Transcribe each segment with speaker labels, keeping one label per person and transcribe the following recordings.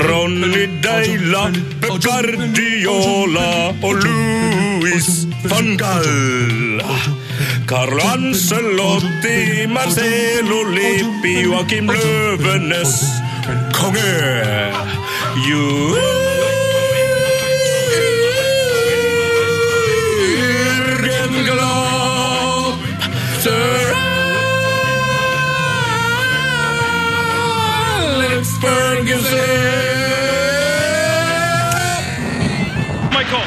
Speaker 1: Ronnie Deila, Cardiola, Louis van Gaal. Carlo Ancelotti, Marcelo Lippi, Joachim Løvenes, konge. Jürgen Klopp, Sir Alex Ferguson.
Speaker 2: Michael.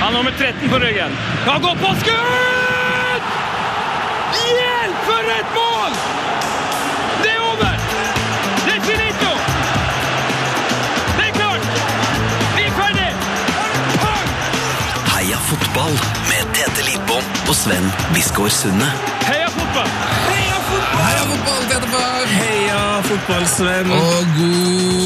Speaker 2: Han har nummer 13 på ryggen. Kan gå på skudd! Hjelp, for et mål! Det er over! Det er finito! Det er klart! Vi er ferdig! Pang!
Speaker 3: Heia fotball med Tete Lidbom og Sven Biskår Sunde.
Speaker 2: Heia fotball!
Speaker 4: Heia fotball, Tete Før!
Speaker 5: Heia fotball-Sven!
Speaker 4: Og god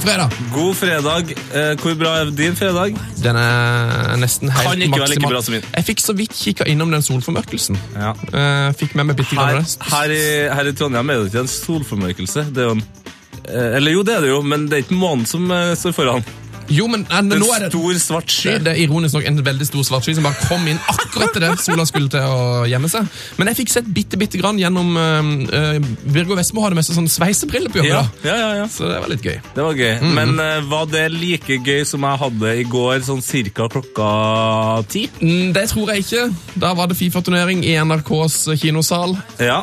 Speaker 4: fredag.
Speaker 5: God fredag. Eh, hvor bra er din fredag?
Speaker 6: Den er nesten helt
Speaker 5: Kan ikke være like
Speaker 6: maksimal.
Speaker 5: bra som min.
Speaker 6: Jeg fikk så vidt kikka innom den solformørkelsen.
Speaker 5: Ja.
Speaker 6: Eh, fikk med meg bitte
Speaker 5: Her,
Speaker 6: grann av det.
Speaker 5: her, i, her i Trondheim er det ikke en solformørkelse. Det er jo en eh, Eller jo, det er det jo, men det er ikke månen som eh, står foran.
Speaker 6: Jo, men, nei, men
Speaker 5: En
Speaker 6: nå er det
Speaker 5: stor, svart sky.
Speaker 6: det er ironisk nok en veldig stor svart sky som bare kom inn akkurat til det sola skulle til å gjemme seg. Men jeg fikk sett bitte, bitte grann gjennom eh, eh, Virgo Vestmo hadde med seg sånn sveisebriller på
Speaker 5: Ja,
Speaker 6: jobbet. da.
Speaker 5: ja, ja, ja.
Speaker 6: Så det var litt gøy.
Speaker 5: Det var gøy.
Speaker 6: Mhm.
Speaker 5: Men eh, var det like gøy som jeg hadde i går, sånn cirka klokka ti?
Speaker 6: Mm, Det tror jeg ikke. Da var det Fifa-turnering i NRKs kinosal,
Speaker 5: Ja.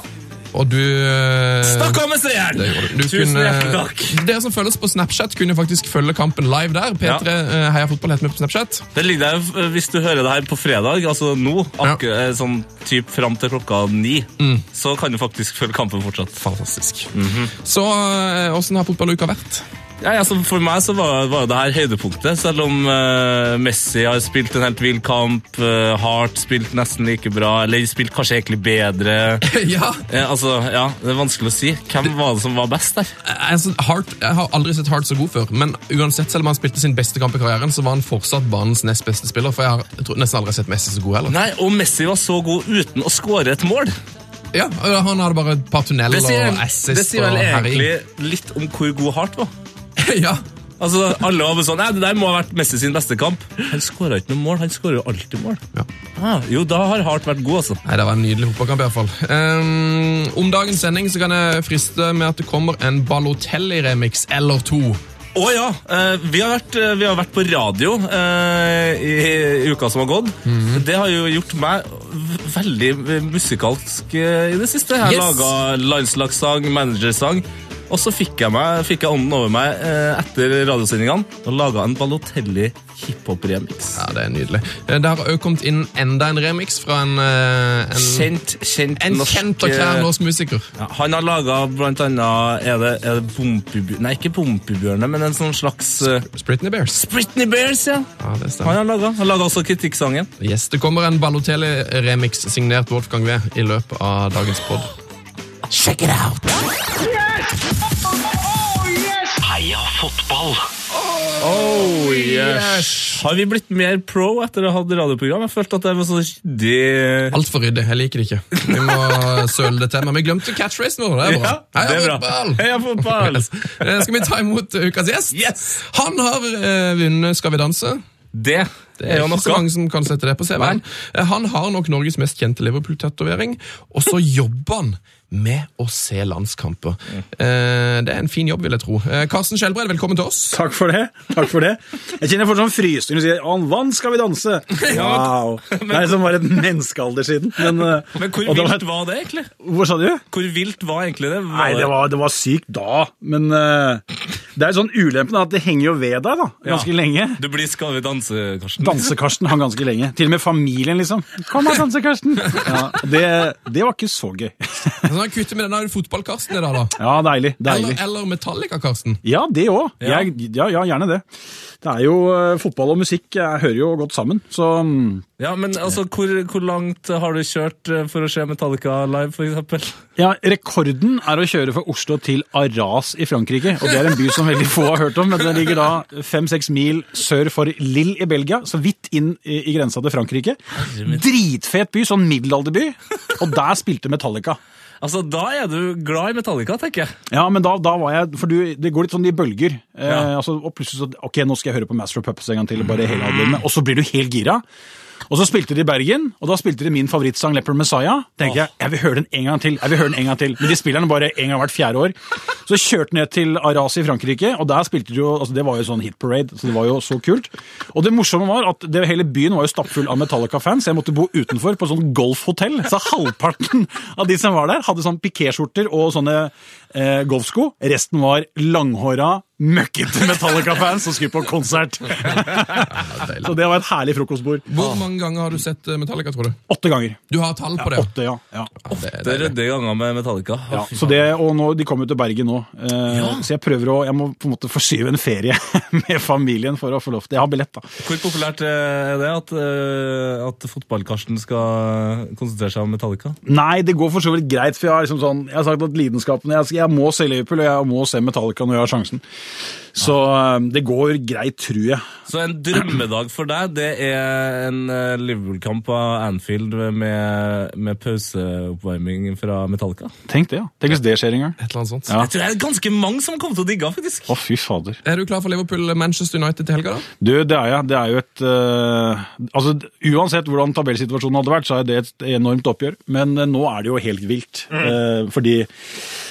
Speaker 6: og du eh,
Speaker 5: Takk med seieren!
Speaker 6: Det gjorde du. Du
Speaker 5: Tusen
Speaker 6: kunne-
Speaker 5: hjertelig takk.
Speaker 6: Dere som følger oss på Snapchat, kunne faktisk følge kampen live der. P3 eh, Heia Fotball heter vi på Snapchat.
Speaker 5: Det ligger der, eh, Hvis du hører det her på fredag, altså nå, akkur eh, sånn typ fram til klokka ni, så kan du faktisk følge kampen fortsatt.
Speaker 6: Mm. Fantastisk. Så eh, åssen har fotballuka vært?
Speaker 5: Ja, altså for meg så var, var jo det her høydepunktet, selv om eh, Messi har spilt en helt vill kamp, eh, Hart spilt nesten like bra, eller spilt kanskje egentlig bedre.
Speaker 6: ja,
Speaker 5: Eh, altså, ja, Det er vanskelig å si. Hvem var det som var best der?
Speaker 6: eh, altså, Hart, Jeg har aldri sett Hart så god før, men uansett, selv om han spilte sin beste kamp i karrieren, så var han fortsatt banens nest beste spiller, for jeg har jeg tror, nesten aldri sett Messi så god heller.
Speaker 5: Nei, og Messi var så god uten å skåre et mål.
Speaker 6: Ja, eh, Han hadde bare et par tunneler
Speaker 5: Det sier,
Speaker 6: og
Speaker 5: det
Speaker 6: assist
Speaker 5: sier
Speaker 6: og
Speaker 5: vel egentlig
Speaker 6: herjing.
Speaker 5: litt om hvor god Hart var.
Speaker 6: ja.
Speaker 5: Altså, Alle var bare sånn Nei, det der må ha vært Messi sin beste kamp. Han skåra ikke noe mål. Han skårer jo alltid mål.
Speaker 6: Ja.
Speaker 5: Ah, jo, da har Hart vært god, altså.
Speaker 6: Nei, Det var en nydelig fotballkamp. i hvert fall. Ehm, om dagens sending så kan jeg friste med at det kommer en Balotelli-remix eller to.
Speaker 5: Å ja! eh, vi, har vært, eh, vi har vært på radio eh, i, i uka som har gått. Det har jo gjort meg v- veldig musikalsk eh, i det siste. Jeg har
Speaker 6: Yes.
Speaker 5: laga landslagssang, managersang. Og så fikk jeg, meg, fikk jeg ånden over meg eh, etter radiosendingene og laga en Balotelli hiphop-remix.
Speaker 6: Ja, Det er nydelig. Eh, Det har også kommet inn enda en remix fra en, eh, en,
Speaker 5: Kjent, kjent
Speaker 6: en kjent og
Speaker 5: eh,
Speaker 6: kjær norsk musiker.
Speaker 5: Ja, han har laga blant annet Er det, er det Bompibjørn... Nei, ikke Bompibjørne, men en sånn slags eh,
Speaker 6: Britney Bears.
Speaker 5: Britney Bears, ja!
Speaker 6: Ja, det
Speaker 5: Han
Speaker 6: stemmer.
Speaker 5: har laga. Han laga også kritikksangen.
Speaker 6: Yes, Det kommer en Balotelli-remix signert Wolfgang V i løpet av dagens pod.
Speaker 3: Heia fotball.
Speaker 5: Oh, Har vi blitt mer pro etter å ha hatt radioprogram? Jeg følte at det var så ryddig
Speaker 6: Altfor ryddig. Jeg liker det ikke. Vi må søle det til. Men vi glemte catchphrase nå. Det er bra.
Speaker 5: Ja, det er bra.
Speaker 6: fotball!
Speaker 5: Heia fotball!
Speaker 6: Yes. Eh, Skal vi ta imot eh, ukas gjest?
Speaker 5: Yes!
Speaker 6: Han har eh, vunnet Skal vi danse.
Speaker 5: Det
Speaker 6: Det er
Speaker 5: jo
Speaker 6: ikke så
Speaker 5: noe.
Speaker 6: mange som kan sette det på CV-en. Eh, Han har nok Norges mest kjente Liverpool-tatovering, og så jobber han med å se landskamper. Eh, Det er en fin jobb, vil jeg tro. Eh, Karsten Skjelbred, velkommen til oss.
Speaker 7: Takk for det. takk for det. Jeg kjenner jeg får sånn frysning og sier 'Å, vann skal vi danse'. Wow. Det er som var et menneskealder siden. Men, eh,
Speaker 5: Men hvor
Speaker 7: og det var-
Speaker 5: vilt var det, egentlig?
Speaker 7: Hvor sa du?
Speaker 5: Hvor vilt var egentlig det? Var
Speaker 7: Nei, det var, det var sykt da. Men eh, det er jo sånn ulempen da, at det henger jo ved deg da, ganske
Speaker 5: Ja.
Speaker 7: lenge.
Speaker 5: Du blir Skal vi danse, Karsten.
Speaker 7: Danse-Karsten hang ganske lenge. Til og med familien, liksom. 'Kom da, Danse-Karsten'. Ja, det, det var ikke så gøy.
Speaker 6: Så han kutter med denne fotball-Karsten i dag, da.
Speaker 7: Ja, deilig.
Speaker 6: Eller,
Speaker 7: deilig.
Speaker 6: eller Metallica-Karsten.
Speaker 7: Ja, det òg.
Speaker 5: Ja.
Speaker 7: Ja. Ja, ja, gjerne det. Det er jo eh, Fotball og musikk eh, hører jo godt sammen, så mm,
Speaker 5: Ja, men altså, hvor, hvor langt har du kjørt eh, for å se Metallica live, for eksempel?
Speaker 7: Ja, Rekorden er å kjøre fra Oslo til Arras i Frankrike. og Det er en by som veldig få har hørt om, men den ligger da fem-seks mil sør for Lille i Belgia. Så vidt inn i i grensa til Frankrike. Dritfet by, sånn middelalderby. Og der spilte Metallica.
Speaker 3: Altså, Da er du glad i Metallica, tenker jeg.
Speaker 7: Ja, men da, da var jeg For du, det går litt sånn i bølger. Eh,
Speaker 3: Ja.
Speaker 7: altså, og plutselig så Ok, nå skal jeg høre på Master of Puppets en gang til, bare hele albumet. Og så blir du helt gira. Og så spilte de i Bergen, og da spilte de min favorittsang, Leopard Messiah. Tenkte jeg jeg vil høre den en gang til. jeg vil høre den en gang til. Men de spiller den bare en gang hvert fjerde år. Så kjørte jeg ned til Arras i Frankrike, og der spilte de jo altså Det var jo sånn hit parade, så det var jo så kult. Og det morsomme var at det, hele byen var jo stappfull av Metallica-fans. Jeg måtte bo utenfor på et sånt golfhotell, så halvparten av de som var der, hadde sånn pikéskjorter og sånne eh, golfsko. Resten var langhåra, møkkete Metallica-fans som skulle på konsert. så det var et herlig frokostbord.
Speaker 6: Hvor mange ganger har du sett eh, Metallica, tror du?
Speaker 7: Åtte ganger.
Speaker 6: Du har tall på det?
Speaker 7: Åtte, ja. ja.
Speaker 6: det,
Speaker 3: Det
Speaker 6: det,
Speaker 3: er rydde ganger med Metallica.
Speaker 7: ja. Så det, og nå, de kommer jo til Bergen nå, eh, så jeg prøver å, jeg må på en måte forskyve en ferie med familien for å få lov til, jeg har billett da.
Speaker 3: Hvor populært eh, er det at, eh, at fotball-Karsten skal konsentrere seg om Metallica?
Speaker 7: Nei, det går for så vidt greit, for jeg har, liksom sånn, jeg har sagt at lidenskapen, jeg, jeg må se Liverpool, og jeg må se Metallica når jeg har sjansen. Så eh, det går greit, tror jeg.
Speaker 3: Så en drømmedag for deg, det er en eh, Liverpool-kamp på Anfield med, med pauseoppvarming fra Metallica.
Speaker 7: Tenk det, ja. Tenk hvis det skjer en gang.
Speaker 6: Et eller annet sånt.
Speaker 7: Ja.
Speaker 3: Jeg tror det er ganske mange som kommer til å digge, den, faktisk.
Speaker 7: Å, fy fader.
Speaker 6: Er du klar for Liverpool-Manchester United til helga, da?
Speaker 7: Du, det er jeg. Det er jo et eh, Altså, uansett hvordan tabellsituasjonen hadde vært, så er det et enormt oppgjør. Men eh, nå er det jo helt vilt. eh, fordi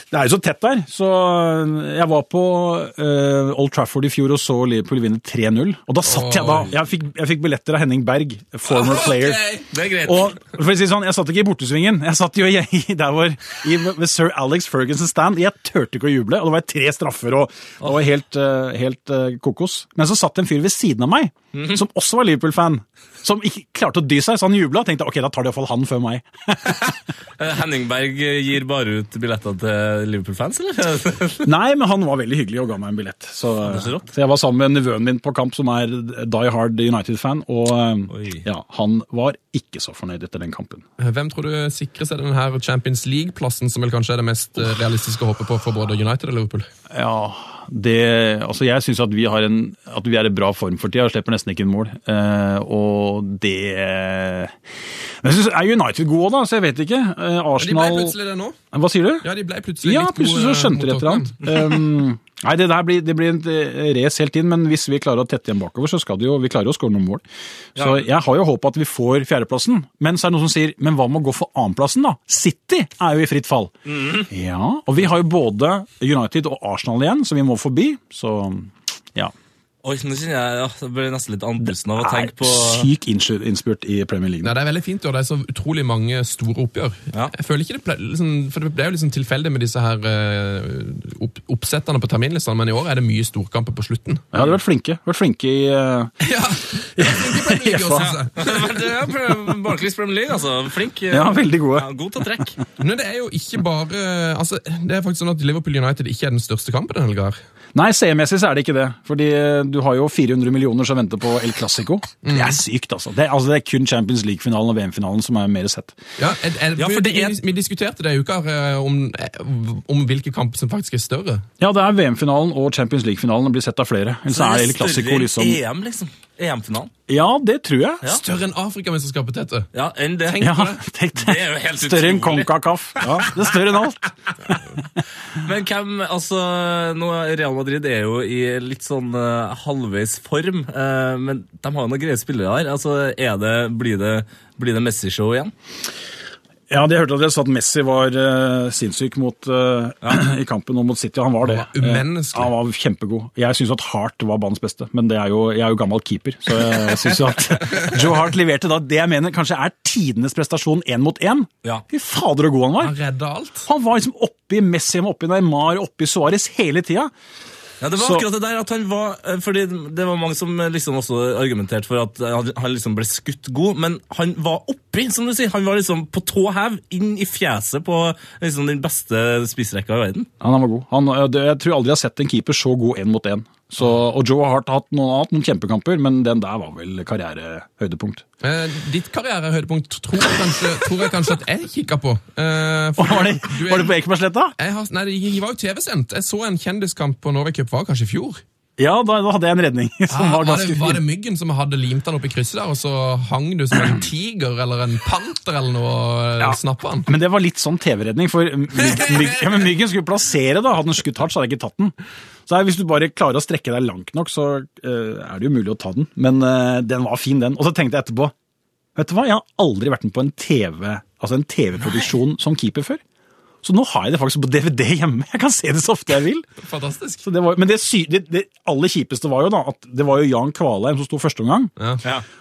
Speaker 7: det er jo så tett der. Så eh, jeg var på eh, Old Trafford i fjor og så Liverpool vinne 3-0. Og da satt jeg da. Jeg fikk, jeg fikk billetter av Henning Berg,
Speaker 6: Ah,
Speaker 7: former player.
Speaker 3: Det er greit.
Speaker 7: Og for å si det sånn, Jeg satt ikke i bortesvingen. Jeg satt jo i, i der hvor, i, ved sir Alex Ferguson's stand. Jeg turte ikke å juble, og det var tre straffer og det var helt, eh, helt eh, kokos. Men så satt det en fyr ved siden av meg,
Speaker 3: Mhm.
Speaker 7: som også var Liverpool-fan. Som ikke klarte å dy seg, så han jubla og tenkte ok, da tar de iallfall han før meg.
Speaker 3: Eh, Henning Berg gir bare ut billetter til Liverpool-fans, eller?
Speaker 7: Nei, men han var veldig hyggelig og ga meg en billett. Så,
Speaker 3: er så rått.
Speaker 7: så jeg var sammen med nevøen min på kamp, som er Die Hard United-fan, og eh,
Speaker 3: Oi.
Speaker 7: ja, han var ikke så fornøyd etter den kampen.
Speaker 6: Eh, Hvem tror du sikrer seg denne her Champions League-plassen, som vel kanskje er det mest eh, realistiske å håpe på for både United og Liverpool?
Speaker 7: Ja, det, altså jeg synes at vi, har en, at vi er i bra form for tida og slipper nesten ikke en mål. Eh, og det Men jeg synes, er United gode òg, da? Så jeg vet ikke. Eh,
Speaker 6: De ble
Speaker 7: Arsenal
Speaker 6: plutselig det nå.
Speaker 7: Hva sier du?
Speaker 6: Ja, de ble plutselig
Speaker 7: Ja,
Speaker 6: litt
Speaker 7: plutselig så
Speaker 6: gode,
Speaker 7: skjønte de
Speaker 6: mot eh,
Speaker 7: et eller annet. Um, nei, det der blir, det blir en eh, race helt inn, men hvis vi klarer å tette igjen bakover, så skal det jo, vi klarer jo å skåre noen mål. Så jeg har jo håp at vi får fjerdeplassen, men så er det noen som sier, men hva med å gå for annenplassen da? City er jo i fritt fall. Ja, og vi har jo både United og Arsenal igjen, som vi må forbi, så ja.
Speaker 3: Oi, nå kjenner jeg ja, Jeg ble nesten litt andpusten av å
Speaker 7: Er
Speaker 3: tenke på
Speaker 7: syk innspurt, innspurt i Premier League.
Speaker 6: Nei, Det er veldig fint, og det er så utrolig mange store oppgjør.
Speaker 3: Ja.
Speaker 6: Jeg føler ikke Det ple- liksom, for det er jo liksom tilfeldig med disse her eh, opp, oppsetterne på terminlistene, men i år er det mye storkamper på slutten.
Speaker 7: Ja, de har vært flinke. Vært flinke i... eh,
Speaker 6: Ja, det er flinke Premier League også, altså.
Speaker 3: Men det er Pre- Barclays Premier League, altså. Flink. eh,
Speaker 7: Ja, veldig gode.
Speaker 3: ja, god til å trekke.
Speaker 6: Men det er jo ikke bare altså, Det er faktisk sånn at Liverpool United ikke er den største kampen denne helga. her.
Speaker 7: Nei, seermessig så er det ikke det. Fordi eh, du har jo 400 millioner som venter på El Clásico. Det
Speaker 3: Mm.
Speaker 7: er sykt, altså. Det, er- altså. det er kun Champions League-finalen og VM-finalen som er mer sett.
Speaker 6: Ja, er, er,
Speaker 3: Ja, for det er-
Speaker 6: vi, vi diskuterte det i uka eh, om, eh, om hvilke kamper som faktisk er større.
Speaker 7: Ja, det er VM-finalen og Champions League-finalen og blir sett av flere. Ellers er El Clásico
Speaker 3: Større
Speaker 7: liksom
Speaker 3: EM, liksom. EM-finalen.
Speaker 7: Ja, det tror jeg.
Speaker 3: Ja.
Speaker 6: Større enn Afrikamesterskapet, Tete!
Speaker 3: Ja, enn det.
Speaker 7: Ja, tenk det.
Speaker 3: Det er jo helt
Speaker 7: Større enn
Speaker 3: utrolig.
Speaker 7: Concacaf. Ja, det er større enn alt.
Speaker 3: Men hvem, altså, nå, Real Madrid er jo i litt sånn eh, halvveis form, eh, men de har jo noen greie spillere her. Altså, er det, blir det, blir det Messi-show igjen?
Speaker 7: Ja, de hørte at dere sa at Messi var eh, sinnssyk mot, eh, i kampen og mot City. Han var det.
Speaker 6: Han var umenneskelig.
Speaker 7: Eh, han var kjempegod. Jeg syns at Hart var banens beste, men det er jo, jeg er jo gammel keeper. Så jeg synes jo at Joe Hart leverte da det jeg mener kanskje er tidenes prestasjon én mot én.
Speaker 3: Ja.
Speaker 7: Fy fader så god han var!
Speaker 6: Han redda alt.
Speaker 7: Han var liksom oppi Messi, han var oppi Neymar, oppi Suárez hele tida.
Speaker 3: Ja, det var
Speaker 7: Så-
Speaker 3: akkurat det der at han var eh, Fordi det var mange som eh, liksom også argumenterte for at eh, han- han liksom ble skutt god, men han var oppi, som du sier. Han var liksom på tå hev, inn i fjeset på liksom den beste spissrekka i verden.
Speaker 7: Ja, han var god. Han, eh, det- jeg tror aldri jeg har sett en keeper så god én mot én. Så- Og Joe Hart har hatt noen, hatt noen kjempekamper, men den der var vel karrierehøydepunkt.
Speaker 6: Eh, ditt karrierehøydepunkt tror jeg kanskje, tror jeg, kanskje at jeg kikka på. Eh, for
Speaker 7: Var det,
Speaker 6: du er-
Speaker 7: var det på Ekebergsletta?
Speaker 6: jeg har, nei, det var jo TV-sendt. Jeg så en kjendiskamp på Norway Cup, var det kanskje i fjor?
Speaker 7: Ja, da, da hadde jeg en redning som
Speaker 6: Ah,
Speaker 7: var
Speaker 6: var, det,
Speaker 7: ganske
Speaker 6: var det
Speaker 7: fin.
Speaker 6: myggen som hadde limt den opp i krysset der, og så hang du som en tiger eller en panter eller noe eh, og
Speaker 7: Ja.
Speaker 6: snappa den?
Speaker 7: Men det var litt sånn TV-redning, for mygg, mygg, ja, men myggen skulle plassere, da. Hadde den skutt hardt, så hadde jeg ikke tatt den. Så her, hvis du bare klarer å strekke deg langt nok, så eh, er det jo mulig å ta den. Men eh, den var fin, den. Og så tenkte jeg etterpå Vet du hva, jeg har aldri vært med på en TV, altså en TV-produksjon som keeper før. Så nå har jeg det faktisk på DVD hjemme. Jeg kan se det så ofte jeg vil.
Speaker 6: Fantastisk.
Speaker 7: Så det var, men det, sy, det, det aller kjipeste var jo da at det var jo Jan Kvalheim som sto første omgang.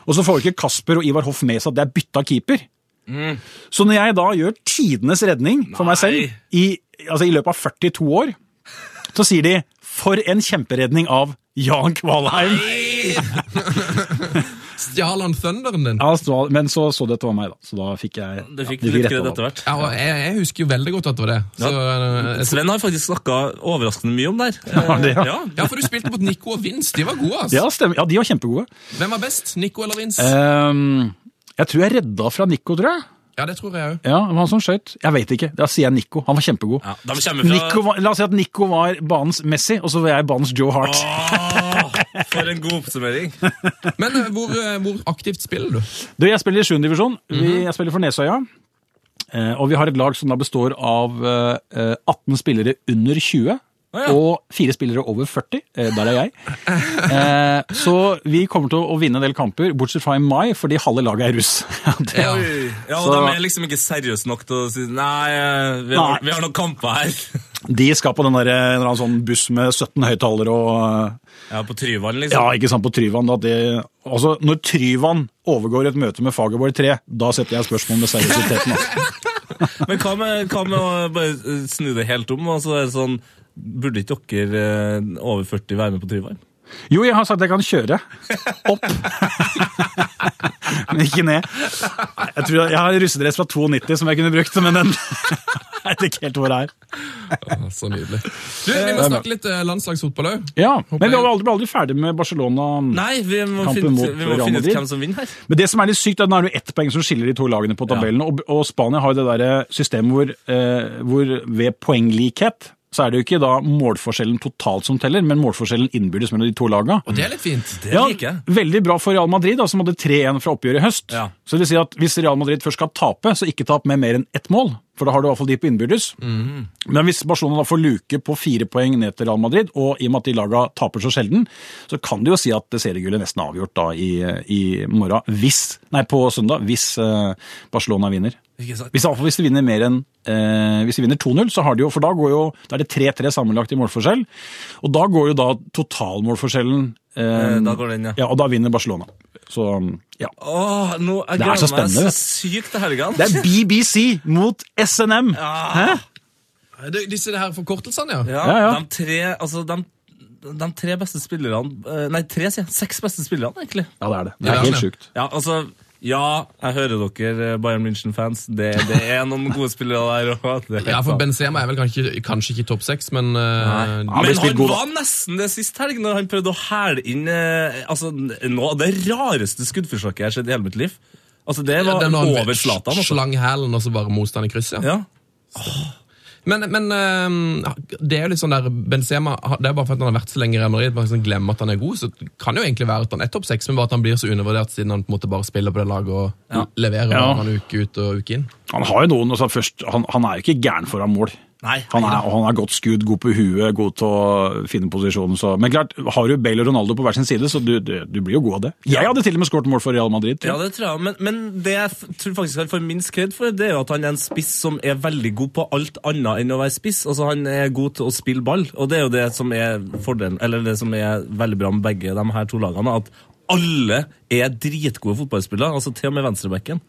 Speaker 7: Og så får ikke Kasper og Ivar Hoff med seg at det er bytta keeper.
Speaker 3: Mm.
Speaker 7: Så når jeg da gjør tidenes redning for meg selv i, altså i løpet av 42 år, så sier de 'for en kjemperedning av Jan Kvalheim'.
Speaker 6: Stjal han thunderen din?
Speaker 7: Ja, så, men så så det at det var meg, da. Så da fikk jeg
Speaker 3: Du fikk
Speaker 7: de
Speaker 3: litt
Speaker 7: retta
Speaker 3: kredd
Speaker 7: meg.
Speaker 3: etter hvert.
Speaker 6: Ja, og jeg, jeg husker jo veldig godt at det var det. Så, eh, jeg-
Speaker 3: Sven har faktisk snakka overraskende mye om det her. Eh,
Speaker 7: Var det, ja?
Speaker 3: Ja,
Speaker 6: ja, for du spilte mot Nico og Vince. De var gode, altså.
Speaker 7: Ja, stemmer. Ja, de var kjempegode.
Speaker 6: Hvem var best, Nico eller Vince?
Speaker 7: Ehm, jeg tror jeg redda fra Nico, tror jeg.
Speaker 6: Ja, det tror jeg òg.
Speaker 7: Ja, det var han som skjøt. Jeg veit ikke. Da sier jeg Nico. Han var kjempegod.
Speaker 3: Ja, de kommer fra
Speaker 7: Nico var, la oss si at Nico var banens Messi, og så var jeg banens Joe Hart.
Speaker 3: Åh, For en god oppsummering.
Speaker 6: Men eh, hvor, eh, hvor aktivt spiller du?
Speaker 7: Du, jeg spiller i 7. divisjon. Vi-
Speaker 3: Mhm.
Speaker 7: Jeg spiller for Nesøya. Eh, Og vi har et lag som da består av eh, 18 spillere under 20.
Speaker 3: ja.
Speaker 7: Og fire spillere over 40. Eh, Der er jeg. Eh, Så vi kommer til å vinne en del kamper, bortsett fra i mai, fordi halve laget er russ. Det-
Speaker 6: Ja.
Speaker 3: Ja, og
Speaker 7: Så-
Speaker 3: De er liksom ikke seriøse nok til å si nei, eh, vi
Speaker 7: Nei.
Speaker 3: har, vi har noen kamper her.
Speaker 7: De skal på den der, en eller annen sånn buss med 17 høyttalere og eh,
Speaker 3: Ja, På Tryvann, liksom.
Speaker 7: Ja, ikke sant, på Tryvann. Da, det, altså, når Tryvann overgår et møte med Fagerborg 3, da setter jeg spørsmål med seriøsiteten. Altså.
Speaker 3: Men hva med, hva med å bare eh, snu det helt om? og så er det sånn, Burde ikke dere eh, over 40 være med på Tryvann?
Speaker 7: Jo, jeg har sagt jeg kan kjøre. Opp. men ikke ned. Jeg tror jeg, jeg har en russedress fra 92 som jeg kunne brukt, men den Jeg vet ikke helt hvor det er.
Speaker 6: Ah, Så nydelig. Du, Vi må snakke litt eh, landslagsfotball òg.
Speaker 7: Ja, Men vi var aldri, ble aldri ferdig med Barcelona.
Speaker 3: Nei, vi må
Speaker 7: Kampen
Speaker 3: finne,
Speaker 7: mot
Speaker 3: ut- vi må
Speaker 7: Real
Speaker 3: finne ut
Speaker 7: Madrid.
Speaker 3: hvem som vinner her.
Speaker 7: Men det som er litt sykt, er at nå er det jo ett poeng som skiller de to lagene på tabellen. Og, og Spania har jo det der systemet hvor, eh, hvor ved poenglikhet så er det jo ikke da målforskjellen totalt som teller, men målforskjellen innbyrdes mellom de to lagene.
Speaker 6: Og det er litt fint.
Speaker 3: Det liker jeg.
Speaker 7: Veldig bra for Real Madrid, da, som hadde 3-1 fra oppgjøret i høst.
Speaker 3: Ja.
Speaker 7: Så det vil si at Hvis Real Madrid først skal tape, så ikke tap med mer enn ett mål. For da har du i hvert fall de på innbyrdes.
Speaker 3: Mhm.
Speaker 7: Men hvis Barcelona da får luke på fire poeng ned til Real Madrid, og i og med at de laga taper så sjelden, så kan du jo si at seriegullet nesten er avgjort da i, i morgen. Hvis, nei, på søndag, hvis eh, Barcelona vinner.
Speaker 3: Ikke sant?
Speaker 7: Hvis, i alle fall hvis de vinner mer enn eh, hvis de vinner 2-0, så har de jo, for da, går jo, da er det 3-3 sammenlagt i målforskjell. Og da går jo da totalmålforskjellen eh,
Speaker 3: Eh, Da går den, ja.
Speaker 7: ja, og da vinner Barcelona. Så ja.
Speaker 3: Åh, nå, jeg
Speaker 7: Det er
Speaker 3: gleder
Speaker 7: så
Speaker 3: meg
Speaker 7: spennende,
Speaker 3: så sykt til helgene.
Speaker 7: Det er BBC mot SNM! Hæ?
Speaker 6: Du, disse her forkortelsene, ja.
Speaker 3: Ja,
Speaker 7: Ja, ja.
Speaker 3: De tre, altså, de, de tre beste spillerne eh, Nei, tre, sier jeg. Seks beste spillerne, egentlig.
Speaker 7: Ja, det er det. Det er
Speaker 6: Ja,
Speaker 7: helt
Speaker 6: ja.
Speaker 7: sjukt.
Speaker 3: Ja, altså Ja, jeg hører dere, eh, Bayern München-fans. Det, det er noen gode spillere der òg.
Speaker 6: Ja, for Benzema er vel kanskje, kanskje ikke i topp seks, men eh,
Speaker 3: Men
Speaker 7: Han ble
Speaker 3: han
Speaker 7: spilt god, da.
Speaker 3: var nesten det sist helg, når han prøvde å hæle inn eh, altså, noe av det rareste skuddforsøket jeg har sett i hele mitt liv. Altså, Det var
Speaker 6: den har
Speaker 3: over Zlatan. Altså.
Speaker 6: Slang hælen, og så bare motstand i krysset.
Speaker 3: Ja.
Speaker 6: Men, men eh, det er jo litt sånn der Benzema det er bare for at han har vært så lenge i Real Madrid, man liksom glemmer at han er god, så det kan jo egentlig være at han er topp seks, men bare at han blir så undervurdert siden han på en måte bare spiller på det laget og leverer
Speaker 7: Ja.
Speaker 6: han uke ut og uke inn.
Speaker 7: Han har jo noen, altså først, han, han er jo ikke gæren foran mål.
Speaker 3: Nei,
Speaker 7: Han er, og han er godt skudd, god på huet, god til å finne posisjonen. Så. Men klart, har du Bale og Ronaldo på hver sin side, så du, du, du blir jo god av det. Jeg hadde til og med skåret mål for Real Madrid.
Speaker 3: ja,
Speaker 7: Tror jeg.
Speaker 3: det tror jeg. Men, men det jeg f- tror faktisk han får minst kred for, det er jo at han er en spiss som er veldig god på alt annet enn å være spiss. Altså, Han er god til å spille ball, og det er jo det som er fordelen, eller det som er veldig bra med begge de her to lagene. at alle er dritgode fotballspillere, altså til og med venstrebekken.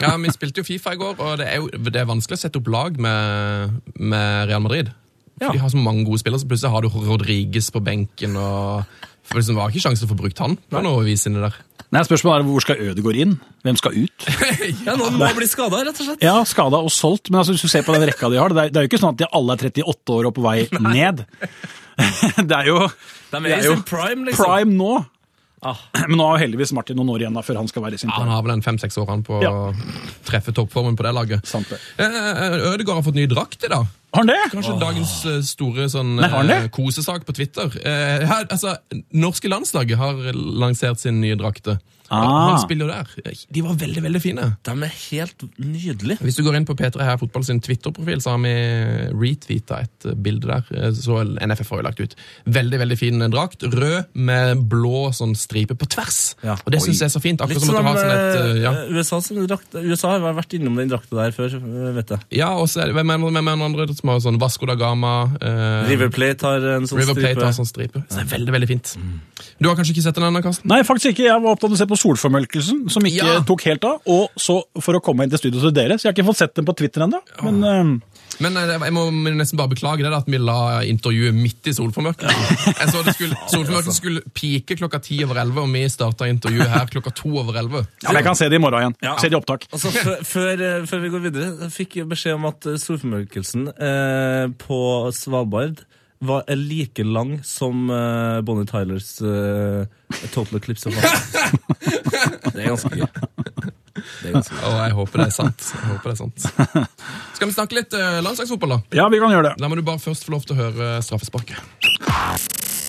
Speaker 6: Ja, Vi spilte jo Fifa i går, og det er jo det er vanskelig å sette opp lag med, med Real Madrid. For
Speaker 3: Ja.
Speaker 6: De har så mange gode spillere, så plutselig har du Rodriges på benken. og for liksom, var ikke sjanse til å få brukt han på noe vis inni der.
Speaker 7: Nei, Spørsmålet er hvor skal Ødegaard inn? Hvem skal ut?
Speaker 3: Ja, Noen må bli skada, rett og slett.
Speaker 7: Ja, skada og solgt, men altså, hvis du ser på den rekka de har, det er, det er jo ikke sånn at de alle er 38 år og på vei ned. Det er jo,
Speaker 3: De er
Speaker 7: det
Speaker 3: i
Speaker 7: er jo
Speaker 3: sin prime, liksom.
Speaker 7: prime nå.
Speaker 3: Ah.
Speaker 7: Men nå har jo heldigvis Martin noen år igjen da, før han skal være i sin
Speaker 6: Ja, han
Speaker 7: prime.
Speaker 6: har vel en fem-seks år han på å
Speaker 7: Ja.
Speaker 6: treffe toppformen på det laget.
Speaker 7: Sant det.
Speaker 6: Eh, Ødegaard har fått ny drakt i dag.
Speaker 7: Har han det?
Speaker 6: Kanskje dagens eh, store sånn,
Speaker 7: Nei, har han det?
Speaker 6: eh, kosesak på Twitter. Eh, her, altså, norske landslaget har lansert sin nye drakte.
Speaker 7: Ah.
Speaker 6: Han spiller der. De var veldig, veldig fine.
Speaker 3: De er helt nydelige.
Speaker 6: Hvis du går inn på P3 her fotball sin Twitter-profil, så har vi retweeta et eh, bilde der. eh, Så NFF har jo lagt ut. Veldig veldig fin eh, drakt. Rød med blå sånn stripe på tvers.
Speaker 3: Ja.
Speaker 6: Og det syns jeg er så fint. Akkurat som at du har sånn et eh, ja.
Speaker 3: USA, sin drakt, USA har vært innom den drakta der før, eh, vet jeg.
Speaker 6: ja, og så er det hvem er det- hvem er det andre som har sånn Vasco da Gama eh,
Speaker 3: River Plate har en sånn
Speaker 6: River Plate Mm.
Speaker 3: stripe.
Speaker 6: har en sånn stripe. Så det er veldig, veldig fint. Du har kanskje ikke sett den ennå, Karsten?
Speaker 7: Nei, faktisk ikke. Jeg var opptatt av å se på solformørkelsen, som ikke
Speaker 6: Ja.
Speaker 7: tok helt av. Og så for å komme inn til studio til dere, så jeg har ikke fått sett den på Twitter ennå. Men eh,
Speaker 6: Men eh, jeg må nesten bare beklage det da, at vi la intervjuet midt i solformørkelsen. Jeg så det skulle,
Speaker 7: altså.
Speaker 6: solformørkelsen skulle pike klokka ti over elleve, og vi starta intervjuet her klokka to over elleve.
Speaker 7: ja, men jeg kan se det i morgen igjen. Se det i opptak.
Speaker 3: Altså, før- før, eh, før vi går videre, jeg fikk jeg beskjed om at eh, solformørkelsen eh, på Svalbard var er like lang som eh, Bonnie Tylers eh, Total Eclipse of Heart. Det er ganske gøy. Det er ganske gøy.
Speaker 6: Og jeg håper det er sant. Jeg håper det er sant. Skal vi snakke litt eh, landslagsfotball, da?
Speaker 7: Ja, vi kan gjøre det.
Speaker 6: Da må du bare først få lov til å høre eh, straffesparket.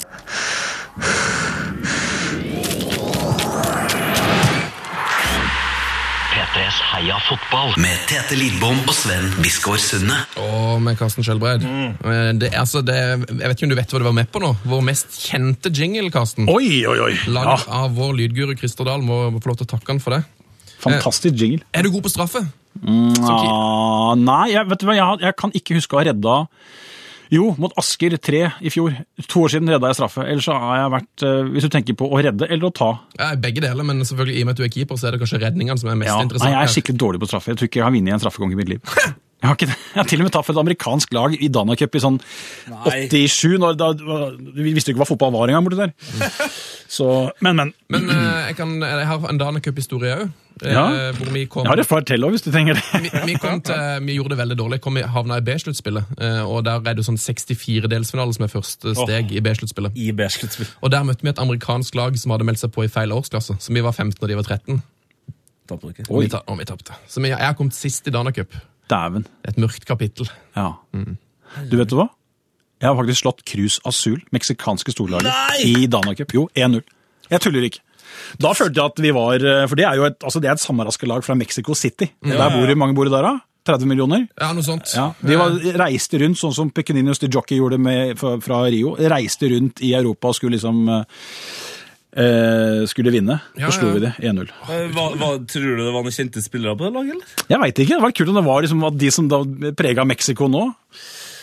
Speaker 8: P3s Heia fotball med Tete Lidbom og Sven Biskår Sunde.
Speaker 6: Og med Karsten Skjelbreid.
Speaker 7: Mm.
Speaker 6: Eh, Det, er altså, det, jeg vet ikke om du vet hva du var med på nå? Vår mest kjente jingle, Karsten.
Speaker 7: Oi, oi, oi. Ja,
Speaker 6: Laget av vår lydguru Christer Dahl. Må få lov til å takke han for det.
Speaker 7: fantastisk jingle.
Speaker 6: Er du god på straffe?
Speaker 7: Ah, nei, jeg, vet du hva, jeg, jeg kan ikke huske å ha redda jo, mot Asker 3 i fjor. To år siden redda jeg straffe. Ellers så har jeg vært eh, Hvis du tenker på å redde eller å ta
Speaker 6: Ja, Begge deler, men selvfølgelig i og med at du er keeper, så er det kanskje redningene som er mest
Speaker 7: ja, Nei,
Speaker 6: interessant.
Speaker 7: jeg er
Speaker 6: her.
Speaker 7: skikkelig dårlig på straffe. Jeg tror ikke jeg har vunnet en straffekonk i mitt liv. Jeg har, ikke, det. jeg har til og med tatt for et amerikansk lag i Dana Cup i sånn 87, når da, vi visste jo ikke hva fotball var engang borti der. Så, men, men.
Speaker 6: Mm. Men eh, jeg, kan, jeg har en Danecup-historie òg.
Speaker 7: Ja.
Speaker 6: Hvor vi kom,
Speaker 7: Jeg har et par til òg, hvis du trenger det.
Speaker 6: vi, vi, kom til, vi gjorde det veldig dårlig. Kom, vi havna i B-sluttspillet. eh, og der er det jo sånn 64-delsfinale som er første steg i B-sluttspillet.
Speaker 3: I B-sluttspill.
Speaker 6: Og der møtte vi et amerikansk lag som hadde meldt seg på i feil årsklasse. Så vi var 15 og de var 13.
Speaker 3: Tapte dere.
Speaker 6: Og vi, ta, og vi tapte. Så vi, jeg har kommet sist i Danecup.
Speaker 7: Dæven.
Speaker 6: Et mørkt kapittel.
Speaker 7: Ja.
Speaker 6: Mm.
Speaker 7: Du vet du hva? Jeg har faktisk slått Cruz Azul, meksikanske storlaget, i Dana Cup. Jo, 1-0. Jeg tuller ikke. Da følte jeg at vi var For det er jo et, altså det er et sammenraska lag fra Mexico City. Der bor, mange bor det der, da? 30 millioner?
Speaker 6: Ja, noe sånt.
Speaker 7: Ja, de var, reiste rundt, sånn som Pequeninos de Jockey gjorde med, fra, fra Rio. Reiste rundt i Europa og skulle liksom eh, skulle vinne.
Speaker 6: Ja,
Speaker 7: så slo
Speaker 6: ja.
Speaker 7: vi det 1-0.
Speaker 3: Eh, Hva, hva, tror du det var noen kjente spillere på det laget, eller?
Speaker 7: Jeg veit ikke. Det var kult om det var liksom, at de som da prega Mexico nå.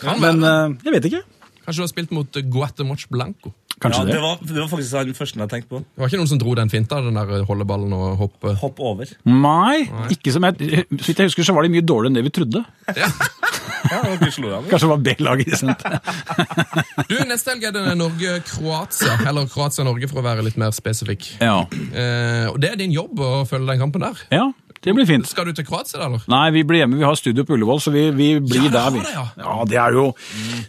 Speaker 6: Kan
Speaker 7: Men
Speaker 6: være.
Speaker 7: eh, jeg vet ikke.
Speaker 6: Kanskje du har spilt mot eh, Guatemoc Blanco.
Speaker 7: Kanskje
Speaker 3: Ja, det
Speaker 7: det.
Speaker 3: var, det var faktisk den første jeg tenkte på.
Speaker 6: Det var ikke noen som dro den finta, den der holdeballen og hoppet?
Speaker 3: Hopp over.
Speaker 7: Mm. Nei, ikke som jeg, så vidt jeg husker, så var de mye dårligere enn det vi trodde.
Speaker 3: Ja, dere slo igjen.
Speaker 7: Kanskje det var B-laget de sendte.
Speaker 6: Du, Neste helg er det Norge-Kroatia. Eller Kroatia-Norge, for å være litt mer spesifikk.
Speaker 7: Ja.
Speaker 6: Eh, og Det er din jobb å følge den kampen der.
Speaker 7: ja, det blir fint.
Speaker 6: Skal du til Kroatia, da? eller?
Speaker 7: Nei, vi blir hjemme. Vi har studio på Ullevål, så vi, vi blir
Speaker 6: Ja, det
Speaker 7: der,
Speaker 6: har
Speaker 7: vi.
Speaker 6: det, ja.
Speaker 7: det er jo,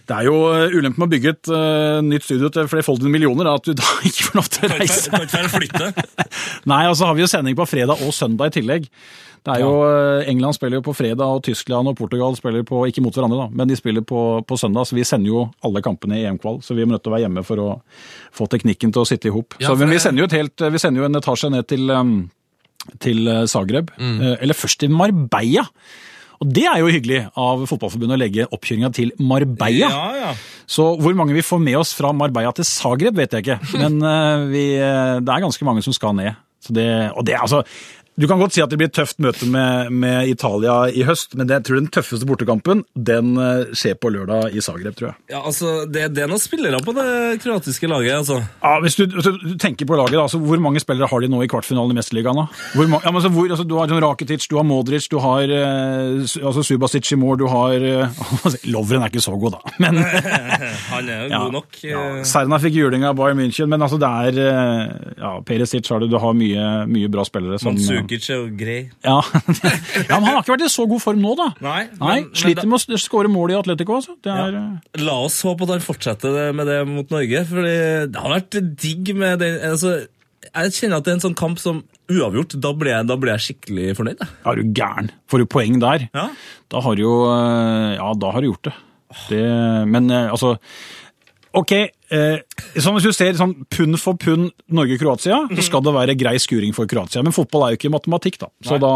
Speaker 7: det er jo ulempen med å bygge et eh, nytt studio til flerfoldige millioner, er at du da ikke får lov til å
Speaker 3: Kan ikke
Speaker 7: reise.
Speaker 3: være- kan ikke være flytte.
Speaker 7: Nei, og så har vi jo sending på fredag og søndag i tillegg. Det er jo, eh, England spiller jo på fredag, og Tyskland og Portugal spiller på, ikke mot hverandre da, men de spiller på, på søndag, så vi sender jo alle kampene i EM-kval, så vi er nødt til å være hjemme for å få teknikken til å sitte ihop.
Speaker 6: Ja,
Speaker 7: så,
Speaker 6: for
Speaker 7: men vi
Speaker 6: det-
Speaker 7: sender jo, et helt, eh, vi sender jo en etasje ned til, eh, em, til eh, Zagreb, eh, eller først til Marbella. Og det er jo hyggelig av Fotballforbundet å legge oppkjøringa til Marbella.
Speaker 3: Ja, ja.
Speaker 7: Så hvor mange vi får med oss fra Marbella til Zagreb, vet jeg ikke. Men eh, vi, eh, det er ganske mange som skal ned. Så det, og det, er altså, du kan godt si at det blir et tøft møte med, med Italia i høst, men det, jeg tror den tøffeste bortekampen den eh, skjer på lørdag i Zagreb, tror jeg.
Speaker 3: Ja, altså, det, det er noen spillere på det kroatiske laget, altså.
Speaker 7: Ja, hvis du, hvis du tenker på laget, da, altså, Hvor mange spillere har de nå i kvartfinalen i Mesterligaen? da? Hvor ma- ja, men, altså, hvor, altså, du har sånn Rakitic, du har Modric, du har eh, su- altså, Subasic i mål, du har eh, Lovren er ikke så god, da. Men,
Speaker 3: Han er jo
Speaker 7: ja,
Speaker 3: god nok.
Speaker 7: Ja.
Speaker 3: eh.
Speaker 7: Serna fikk juling av Bayern München, men altså, det er eh, ja, Perisic har du, du har mye, mye bra spillere. Som, eh,
Speaker 3: Mandzukic er jo grei.
Speaker 7: Ja. ja, men han har ikke vært i så god form nå, da.
Speaker 3: Nei, men- men
Speaker 7: sliter
Speaker 3: da-
Speaker 7: med å s- skåre mål i Atletico. Altså. Det er, eh,
Speaker 3: La oss håpe at han fortsetter det- med det mot Norge, for det har vært digg med den altså, Jeg kjenner at det er en sånn kamp som uavgjort, da blir jeg, da blir jeg skikkelig fornøyd. Da.
Speaker 7: er du gæren? Får du poeng der?
Speaker 3: Ja.
Speaker 7: Da har du jo eh, Ja, da har du gjort det. Det, men eh, altså OK. Eh, sånn hvis du ser sånn pund for pund Norge-Kroatia,
Speaker 6: Mhm.
Speaker 7: så skal det være grei skuring for Kroatia. Men fotball er jo ikke matematikk, da. Så da,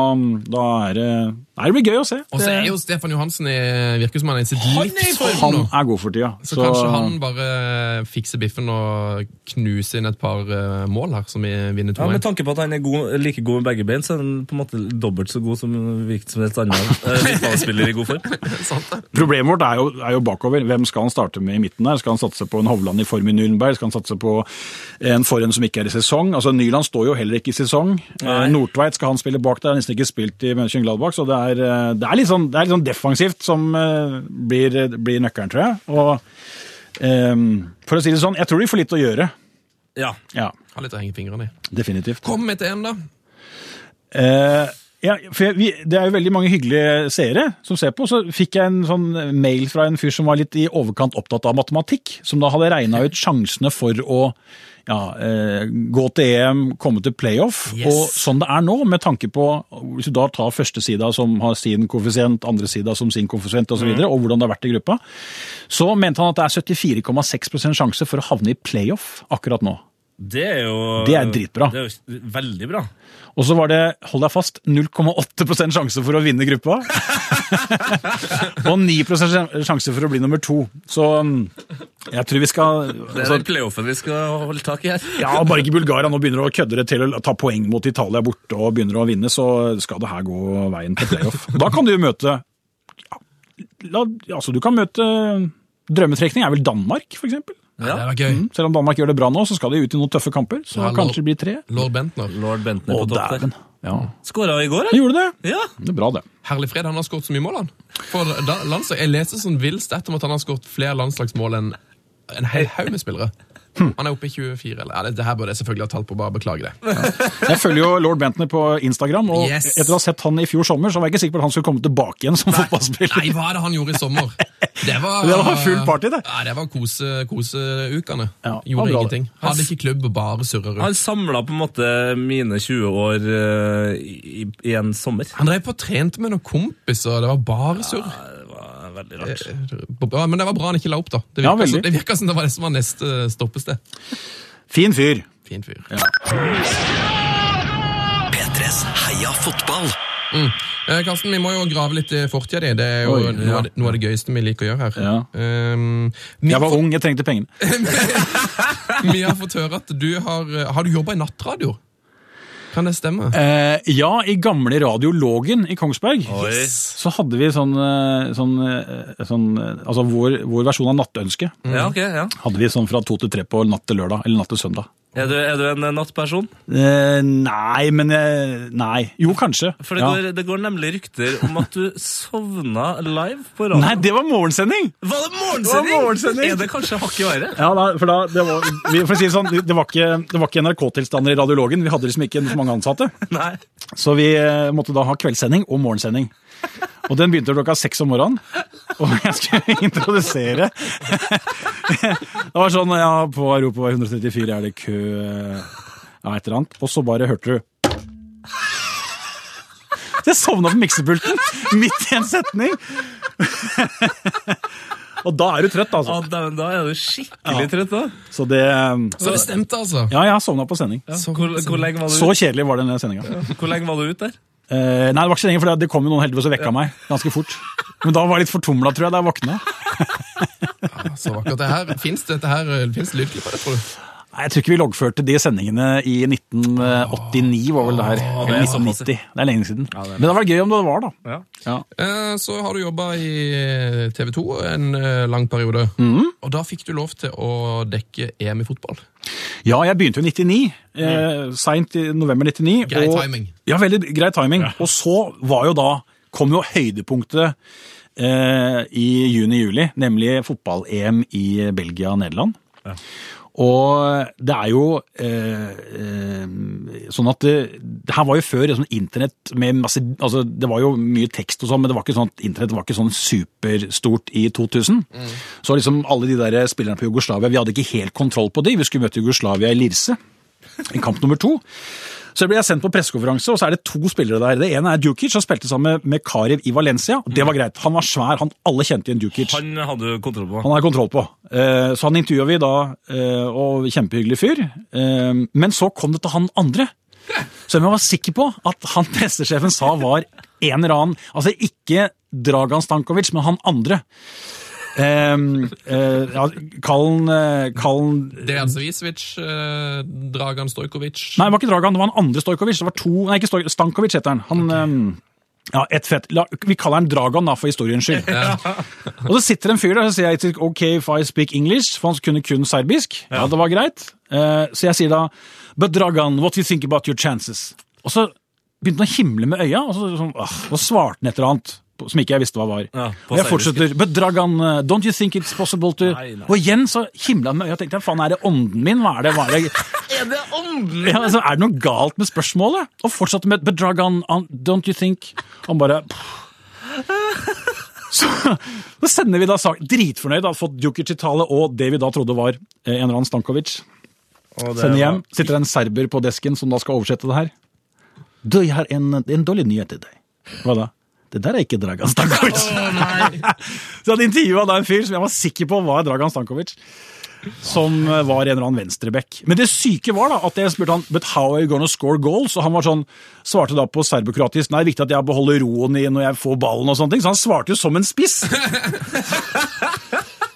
Speaker 7: da er det Nei, det blir gøy å se.
Speaker 6: Og så er jo Stefan Johansen i, virker som han er i sitt livs
Speaker 7: Han
Speaker 6: form nå.
Speaker 7: er god for tida.
Speaker 6: Så, kanskje han bare fikser biffen og knuser inn et par eh, mål her, som vi vinner
Speaker 3: Ja,
Speaker 6: 2-1.
Speaker 3: Med tanke på at han er god, like god med begge bein, så er han på en måte dobbelt så god som hvilken som helst annen eh, midtbanespiller i god form.
Speaker 6: Sant det?
Speaker 7: Problemet vårt er jo, er jo bakover. Hvem skal han starte med i midten der? Skal han satse på en Hovland i form i Nürnberg? Skal han satse på en forhånd som ikke er i sesong? Altså, Nyland står jo heller ikke i sesong. Eh, Nordtveit skal han spille bak der, har nesten ikke spilt i Mönchengladbach, så det er, eh, det er litt sånn, det er litt sånn defensivt som eh, blir, blir nøkkelen, tror jeg. Og eh, for å si det sånn, jeg tror de får litt å gjøre.
Speaker 3: Ja.
Speaker 7: Ja,
Speaker 6: Har litt å henge fingrene i.
Speaker 7: definitivt.
Speaker 6: Kom med til en, da!
Speaker 7: Eh, ja, for jeg, vi, det er jo veldig mange hyggelige seere som ser på. Så fikk jeg en sånn mail fra en fyr som var litt i overkant opptatt av matematikk. Som da hadde regna ut sjansene for å ja, eh, gå til EM, komme til playoff.
Speaker 6: Yes.
Speaker 7: Og sånn det er nå, med tanke på Hvis du da tar førstesida som har sin koeffisient, andresida som sin koeffisient osv., og, så videre, og hvordan det har vært i gruppa, så mente han at det er 74,6 sjanse for å havne i playoff akkurat nå.
Speaker 3: Det er jo
Speaker 7: Det er dritbra.
Speaker 3: Det er jo veldig bra.
Speaker 7: Og så var det, hold deg fast, 0,8 sjanse for å vinne gruppa. og 9 sjanse for å bli nummer to. Så mm, jeg tror vi skal altså,
Speaker 3: Det er den playoffen vi skal holde tak i her.
Speaker 7: ja, Bare ikke Bulgaria nå begynner å kødde det til å ta poeng mot Italia borte og begynner å vinne, så skal det her gå veien til playoff. Da kan du jo møte la, Altså, du kan møte Drømmetrekning er vel Danmark, for eksempel. Mm,
Speaker 6: Det var gøy.
Speaker 7: Selv om Danmark gjør det bra nå, så skal de ut i noen tøffe kamper. Så
Speaker 6: Ja,
Speaker 7: kanskje det blir tre.
Speaker 6: Lord Bentner.
Speaker 3: Lord Bentner
Speaker 7: Å,
Speaker 3: på topp der.
Speaker 7: dæven. Ja.
Speaker 3: Skåra i går,
Speaker 7: Jeg
Speaker 3: eller?
Speaker 7: gjorde det.
Speaker 3: Ja.
Speaker 7: Det er bra, det.
Speaker 6: Herlig fred, han har skåret så mye mål, han. For da, landslag, jeg leser sånn vill stett om at han har skåret flere landslagsmål enn en hel haug med spillere. Han er oppe i 24, eller ja, det, det her burde jeg selvfølgelig ha tall på, bare beklager det.
Speaker 7: Jeg følger jo lord Bentner på Instagram, og
Speaker 6: Yes.
Speaker 7: etter å ha sett han i fjor sommer, så var jeg ikke sikker på at han skulle komme tilbake igjen som fotballspiller.
Speaker 6: Nei, hva er det han gjorde i sommer? Det var,
Speaker 7: Det var full party, det.
Speaker 6: Ja, det var kose- koseukene.
Speaker 7: Ja,
Speaker 6: Gjorde
Speaker 7: det var bra,
Speaker 6: ingenting. Hadde ikke klubb, bare surra rundt.
Speaker 3: Han samla på en måte mine 20 år eh, i, i en sommer.
Speaker 6: Han drev på og trente med noen kompiser, og det var bare surr.
Speaker 3: Det var veldig rart.
Speaker 6: Ja, men det var bra han ikke la opp, da. Det
Speaker 7: Ja,
Speaker 6: virka,
Speaker 7: veldig.
Speaker 6: som, det virka som det var det som var neste stoppested.
Speaker 7: Fin fyr.
Speaker 6: Fin fyr.
Speaker 8: P3s Heia fotball.
Speaker 6: Eh, Karsten, vi må jo grave litt i fortida di. Det er jo
Speaker 7: Oi,
Speaker 6: noe,
Speaker 7: ja.
Speaker 6: av det, noe av det gøyeste vi liker å gjøre her.
Speaker 7: Ja.
Speaker 6: Ehm, vi,
Speaker 7: Jeg var
Speaker 6: har
Speaker 7: ung, jeg trengte pengene.
Speaker 6: fått- vi har fått høre at du har eh, Har du jobba i nattradio? Kan det stemme?
Speaker 7: Eh, ja, i gamle radiologen i Kongsberg.
Speaker 3: Yes.
Speaker 7: Så hadde vi sånn, eh, sånn, eh, sånn eh, Altså vår, vår versjon av Nattønsket.
Speaker 3: Ja, ok, ja.
Speaker 7: Hadde vi sånn fra to til tre på natt til lørdag, eller natt til søndag.
Speaker 3: Er du, er du en eh, nattperson?
Speaker 7: Eh, nei, men eh, Nei. Jo, kanskje.
Speaker 3: For det,
Speaker 7: Ja.
Speaker 3: går, det går nemlig rykter om at du sovna live på radio.
Speaker 7: Nei, det var morgensending!
Speaker 3: Var det
Speaker 7: Det var morgensending.
Speaker 3: Er det kanskje hakk i været?
Speaker 7: Ja, da, for da, det var, vi, for å si det sånn, det var ikke, det var ikke NRK-tilstander i radiologen. Vi hadde liksom ikke så mange ansatte.
Speaker 3: Nei.
Speaker 7: Så vi eh, måtte da ha kveldssending og morgensending. Og den begynte klokka seks om morgenen. Og jeg skulle introdusere Det var sånn ja, På Europavei 134 er det kø eh, Ja, et eller annet. Og så bare hørte du Så jeg sovna på miksepulten midt i en setning! Og da er du trøtt,
Speaker 3: Ja,
Speaker 7: altså.
Speaker 3: dæven, da er du skikkelig trøtt, da.
Speaker 7: Så det eh,
Speaker 6: Så det stemte, altså!
Speaker 7: Ja, jeg har sovna på sending.
Speaker 3: Så, hvor, hvor, lenge var
Speaker 7: Så
Speaker 3: du,
Speaker 7: kjedelig var den sendinga.
Speaker 3: hvor lenge var du ute der?
Speaker 7: Eh, nei, det var ikke så lenge, for det- det kom jo noen heldigvis og vekka meg ganske fort. Men da var jeg litt fortumla, tror jeg, da jeg våkna.
Speaker 6: Så akkurat det her, Fins dette her eh, Finnes det lydklipp av det, tror du?
Speaker 7: Nei, Jeg tror ikke vi loggførte de sendingene i 1989, var vel det her. Eller
Speaker 3: er såpass.
Speaker 7: 1990. Det er lenge siden. Men det var gøy om det var, da.
Speaker 6: Eh, Så har du jobba i TV 2 en eh, lang periode.
Speaker 7: Mhm.
Speaker 6: Og da fikk du lov til å dekke EM i fotball.
Speaker 7: Ja, jeg begynte jo i 99. Eh, Seint i november 99.
Speaker 6: Grei
Speaker 7: og-
Speaker 6: timing.
Speaker 7: Ja, veldig grei timing. Og så var jo da Kom jo høydepunktet eh, i juni-juli, nemlig fotball-EM i Belgia og Nederland. Og det er jo eh, eh, sånn at det, det her var jo før sånn internett med masse altså Det var jo mye tekst og sånn, men det var ikke sånn at internett var ikke sånn superstort i 2000. Så liksom alle de der spillerne på Jugoslavia Vi hadde ikke helt kontroll på de. Vi skulle møte Jugoslavia i Lirse. i kamp nummer to. Så ble jeg sendt på pressekonferanse, og så er det to spillere der. Det ene er Djukic, som spilte sammen med Karev i Valencia. og Det var greit. Han var svær, han alle kjente igjen Djukic. Han,
Speaker 3: Han hadde jo kontroll på.
Speaker 7: har kontroll på. Eh, Så han intervjua vi da, eh, og kjempehyggelig fyr. Eh, Men så kom det til han andre. Som jeg var sikker på at han pressesjefen sa var en eller annen Altså ikke Dragan Stankovic, men han andre. Eh, eh, ja, Kall han eh, kall han
Speaker 6: Dejan Savicevic, altså eh, Dragan Stojkovic
Speaker 7: Nei, det var ikke Dragan, det var han andre Stojkovic. Det var to, nei, ikke Stojkovic, Stankovic heter han. han ehm, ja, et fett. La, vi kaller han Dragan da, for historiens skyld. og så sitter en fyr der, så sier jeg til ok if I speak English, for han kunne kun serbisk. Ja, det var greit. Eh, så jeg sier da, but Dragan, what do you think about your chances? Og så begynte han å himle med øya, og så sånn, ah, og svarte han et eller annet. på- Som ikke jeg visste hva var.
Speaker 3: Ja, på
Speaker 7: og jeg
Speaker 3: serbisk.
Speaker 7: fortsetter. But Dragan, eh, don't you think it's possible to
Speaker 3: Nei, nei.
Speaker 7: Og igjen så himla han med øya og tenkte jeg, faen, er det ånden min? Hva er det? Hva er det? Ja, altså, er det noe galt med spørsmålet? Og fortsatte med But Dragan, um, don't you think Han bare Så, så sender vi da sak Dritfornøyd, har fått Djukic i tale og det vi da trodde var eh, en eller annen Stankovic. Sender hjem. Sitter en serber på desken som da skal oversette det her. Du, jeg har en, en dårlig nyhet til deg. Hva da? Det der er ikke Dragan Stankovic. så jeg hadde intervjua da en fyr som jeg var sikker på var Dragan Stankovic. Som eh, var en eller annen venstreback. Men det syke var da at jeg spurte han But how are you gonna score goals? Og han var sånn, svarte da på serbokroatisk Nei, det er viktig at jeg beholder roen i når jeg får ballen og sånne ting. Så han svarte jo som en spiss.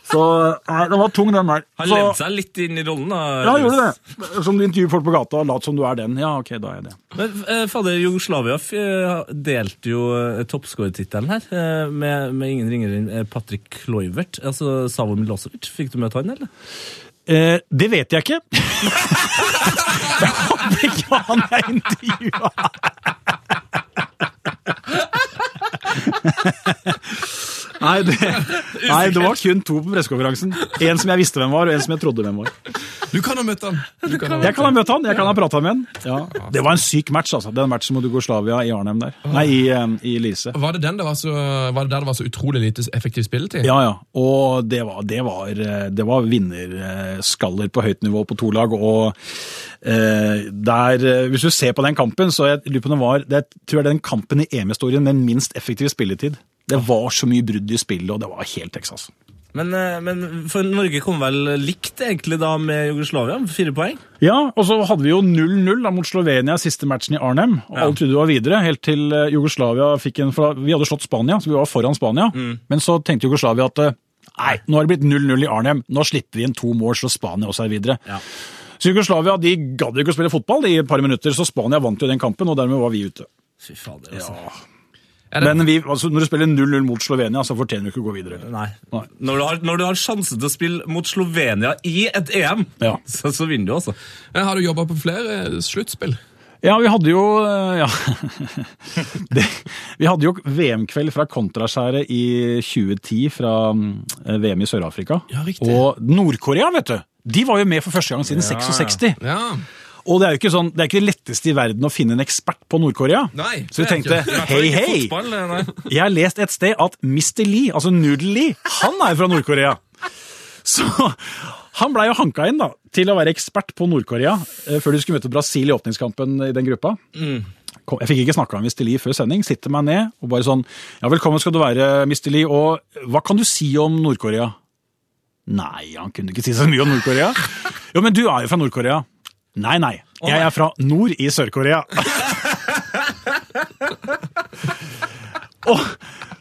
Speaker 7: så nei, den var tung, den der.
Speaker 3: Han
Speaker 7: Så-
Speaker 3: lente seg litt inn i rollen, da.
Speaker 7: ja, han gjorde det. Eh, Som du intervjuer folk på gata, lat som du er den. Ja, ok, da er jeg det.
Speaker 3: Men eh, fader, Jugoslavia f- eh, delte jo eh, toppskårertittelen her eh, med, med ingen ringere enn eh, Patrick Kluivert. Altså Savo Milosevic. Fikk du møte han, eller?
Speaker 7: Eh, det vet jeg ikke. jeg håper ikke han er intervjua. Nei det, nei, det var kun to på pressekonferansen. En som jeg visste hvem var, og en som jeg trodde hvem var.
Speaker 6: Du kan ha møtt ham! Du kan ha
Speaker 7: Jeg
Speaker 6: møtt
Speaker 7: kan ha møtt han, jeg kan ha prata med han. Ja. Det var en syk match, altså. Den matchen mot Jugoslavia i Arnhem der. Nei, i, eh, i Lise.
Speaker 6: Var det, den det var så, var det der det var så utrolig lite effektiv spilletid?
Speaker 7: Ja, ja. Og det var, det var, eh, det var vinnerskaller på høyt nivå på to lag. Og eh, der, eh, hvis du ser på den kampen, så jeg lurer på om det var det tror jeg det er den kampen i EM-historien med minst effektiv spilletid. Det var så mye brudd i spillet, og det var helt Texas.
Speaker 3: Men, eh, men for Norge kom vel likt egentlig da med Jugoslavia? Fire poeng?
Speaker 7: Ja, og så hadde vi jo 0-0 da mot Slovenia siste matchen i Arnhem. Og alle trodde det var videre, helt til eh, Jugoslavia fikk en fra, Vi hadde slått Spania, så vi var foran Spania. Men så tenkte Jugoslavia at eh, nei, nå har det blitt 0-0 i Arnhem. Nå slipper vi inn to mål, så Spania også er videre. Så Jugoslavia de gadd jo ikke å spille fotball i et par minutter, så Spania vant jo den kampen, og dermed var vi ute.
Speaker 3: Fy fader, altså.
Speaker 6: Er det-
Speaker 7: Men vi, altså, når du spiller 0-0 mot Slovenia, så fortjener du ikke å gå videre.
Speaker 3: Nei.
Speaker 7: Nei.
Speaker 3: Når du, har, når du har sjanse til å spille mot Slovenia i et EM,
Speaker 7: Ja.
Speaker 3: så, så vinner du, altså.
Speaker 6: Men Eh, Har du jobba på flere eh, sluttspill?
Speaker 7: Ja, vi hadde jo eh, ja. det, Vi hadde jo VM-kveld fra Kontraskjæret i 2010, fra mm, VM i Sør-Afrika.
Speaker 6: Ja, riktig.
Speaker 7: Og Nord-Korea, vet du! De var jo med for første gang siden 66.
Speaker 6: Ja.
Speaker 7: Og det er jo ikke, sånn, det er ikke det letteste i verden å finne en ekspert på Nord-Korea.
Speaker 6: Nei, det
Speaker 7: Så vi
Speaker 6: er
Speaker 7: tenkte
Speaker 6: ikke-
Speaker 7: hei, hei!
Speaker 3: Fotball, eh, nei.
Speaker 7: Jeg har lest et sted at Mr. Lee, altså Noodle Lee, han er jo fra Nord-Korea. Så han blei jo hanka inn da, til å være ekspert på Nord-Korea eh, før de skulle møte Brasil i åpningskampen i den gruppa. Kom, jeg fikk ikke snakka med Mr. Lee før sending. Sitter meg ned og bare sånn Ja, velkommen skal du være, Mr. Lee, og hva kan du si om Nord-Korea? Nei, han kunne ikke si så mye om Nord-Korea. Jo, men du er jo fra Nord-Korea. Nei, nei. Jeg er fra nord i Sør-Korea. Og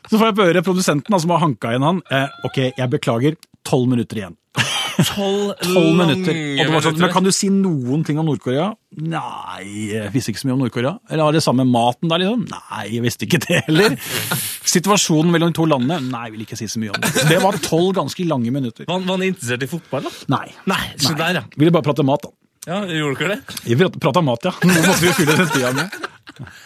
Speaker 7: så får jeg på høre produsenten da, som har hanka igjen han. Eh, ok, jeg beklager. Tolv minutter igjen. Tolv minutter. Og det var sånn, men kan du si noen ting om Nord-Korea? Nei, jeg visste ikke så mye om Nord-Korea. Eller har det samme maten der, liksom? Nei, jeg visste ikke det heller. Situasjonen mellom de to landene? Nei, jeg vil ikke si så mye om det. Det var tolv ganske lange minutter.
Speaker 3: Var han- var han interessert i fotball, da?
Speaker 7: Nei.
Speaker 3: Nei, så der, ja.
Speaker 7: Ville bare prate mat, da.
Speaker 3: Ja, Gjorde dere det?
Speaker 7: Vi prat- prata mat, ja. Nå måtte vi fylle den tida med.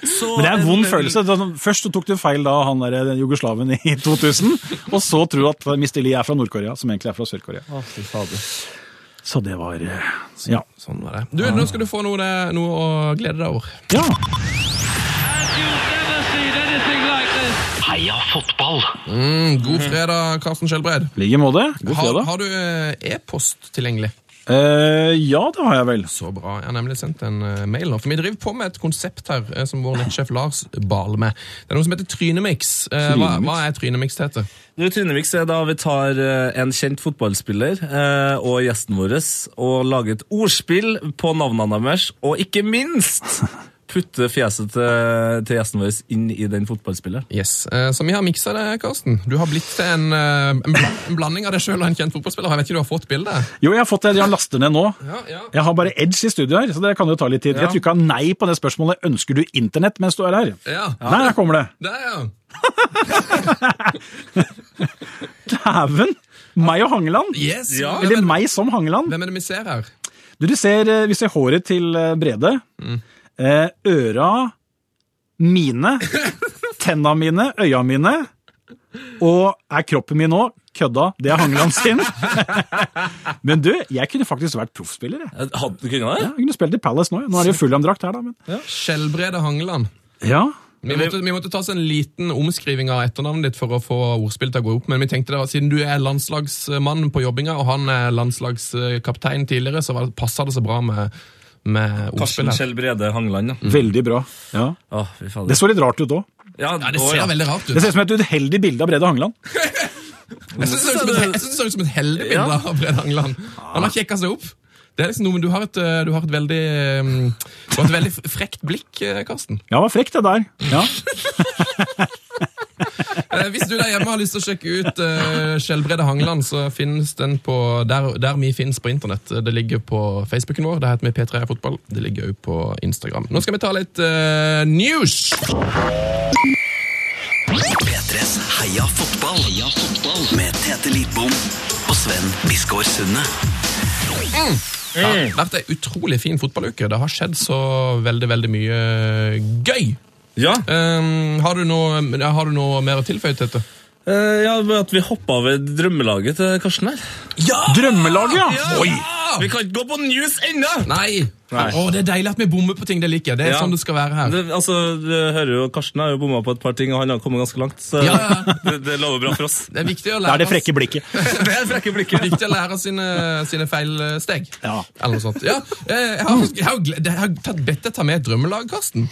Speaker 3: Så- eh,
Speaker 7: Men det er en vond følelse. Det er sånn, Først så tok du feil da han der den jugoslaven i 2000, og så tror du at Mr. Lee er fra Nord-Korea, som egentlig er fra Sør-Korea.
Speaker 3: Å, fy fader.
Speaker 7: Så det var eh, Ja.
Speaker 6: Sånn var det. Du, Nå skal du få noe, det, noe å glede deg over.
Speaker 7: ja.
Speaker 2: And you've never seen anything like this.
Speaker 8: Heia fotball!
Speaker 6: Mm, god fredag, Karsten Skjelbred.
Speaker 7: I like måte. Mhm. God
Speaker 6: Har,
Speaker 7: fredag.
Speaker 6: har du eh, e-post tilgjengelig?
Speaker 7: Eh, ja, det har jeg vel.
Speaker 6: Så bra. Jeg har nemlig sendt en eh, mail nå. For vi driver på med et konsept her eh, som vår nettsjef Lars baler med. Det er noe som heter Trynemix. Eh, hva, hva er Trynemix til heter?
Speaker 3: Du, Trynevik, så er da vi tar eh, en kjent fotballspiller eh, og gjesten vår og lager et ordspill på navnene deres, og ikke minst putte fjeset til, til gjesten vår inn i den fotballspilleren.
Speaker 6: Yes. eh, Så vi har miksa det, Karsten. Du har blitt til en, eh, en, bla en blanding av deg sjøl og en kjent fotballspiller. Jeg vet ikke, du har fått bildet?
Speaker 7: Jo, jeg har fått det. Jeg laster ned nå.
Speaker 6: Ja, ja.
Speaker 7: Jeg har bare Edge i studio her, så det kan jo ta litt tid. Jeg trykka nei på det spørsmålet. Ønsker du internett mens du er her?
Speaker 6: Ja.
Speaker 7: Nei, der kommer det.
Speaker 6: Der, ja.
Speaker 7: Dæven! Meg og Hangeland.
Speaker 6: Yes.
Speaker 3: Ja.
Speaker 6: Hvem,
Speaker 7: Eller meg som Hangeland.
Speaker 6: hvem er det vi ser her?
Speaker 7: Du, du ser, eh, vi ser håret til eh, Brede. Eh, øra mine. Tenna mine. Øya mine. Og er kroppen min nå? Kødda, det er Hangeland sin. men du, jeg kunne faktisk vært proffspiller. Jeg.
Speaker 3: Hadde du kunnet det?
Speaker 7: jeg kunne spilt i Palace nå. jeg. Nå er det jo Fulham-drakt her, da. Men...
Speaker 6: Skjellbrede Hangeland.
Speaker 7: Ja.
Speaker 6: Vi måtte, vi måtte ta oss en liten omskriving av etternavnet ditt for å få ordspillet til å gå opp, men vi tenkte det var, siden du er landslagsmann på jobbinga, og han er landslagskaptein tidligere, så var- passa det så bra med, med
Speaker 3: Karsten
Speaker 6: ordspillet.
Speaker 3: Kjell Brede Hangeland, ja.
Speaker 7: Veldig bra. Ja.
Speaker 3: Å, fy
Speaker 7: Mm. Det
Speaker 3: fader.
Speaker 7: så litt rart ut òg.
Speaker 3: Ja,
Speaker 6: Ja, det
Speaker 3: å,
Speaker 6: ser
Speaker 3: ja.
Speaker 6: veldig rart ut.
Speaker 7: Det ser ut som et uheldig bilde av Brede Hangeland.
Speaker 6: Jeg synes det ser ut som et- jeg synes det ser ut som et heldig bilde
Speaker 3: Ja.
Speaker 6: av Brede Hangeland. Han har kjekka seg opp. Det er liksom noe, men du har et, eh, du har et veldig, eh, du har et veldig frekt blikk, eh, Karsten.
Speaker 7: Ja, det var frekt, det der. Ja.
Speaker 6: Eh, Hvis du der hjemme har lyst til å sjekke ut eh, Skjellbrede Hangeland, så finnes den på der, der vi finnes på internett. Det ligger på Facebooken vår. Det heter vi P3 Fotball. Det ligger også på Instagram. Nå skal vi ta litt eh, news!
Speaker 8: P3s Heia fotball. Heia fotball. Med Tete Lidbom og Sven Biskår Sunde.
Speaker 6: Det har Mm. vært ei utrolig fin fotballuke. Det har skjedd så veldig, veldig mye gøy.
Speaker 3: Ja,
Speaker 6: Eh, har, du noe, ja, har du noe mer å tilføye til dette?
Speaker 3: eh, ja, men at vi hoppa over drømmelaget til Karsten her.
Speaker 6: Ja!
Speaker 7: Drømmelaget, ja!
Speaker 6: Oi!
Speaker 3: Vi kan ikke gå på news ennå!
Speaker 6: Nei! Å, det er deilig at vi bommer på ting det liker. Det er
Speaker 3: Ja.
Speaker 6: sånn det skal være her.
Speaker 3: Det, altså, du hører jo, Karsten har jo bomma på et par ting, og han har kommet ganske langt. Så
Speaker 6: Ja, ja.
Speaker 3: Det, det lover bra for oss.
Speaker 6: Det er viktig å
Speaker 7: Det
Speaker 6: lære
Speaker 7: er det
Speaker 6: oss-
Speaker 7: frekke blikket.
Speaker 3: Det er frekke
Speaker 6: Det
Speaker 3: blikket.
Speaker 6: er viktig å lære sine, sine feilsteg.
Speaker 7: Ja.
Speaker 6: Eller noe sånt. Ja, eh, jeg har, jeg har, gle- jeg har tatt, bedt deg ta med et drømmelag, Karsten.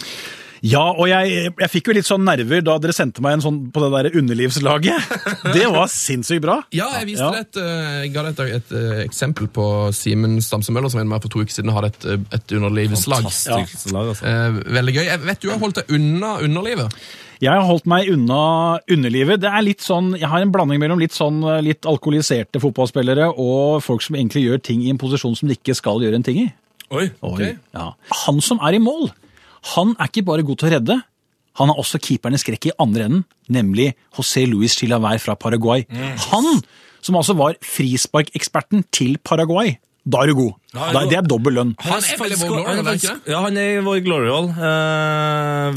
Speaker 7: Ja, og jeg, jeg fikk jo litt sånn nerver da dere sendte meg en sånn på det der underlivslaget. Det var sinnssykt bra.
Speaker 6: Ja, jeg, viste
Speaker 7: Ja.
Speaker 6: deg et, eh, jeg ga deg et, et eh, eksempel på Simen Stamsemøller, som var med for to uker siden hadde et, eh, et underlivslag.
Speaker 3: Fantastisk lag, altså.
Speaker 6: Eh, veldig gøy. Jeg vet du har holdt deg unna underlivet.
Speaker 7: Jeg har holdt meg unna underlivet. Det er litt sånn, Jeg har en blanding mellom litt sånn eh, litt alkoholiserte fotballspillere og folk som egentlig gjør ting i en posisjon som de ikke skal gjøre en ting i.
Speaker 3: Oi.
Speaker 7: Ja. Han som er i mål, han er ikke bare god til å redde. Han har også keeperen i skrekk i andre enden, nemlig José Luis Chilavær fra Paraguay.
Speaker 3: Mm.
Speaker 7: Han som altså var frisparkeksperten til Paraguay. Da er du god.
Speaker 3: Da er du
Speaker 7: Da- Det er dobbel lønn.
Speaker 3: Han
Speaker 6: er
Speaker 3: er
Speaker 6: vel i
Speaker 3: faktisk-
Speaker 6: vår glory,
Speaker 3: han er
Speaker 6: er det ikke
Speaker 3: faktisk- Ja, han er i vår glory hall. eh,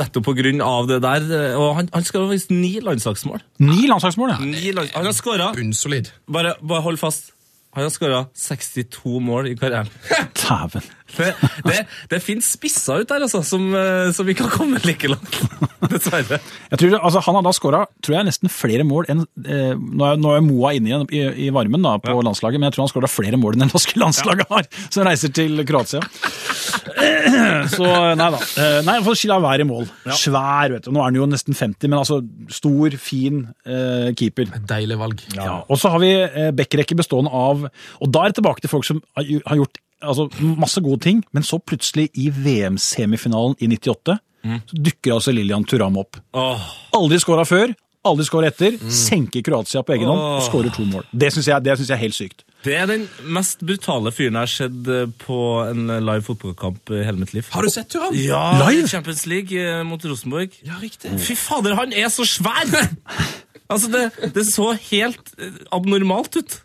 Speaker 3: nettopp på grunn av det der. eh, Og han, han skal ha vist ni landslagsmål.
Speaker 7: Ni landslagsmål, ja.
Speaker 3: Ni lands han har skåra
Speaker 6: Bunnsolid.
Speaker 3: bare, bare hold fast. Han har skåra 62 mål i karrieren.
Speaker 7: Dæven.
Speaker 3: Det, det, det finnes spisser ut der, altså, som, eh, som ikke har kommet like langt. Dessverre.
Speaker 7: Jeg tror, altså, han har da skåra nesten flere mål enn eh, Nå er, nå er Moa inne igjen i, i varmen da, på landslaget, men jeg tror han skåra flere mål enn det norske landslaget har, som reiser til Kroatia. Så nei da. Eh, Nei, for Shila Wær i mål. Svær, vet du. Nå er han jo nesten 50, men altså stor, fin eh, keeper.
Speaker 6: Deilig valg.
Speaker 7: Ja. Og så har vi eh, backrekke bestående av Og da er det tilbake til folk som har gj- har gjort altså, masse gode ting, men så plutselig i VM-semifinalen i 98 så dukker altså Lillian Turam opp.
Speaker 3: Åh.
Speaker 7: Aldri skåra før, aldri skåra etter. Senker Kroatia på egen hånd og skårer to mål. Det syns jeg, det synes jeg er helt sykt.
Speaker 3: Det er den mest brutale fyren jeg har sett eh, på en live fotballkamp i hele mitt liv.
Speaker 6: Har du sett Turam?
Speaker 3: Ja,
Speaker 7: Live?
Speaker 3: i Champions League eh, mot Rosenborg.
Speaker 6: Ja, riktig.
Speaker 3: Fy fader, han er så svær! altså, det, det så helt eh, abnormalt ut.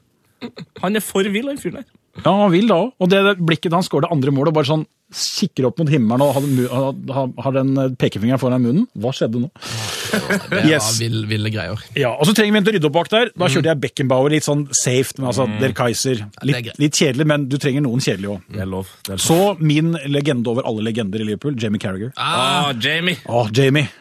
Speaker 3: Han er for vill, han fyren der.
Speaker 7: Ja, han vil da òg. Og det det blikket da han skårer det andre målet og bare sånn kikker opp mot himmelen og har den mu- har- har har den eh, pekefingeren foran munnen. Hva skjedde nå?
Speaker 6: Det var
Speaker 7: Yes.
Speaker 6: vill, ville greier.
Speaker 7: Ja, Og så trenger vi en til å rydde opp bak der. Da kjørte jeg Beckenbauer litt sånn safe. Men altså, Der Kaiser.
Speaker 6: er
Speaker 7: Litt,
Speaker 6: greit.
Speaker 7: litt kjedelig, men du trenger noen kjedelige òg.
Speaker 3: Det er lov. Det er lov.
Speaker 7: Så min legende over alle legender i Liverpool, Jamie Carragher.
Speaker 3: Ah, Jamie!
Speaker 7: Å, Jamie.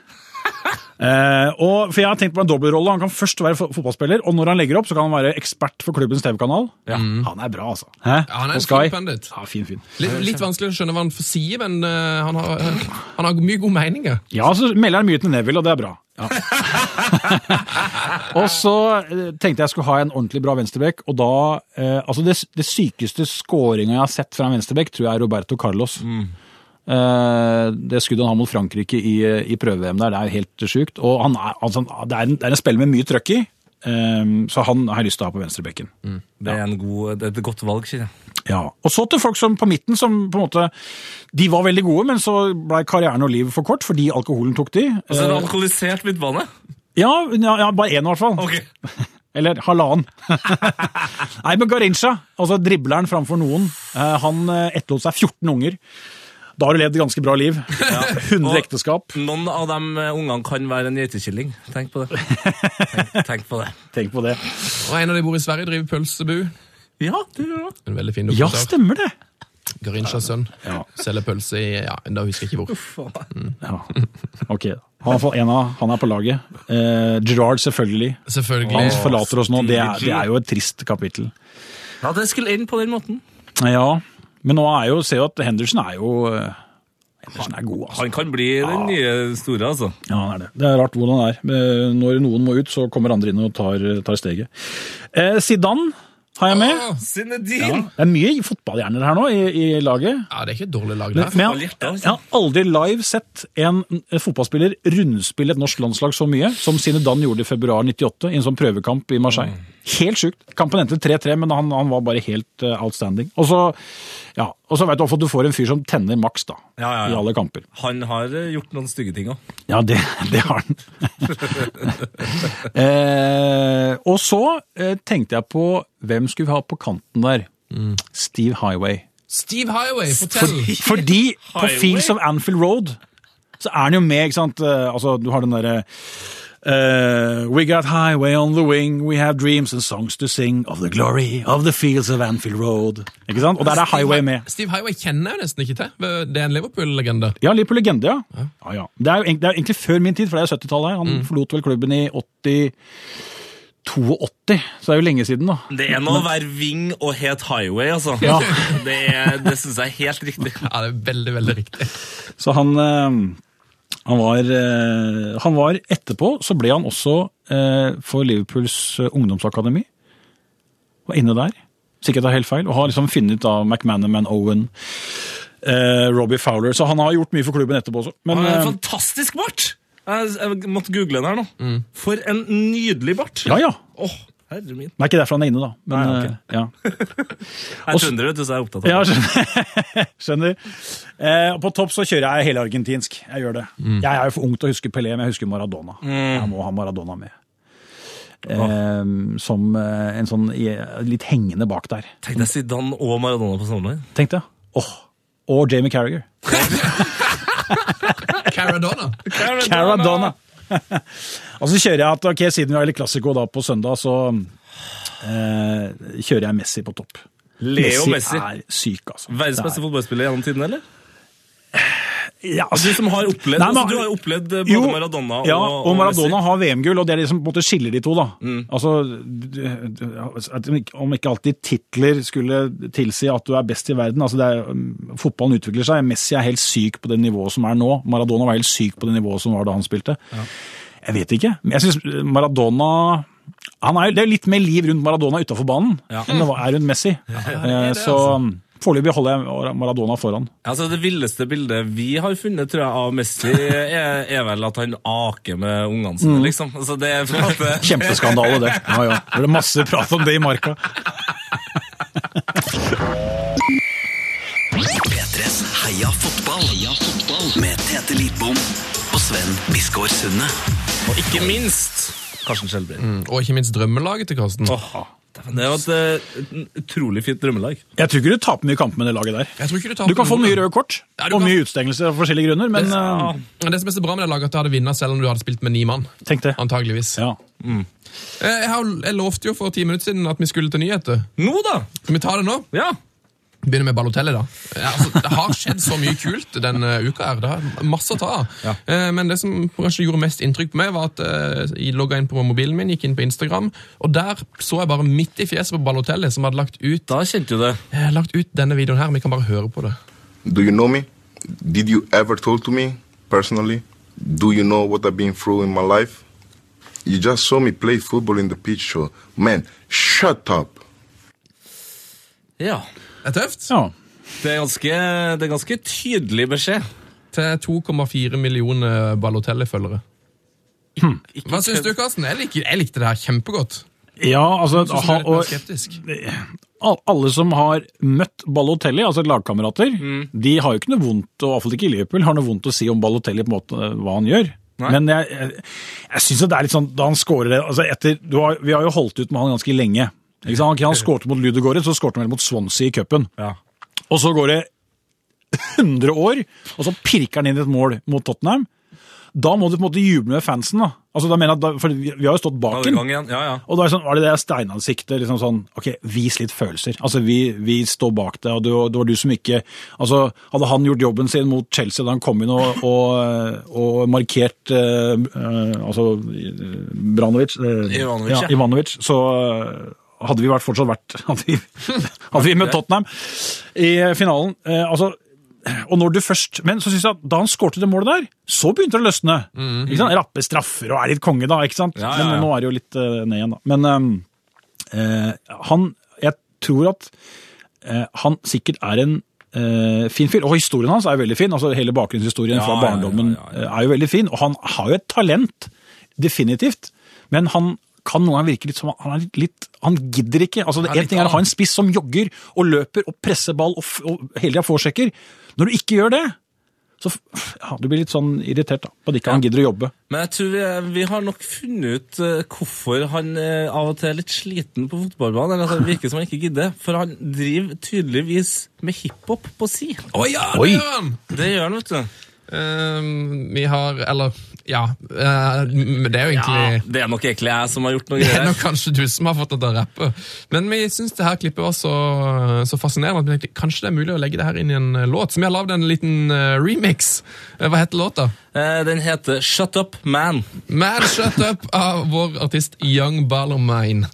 Speaker 7: Eh, og, for jeg har tenkt på en dobbeltrolle. Han kan først være fo- fotballspiller, og når han legger opp, så kan han være ekspert for klubbens TV-kanal. Han er bra, altså. Hæ?
Speaker 6: Ja, han er
Speaker 7: Og
Speaker 6: en
Speaker 7: Sky?
Speaker 6: fin pundit.
Speaker 7: Ja, fin, fin.
Speaker 6: Litt, litt vanskelig å skjønne hva han får si, men eh, han, har, han har mye gode meninger.
Speaker 7: Ja, så melder han mye til Neville, og det er bra. Ja. og så eh, tenkte jeg skulle ha en ordentlig bra venstrebekk, og da eh, Altså, det, det sykeste skåringa jeg har sett fra en venstrebekk, tror jeg er Roberto Carlos.
Speaker 3: Mm.
Speaker 7: Eh, det skuddet han har mot Frankrike i, eh, i prøve-VM der, det er helt sjukt. Og han er, altså, det, er en, det er en spiller med mye trøkk i, eh, så han har jeg lyst til å ha på venstrebekken.
Speaker 3: Det er, en god, det er et godt valg, kjenner jeg.
Speaker 7: Ja, Og så til folk som på midten, som på en måte De var veldig gode, men så blei karrieren og livet for kort fordi alkoholen tok de.
Speaker 3: Og så er det alkoholisert midtbane.
Speaker 7: Ja, ja, ja bare én i hvert fall. Eller halvannen. Nei, men Garincha, altså dribleren framfor noen, eh, han eh, etterlot seg 14 unger. Da har du levd et ganske bra liv. 100
Speaker 3: Og-
Speaker 7: ekteskap.
Speaker 3: Noen av de eh, ungene kan være en geitekilling. Tenk på det. Tenk, tenk på det.
Speaker 7: Tenk på det.
Speaker 6: Og en av de bor i Sverige, driver pølsebu.
Speaker 3: Ja, det gjør det.
Speaker 6: En veldig fin
Speaker 7: Ja,
Speaker 6: dokumentar.
Speaker 7: stemmer det!
Speaker 6: Garinchas sønn. Selger pølse i ja, Da husker jeg ikke hvor.
Speaker 7: Ja. Ok, han er, for- en av, han er på laget. Eh, Gerard, selvfølgelig. Han
Speaker 6: Selvfølgelig.
Speaker 7: forlater oss nå. Det er, det er jo et trist kapittel.
Speaker 3: Ja, det skulle ende på den måten.
Speaker 7: Ja, men nå er jo, ser jo at Henderson er jo eh, Henderson er god, altså.
Speaker 3: Han kan bli den nye store, altså.
Speaker 7: Ja, han er det. Det er rart hvordan det er. Eh, Når noen må ut, så kommer andre inn og tar, tar steget. Eh, Zidane har jeg med.
Speaker 3: Ah!
Speaker 7: Ja.
Speaker 3: Zinedine!
Speaker 7: Det er mye fotballhjerner her nå i, i laget.
Speaker 6: Ja, det er ikke et dårlig lag, det.
Speaker 7: Men jeg,
Speaker 3: fotballhjerte, altså.
Speaker 7: jeg har aldri live sett en en fotballspiller rundspille et norsk landslag så mye som Zidane gjorde i februar 98 i en sånn prøvekamp i Marseille.
Speaker 3: Mm.
Speaker 7: Helt sjukt. Kampen endte 3-3, men han, han var bare helt eh, outstanding. Og så, ja, og så veit du hvorfor du får en fyr som tenner maks, da.
Speaker 3: Ja, ja, ja.
Speaker 7: I alle kamper.
Speaker 3: Han har eh, gjort noen stygge ting òg.
Speaker 7: Ja, det, det har den. eh, og så eh, tenkte jeg på hvem skulle vi ha på kanten der? Steve Highway.
Speaker 6: Steve Highway, fortell!
Speaker 7: Fordi på
Speaker 3: Highway?
Speaker 7: Fields of Anfield Road så er han jo med, ikke sant? Eh, altså, du har den derre eh, We got highway on the wing, we have dreams and songs to sing of the glory of the fields of Anfield Road. Ikke sant? Og der er Highway med.
Speaker 6: Steve Highway kjenner jeg jo nesten ikke til. Det er en Liverpool-legende.
Speaker 7: Ja, Liverpool legende, ja. ja. ja, Det, er jo, egent- det er egentlig før min tid, for det er jo 70-tallet. her. Han
Speaker 3: Mm.
Speaker 7: forlot vel klubben i 80... 82, så det er jo lenge siden, da.
Speaker 3: Det er noe å være wing og het highway, altså.
Speaker 7: Ja.
Speaker 3: Det, er- det syns jeg er helt riktig.
Speaker 6: Ja, det er veldig, veldig riktig.
Speaker 7: Så han, eh, han, var, eh, han var Etterpå så ble han også eh, for Liverpools eh, ungdomsakademi. Var inne der. Sikkert er helt feil. Og har liksom funnet ut av McManaman, Owen, eh, Robbie Fowler. Så han har gjort mye for klubben etterpå også. Men,
Speaker 3: Han har
Speaker 7: eh,
Speaker 3: en fantastisk bart! Jeg, jeg måtte google den her nå. For en nydelig bart!
Speaker 7: Mm. ja, ja.
Speaker 3: Åh, herre min.
Speaker 7: Det er ikke derfor han er inne, da. Men,
Speaker 3: Nei, ok.
Speaker 7: eh, ja.
Speaker 3: Jeg er trønder, vet du, så jeg er opptatt av det.
Speaker 7: Ja, skjønner. skjønner. Eh, og på topp så kjører jeg helargentinsk. Jeg gjør det. Jeg er jo for ung til å huske Pelé, men jeg husker Maradona.
Speaker 3: Mm.
Speaker 7: Jeg må ha Maradona med. Eh, som eh, en sånn eh, litt hengende bak der,
Speaker 3: Tenk deg Zidane og Maradona på samme lag.
Speaker 7: tenkte jeg. Åh, Og Jamie Carragher.
Speaker 6: Caradonna.
Speaker 7: Caradonna! og så kjører jeg at ok, siden vi har litt klassiko da på søndag, så eh, kjører jeg Messi på topp.
Speaker 3: Leo Messi.
Speaker 7: er syk, altså.
Speaker 3: Verdens
Speaker 7: Det er-
Speaker 3: beste fotballspiller gjennom tiden, eller?
Speaker 7: Ja,
Speaker 3: Du som har opplevd,
Speaker 7: Nei, men-
Speaker 3: altså, du har jo opplevd eh, både
Speaker 7: Jo,
Speaker 3: Maradona og,
Speaker 7: ja,
Speaker 3: og,
Speaker 7: og
Speaker 3: Messi.
Speaker 7: Maradona
Speaker 3: Mm.
Speaker 7: har VM-gull, og det er det som på en måte skiller de to. da. Altså, d- d- at om ikke- Om ikke alltid titler skulle tilsi at du er best i verden altså det er, mm, Fotballen utvikler seg. Messi er helt syk på det nivået som er nå. Maradona var helt syk på det nivået som var da han spilte. Jeg vet ikke. Men jeg synes eh, Maradona han er, jo- Det er jo litt mer liv rundt Maradona utafor banen enn det var- er rundt Messi. Eh, så foreløpig holder jeg Maradona foran.
Speaker 3: Altså, det villeste bildet vi har funnet, tror jeg, av Messi, er, er vel at han aker med ungene sine,
Speaker 6: Mm.
Speaker 3: liksom. Altså, det er på en måte...
Speaker 7: Kjempeskandale, det. Ja, ja. Det ble masse prat om det i marka.
Speaker 8: P3s Heia fotball. Med Tete Lidbom og Sven Biskår Sunde.
Speaker 3: Og ikke minst Karsten Skjelbred.
Speaker 6: Og ikke minst drømmelaget til Karsten.
Speaker 3: Åh, Det var et eh, et utrolig fint drømmelag.
Speaker 7: Jeg tror ikke du taper mye kamp med det laget der.
Speaker 6: Jeg tror ikke du, tar
Speaker 7: Du kan få mye røde kort
Speaker 6: Ja, du
Speaker 7: og
Speaker 6: kan-
Speaker 7: mye utstengelser av forskjellige grunner, men
Speaker 3: Ja.
Speaker 7: eh,
Speaker 6: Men Det som er så bra med det laget, er at du hadde vunnet selv om du hadde spilt med ni mann.
Speaker 7: tenk det.
Speaker 6: Antageligvis.
Speaker 7: Ja.
Speaker 6: Eh, Jeg, har, jeg lovte jo for ti minutter siden at vi skulle til nyheter.
Speaker 3: Nå, da!
Speaker 6: Skal vi ta det nå?
Speaker 3: Ja.
Speaker 6: Begynner med Balotelli, da. Ja, altså, det har skjedd så mye kult denne uka. her, det har masse å ta av. Eh, Men det som kanskje gjorde mest inntrykk på meg, var at eh, jeg logga inn på mobilen min, gikk inn på Instagram, og der så jeg bare midt i fjeset på Balotelli, som hadde lagt ut,
Speaker 3: Da kjente du det.
Speaker 6: eh, lagt ut denne videoen her. Vi kan bare høre på det.
Speaker 9: Do you know me? Did you ever talk to me personally? Do you know what I've been through in my life? You just saw me play football in the pitch show. Man, shut up.
Speaker 3: Ja.
Speaker 6: Det er tøft.
Speaker 7: Ja.
Speaker 3: Det er ganske, det er ganske tydelig beskjed.
Speaker 6: Til 2,4 millioner Balotelli-følgere. Hva syns du, Karsten? Jeg, liker, jeg likte det her kjempegodt.
Speaker 7: ja, altså
Speaker 6: Jeg synes
Speaker 7: ha,
Speaker 6: jeg er litt mer
Speaker 7: og,
Speaker 6: skeptisk.
Speaker 7: al- Alle som har møtt Balotelli, altså lagkamerater, de har jo ikke noe vondt, og iallfall ikke i Liverpool, har noe vondt å si om Balotelli på en måte eh, hva han gjør. Men jeg, jeg, jeg syns det er litt sånn da han scorer det altså etter, du har, Vi har jo holdt ut med han ganske lenge. Ikke sant? Han, han skårte mot Ludegård, så skårte han vel mot Swansea i cupen. Og så går det 100 år, og så pirker han inn et mål mot Tottenham. Da må du på en måte juble med fansen. da. Altså, da mener jeg, at da, for vi vi har jo stått bak den.
Speaker 3: Gang igjen. Ja, ja.
Speaker 7: Og da er det sånn, var det det steinansiktet, liksom sånn, ok, vis litt følelser. Altså, vi, vi står bak deg, og det, var- det var du som ikke, altså, hadde han gjort jobben sin mot Chelsea da han kom inn og, og, og markert, eh, eh, altså, eh, Branovic, eh,
Speaker 3: Ivanovic, ja.
Speaker 7: ja, Ivanovic, så eh, hadde vi vært, fortsatt vært, hadde vi, hadde vi møtt Tottenham i finalen. Eh, altså, og når du først, men så synes jeg at da han skårte det målet der, så begynte det å løsne. Ikke sant? Rappe straffer og er litt konge da, ikke sant?
Speaker 3: Mhm. Ja, ja, ja.
Speaker 7: Men nå er det jo litt eh, ned igjen da. Men eh, eh, han, jeg tror at eh, han sikkert er en eh, fin fyr, og historien hans er jo veldig fin, altså hele bakgrunnshistorien
Speaker 3: Ja,
Speaker 7: fra
Speaker 3: ja, ja,
Speaker 7: barndommen
Speaker 3: ja, ja.
Speaker 7: eh, er jo veldig fin, og han har jo et talent, definitivt, men han kan noen ganger virke litt som han er litt, litt han gidder ikke. Altså, det
Speaker 6: Han er
Speaker 7: en ting er å
Speaker 6: litt
Speaker 7: ha en spiss som jogger og løper og presser ball og, f og hele tida foresjekker. Når du ikke gjør det, så f ja, du blir litt sånn irritert da, på at ikke han gidder å jobbe.
Speaker 3: Men jeg tror vi, vi har nok funnet ut eh, hvorfor han eh, av og til er litt sliten på fotballbanen. Eller altså, det virker som han ikke gidder. For han driver tydeligvis med hiphop på si.
Speaker 6: Å ja, det
Speaker 7: Oi.
Speaker 6: gjør han!
Speaker 3: Det gjør han, vet du.
Speaker 6: Ehm, vi har Eller, ja. eh, men det er jo egentlig
Speaker 3: Ja, det er nok egentlig jeg som har gjort noe
Speaker 6: Det er
Speaker 3: greier.
Speaker 6: nok kanskje du som har fått deg til å rappe. Men vi syns det her klippet var så, så fascinerende at vi tenkte kanskje det er mulig å legge det her inn i en eh, låt. Så vi har lagd en liten eh, remix. Eh, Hva heter låta?
Speaker 3: Eh, Den heter Shut Up Man.
Speaker 6: Man Shut Up av vår artist Young Ballermine.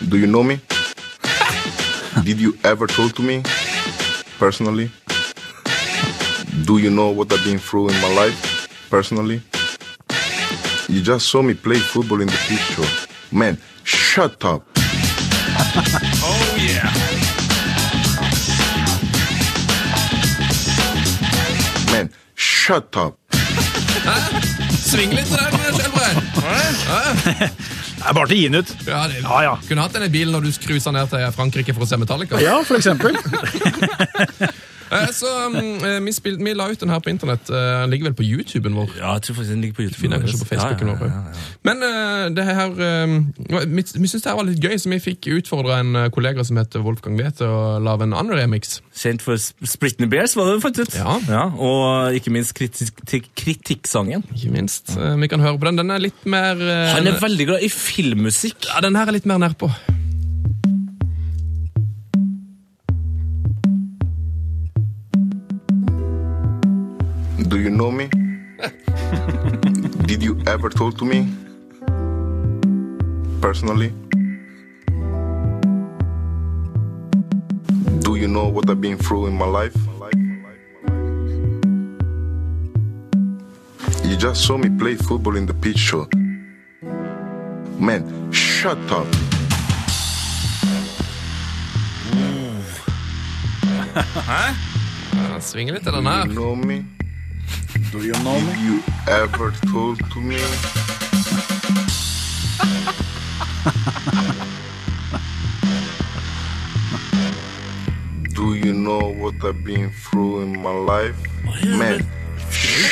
Speaker 9: Do you know me? Did you ever talk to me personally? Do you know what I've been through in my life personally? You just saw me play football in the pitch show. Man, shut up. Man, shut up.
Speaker 6: Sving litt på den, Skjelbreid!
Speaker 7: Det er bare til å gi den ut.
Speaker 6: Ja, det-
Speaker 7: Ja, ja.
Speaker 6: Kunne hatt den i bilen når du cruiser ned til Frankrike for å se Metallica.
Speaker 7: Ja, for eksempel.
Speaker 6: Eh, Så mm, eh, vi, spilte- vi la ut den her på internett. Eh, Den ligger vel på YouTuben vår.
Speaker 3: Ja, jeg tror faktisk den ligger på YouTube.
Speaker 6: finner jeg kanskje på Facebooken vår. Men eh, det her eh, vi, vi synes det her var litt gøy, så vi fikk utfordra en eh, kollega som heter Wolfgang Wee til å lage en annen remix.
Speaker 3: Kjent for Sp- Spritney Bears, var det du fant ut?
Speaker 6: Ja.
Speaker 3: og ikke minst kritisk, til kritikksangen.
Speaker 6: Ikke minst. Eh, vi kan høre på den. Den er litt mer eh,
Speaker 3: Han er veldig glad i filmmusikk.
Speaker 6: ja, den her er litt mer nedpå.
Speaker 9: Do you know me? Did you ever talk to me? Personally? Do you know what I've been through in my life? You just saw me play football in the pitch show. Man, shut up.
Speaker 6: Ja, Svinger litt i den
Speaker 9: Do
Speaker 6: her.
Speaker 9: you know me?
Speaker 7: Do you know
Speaker 9: Did you ever talk to me? Do you know what I've been through in my life? Man,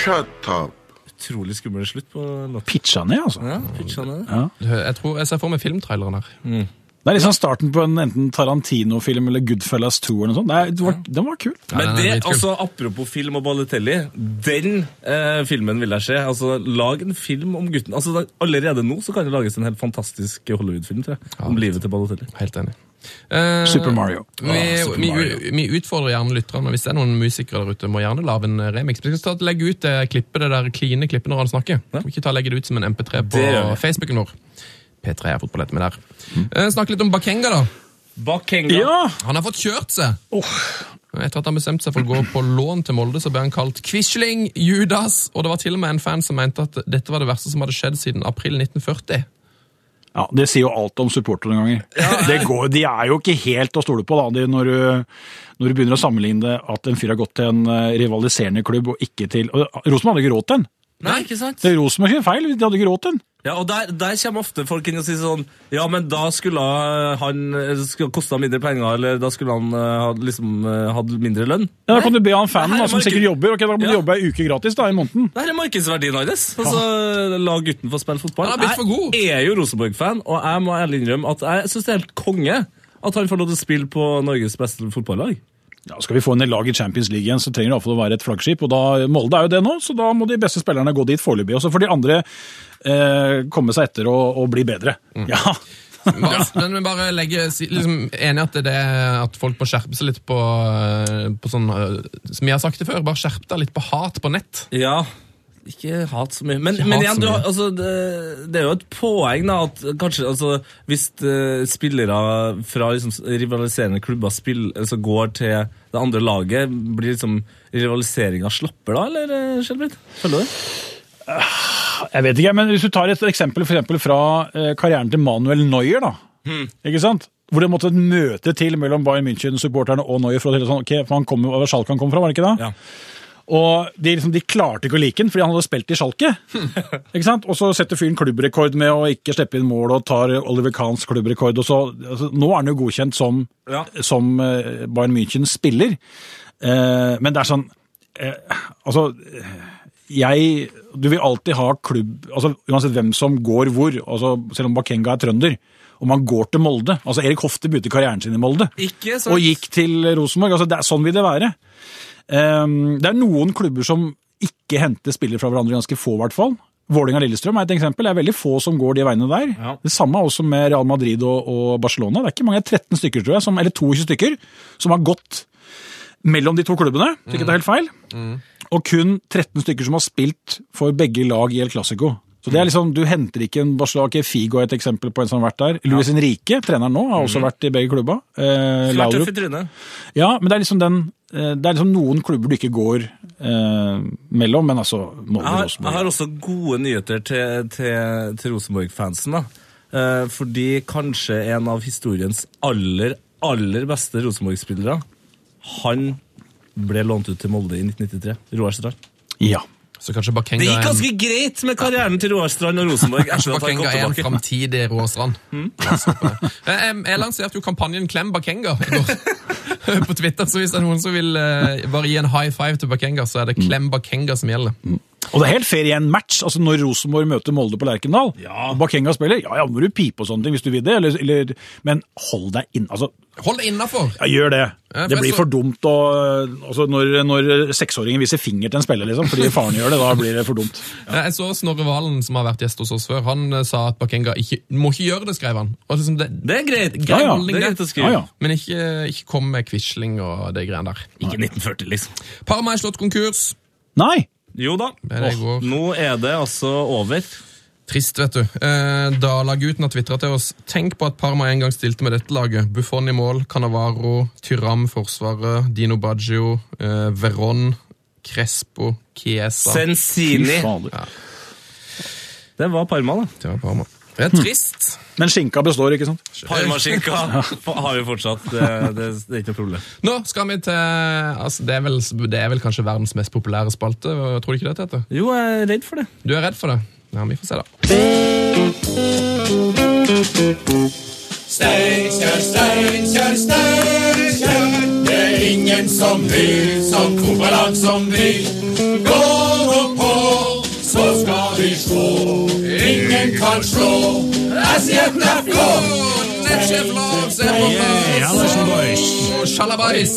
Speaker 9: shut up.
Speaker 3: Utrolig skummel slutt på låten.
Speaker 7: Pitcha ned, altså.
Speaker 3: Ja, pitcha ned det.
Speaker 6: Jeg tror jeg ser for meg filmtraileren her.
Speaker 7: Det er liksom starten på en enten Tarantino-film eller Goodfellas 2 eller noe sånt. Det, er- det var, den var kul.
Speaker 6: Ja,
Speaker 3: Men
Speaker 6: den er
Speaker 3: det,
Speaker 6: dritkul.
Speaker 3: altså, apropos film og Balotelli, den eh, filmen vil jeg se. Altså, Lag en film om gutten. Altså, da, Allerede nå så kan det lages en helt fantastisk Hollywood-film tror jeg, om livet til Balotelli.
Speaker 6: Helt enig. Eh,
Speaker 7: Super Mario.
Speaker 6: Vi,
Speaker 4: Super
Speaker 6: vi,
Speaker 4: Mario.
Speaker 6: vi utfordrer gjerne lytterne. Hvis det er noen musikere der ute, må gjerne lage en eh, remix. Vi skal snart legge ut det klippet, det der kline klippet når han snakker. Må Ikke ta legge det ut som en MP3 på
Speaker 3: Det gjør vi. Mm.
Speaker 6: Facebooken vår. P3 er fotballet med der. Eh, Snakk litt om Bakenga, da.
Speaker 3: Bakenga.
Speaker 6: Han har fått kjørt seg. Etter at han bestemte seg for å gå på lån til Molde, så ble han kalt Quisling Judas. Og det var til og med en fan som mente at dette var det verste som hadde skjedd siden april 1940.
Speaker 7: Ja, Det sier jo alt om supportere noen ganger. Det går, de er jo ikke helt å stole på da, de, når, du, når du begynner å sammenligne det at en fyr har gått til en eh, rivaliserende klubb og ikke til og ah, Rosenborg hadde ikke råd til den.
Speaker 3: Nei, ikke sant?
Speaker 7: Det er Rosenborg sin feil, de hadde ikke råd til den.
Speaker 3: Ja, og der, der kommer ofte folk inn og sier sånn Ja, men da skulle han eh, skulle kosta mindre penger, eller da skulle han eh, ha, liksom eh, hatt mindre lønn.
Speaker 7: Ja, da kan du be han fanen
Speaker 3: Nei,
Speaker 7: da,
Speaker 3: det
Speaker 7: som
Speaker 3: var ikke-
Speaker 7: sikkert jobber, ok, da kan du
Speaker 3: Ja.
Speaker 7: jobbe ei uke gratis da, i måneden.
Speaker 3: Det her er markedsverdien hans. Altså, la gutten få spille fotball.
Speaker 6: Han har blitt for god.
Speaker 3: Jeg er jo Rosenborg-fan, og jeg må ærlig innrømme at jeg syns det er helt konge at han får lov til å spille på Norges beste fotballag.
Speaker 7: Ja, skal vi få en lag i Champions League igjen, så trenger det iallfall å være et flaggskip. og da, Molde er jo det nå, så da må de beste spillerne gå dit foreløpig. Og så får de andre eh, komme seg etter og, og bli bedre.
Speaker 3: Mm.
Speaker 7: Ja,
Speaker 6: Bare, Men vi bare legger si- liksom, Enig at det er at folk må skjerpe seg litt på, eh, på sånn eh, Som jeg har sagt det før, bare skjerp deg litt på hat på nett.
Speaker 3: Ja, ikke hat så mye. Men,
Speaker 6: Ikke
Speaker 3: men
Speaker 6: hat
Speaker 3: igjen,
Speaker 6: så
Speaker 3: du, har-
Speaker 6: mye.
Speaker 3: altså, det, det er jo et poeng da, at kanskje altså, hvis eh, spillere fra liksom, rivaliserende klubber spill, altså, går til det andre laget, blir liksom rivaliseringa slapper da, eller Skjelbreid? Føler du det?
Speaker 7: Jeg vet ikke, men hvis du tar et eksempel for eksempel fra eh, karrieren til Manuel Neuer, da.
Speaker 3: Hmm.
Speaker 7: Ikke sant? Hvor det måtte et møte til mellom Bayern München-supporterne og Neuer. for å telle sånn, ok, for han kom jo over Schalke han kom fra, var det ikke det?
Speaker 3: Ja.
Speaker 7: Og de, liksom, de klarte ikke å like han fordi han hadde spilt i Schalke. ikke sant? Og så setter fyren klubbrekord med å ikke slippe inn mål og tar Oliver Kahns klubbrekord. og så, altså, Nå er han jo godkjent som,
Speaker 3: Ja.
Speaker 7: som eh, Bayern München-spiller. Eh, men det er sånn eh, Altså jeg Du vil alltid ha klubb altså Uansett hvem som går hvor, altså selv om Bakenga er trønder. Om han går til Molde altså Erik Hofte begynte karrieren sin i Molde
Speaker 3: Ikke sant?
Speaker 7: og gikk til Rosenborg. altså det er, Sånn vil det være. Ehm, det er noen klubber som ikke henter spillere fra hverandre, ganske få i hvert fall. Vålerenga-Lillestrøm er et eksempel. Det er veldig få som går de veiene der. Det samme også med Real Madrid og, og Barcelona. Det er ikke mange, 13 stykker, tror jeg, som, eller 22 stykker, som har gått mellom de to klubbene. Tror
Speaker 3: Mm.
Speaker 7: ikke det er helt feil. Og kun 13 stykker som har spilt for begge lag i El Clásico. Så
Speaker 3: Mm.
Speaker 7: det er liksom, Du henter ikke en Barcelona Ok, Figo er et eksempel på en som har vært der. Luis Henrique, treneren nå, har også vært i begge klubba. Eh,
Speaker 3: Mm. Vært tøff
Speaker 7: Laudrup.
Speaker 3: i trynet.
Speaker 7: Ja, men det er liksom den eh, Det er liksom noen klubber du ikke går eh, mellom, men altså Molde
Speaker 3: Jeg
Speaker 7: og
Speaker 3: har, jeg
Speaker 7: Rosenborg.
Speaker 3: har også gode nyheter til, til, til Rosenborg-fansen. da. Eh, fordi kanskje en av historiens aller, aller beste Rosenborg-spillere, han ble lånt ut til Molde i 1993. Roar Strand.
Speaker 7: Ja.
Speaker 6: Så kanskje Bakenga
Speaker 3: Det gikk
Speaker 6: er en,
Speaker 3: ganske greit med karrieren til Roar Strand og Rosenborg. Jeg skjønner at han
Speaker 6: Bakenga er en
Speaker 3: kom tilbake.
Speaker 6: framtidig
Speaker 3: Hmm?
Speaker 6: Roar Strand. La oss stoppe det. Eh, em, Jeg lanserte jo kampanjen Klem Bakenga i går. på Twitter. Så hvis det er noen som vil eh, bare gi en high five til Bakenga, så er det
Speaker 3: Hmm.
Speaker 6: Klem Bakenga som gjelder.
Speaker 7: Og det er helt fair i en match. altså Når Rosenborg møter Molde på Lerkendal, og Bakenga spiller, ja ja, må du pipe og sånne ting hvis du vil det, eller, eller Men hold deg inn, altså.
Speaker 6: Hold det innafor!
Speaker 7: Ja, gjør det.
Speaker 6: for
Speaker 7: Det
Speaker 6: jeg
Speaker 7: blir
Speaker 6: så-
Speaker 7: for dumt å, altså når, når seksåringen viser finger til en spiller, liksom, fordi faren gjør det. Da blir det for dumt.
Speaker 6: Ja. Jeg så Snorre Valen, som har vært gjest hos oss før, han eh, sa at Bakenga ikke, må ikke gjøre det, skrev han. Og liksom det,
Speaker 3: Det er greit.
Speaker 6: grei
Speaker 7: Ja, ja.
Speaker 6: holdning,
Speaker 3: Det er
Speaker 6: det.
Speaker 3: greit å skrive.
Speaker 7: Ja, ja.
Speaker 6: Men ikke, ikke kom med Quisling og de greiene der.
Speaker 3: Ikke 1940, liksom.
Speaker 6: Parma er slått konkurs.
Speaker 7: Nei!
Speaker 3: Jo da.
Speaker 6: er det jeg går.
Speaker 3: nå er det altså over.
Speaker 6: Trist, vet du. Eh, Dala-gutten har tvitra til oss. Tenk på at Parma en gang stilte med dette laget. Buffon i mål, Canavaro, Tyram forsvaret, Dino Baggio, eh, Veron, Crespo, Chiesa.
Speaker 3: Sensini.
Speaker 7: Fader.
Speaker 3: Det var Parma, da.
Speaker 6: Det var Parma. Det er
Speaker 7: Hmm.
Speaker 6: trist.
Speaker 7: Men skinka består, ikke sant?
Speaker 3: Parmaskinka har vi fortsatt. eh, Det, det, det er ikke noe problem.
Speaker 6: Nå skal vi til altså det, er vel, det er vel kanskje verdens mest populære spalte. Tror du ikke det, Tete?
Speaker 3: Jo, jeg er redd for det.
Speaker 6: Du er redd for det? Ja, vi får se, da.
Speaker 10: Steinkjer, Steinkjer, Steinkjer. Det er ingen som vil som Kobaland som vil. Gå nå på, så skal vi slå. Ingen kan slå. SJFK!
Speaker 6: Nettsjef Lars er på plass! Og Sjalabais!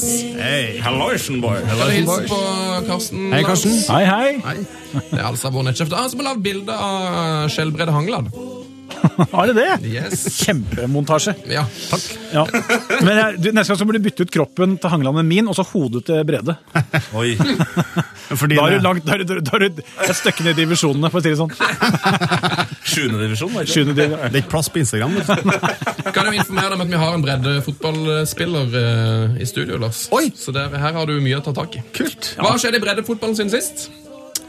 Speaker 3: Halloisen, boy.
Speaker 6: Skal du hilse på Karsten? Hei, Karsten.
Speaker 7: Hei, hei!
Speaker 6: Ah, eh, Nei, det er altså vår nettsjef. Det er Han som har lagd bilde av Skjelbred Hangeland.
Speaker 7: Har det det?
Speaker 6: Yes.
Speaker 7: Kjempemontasje.
Speaker 6: Ja, takk.
Speaker 7: Ja. Men jeg, du, neste gang så må du bytte ut kroppen til Hangeland med min, og så hodet til Brede.
Speaker 11: Oi. Fordi
Speaker 7: Da er
Speaker 11: det-
Speaker 7: du langt, da er du, da er du et stykke ned i divisjonene, for å si det sånn.
Speaker 3: Sjuende divisjon, var det ikke?
Speaker 7: Sjuende div-
Speaker 11: det er ikke plass på Instagram. vet du.
Speaker 6: Kan jeg informere deg om at vi har en bredde fotballspiller eh, i studio, Lars?
Speaker 11: Oi!
Speaker 6: Så der, her har du mye å ta tak i.
Speaker 11: Kult.
Speaker 6: Hva har skjedd i breddefotballen siden sist?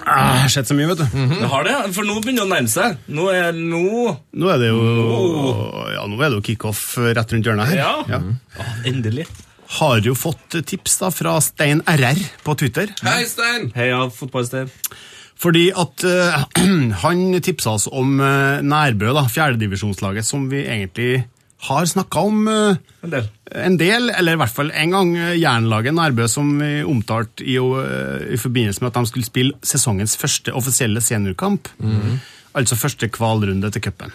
Speaker 11: Ah, det har skjedd så mye, vet du.
Speaker 3: Det har det, for nå begynner det å nærme seg. Nå er nå
Speaker 11: Nå er det jo Ja, nå er det jo kickoff rett rundt hjørnet her.
Speaker 3: Ja.
Speaker 11: Mm. Ah,
Speaker 3: Endelig.
Speaker 11: Har jo fått tips da fra Stein RR på Twitter.
Speaker 6: Hei, Stein!
Speaker 3: Heia fotballsted.
Speaker 11: Fordi at eh, han tipsa oss om eh, Nærbø, da, fjerdedivisjonslaget, som vi egentlig har snakka om eh,
Speaker 3: En del.
Speaker 11: en del, eller i hvert fall en gang. eh, Jernlaget Nærbø, som vi omtalte i, jo, eh, i forbindelse med at de skulle spille sesongens første offisielle seniorkamp. Altså første kvalrunde til cupen.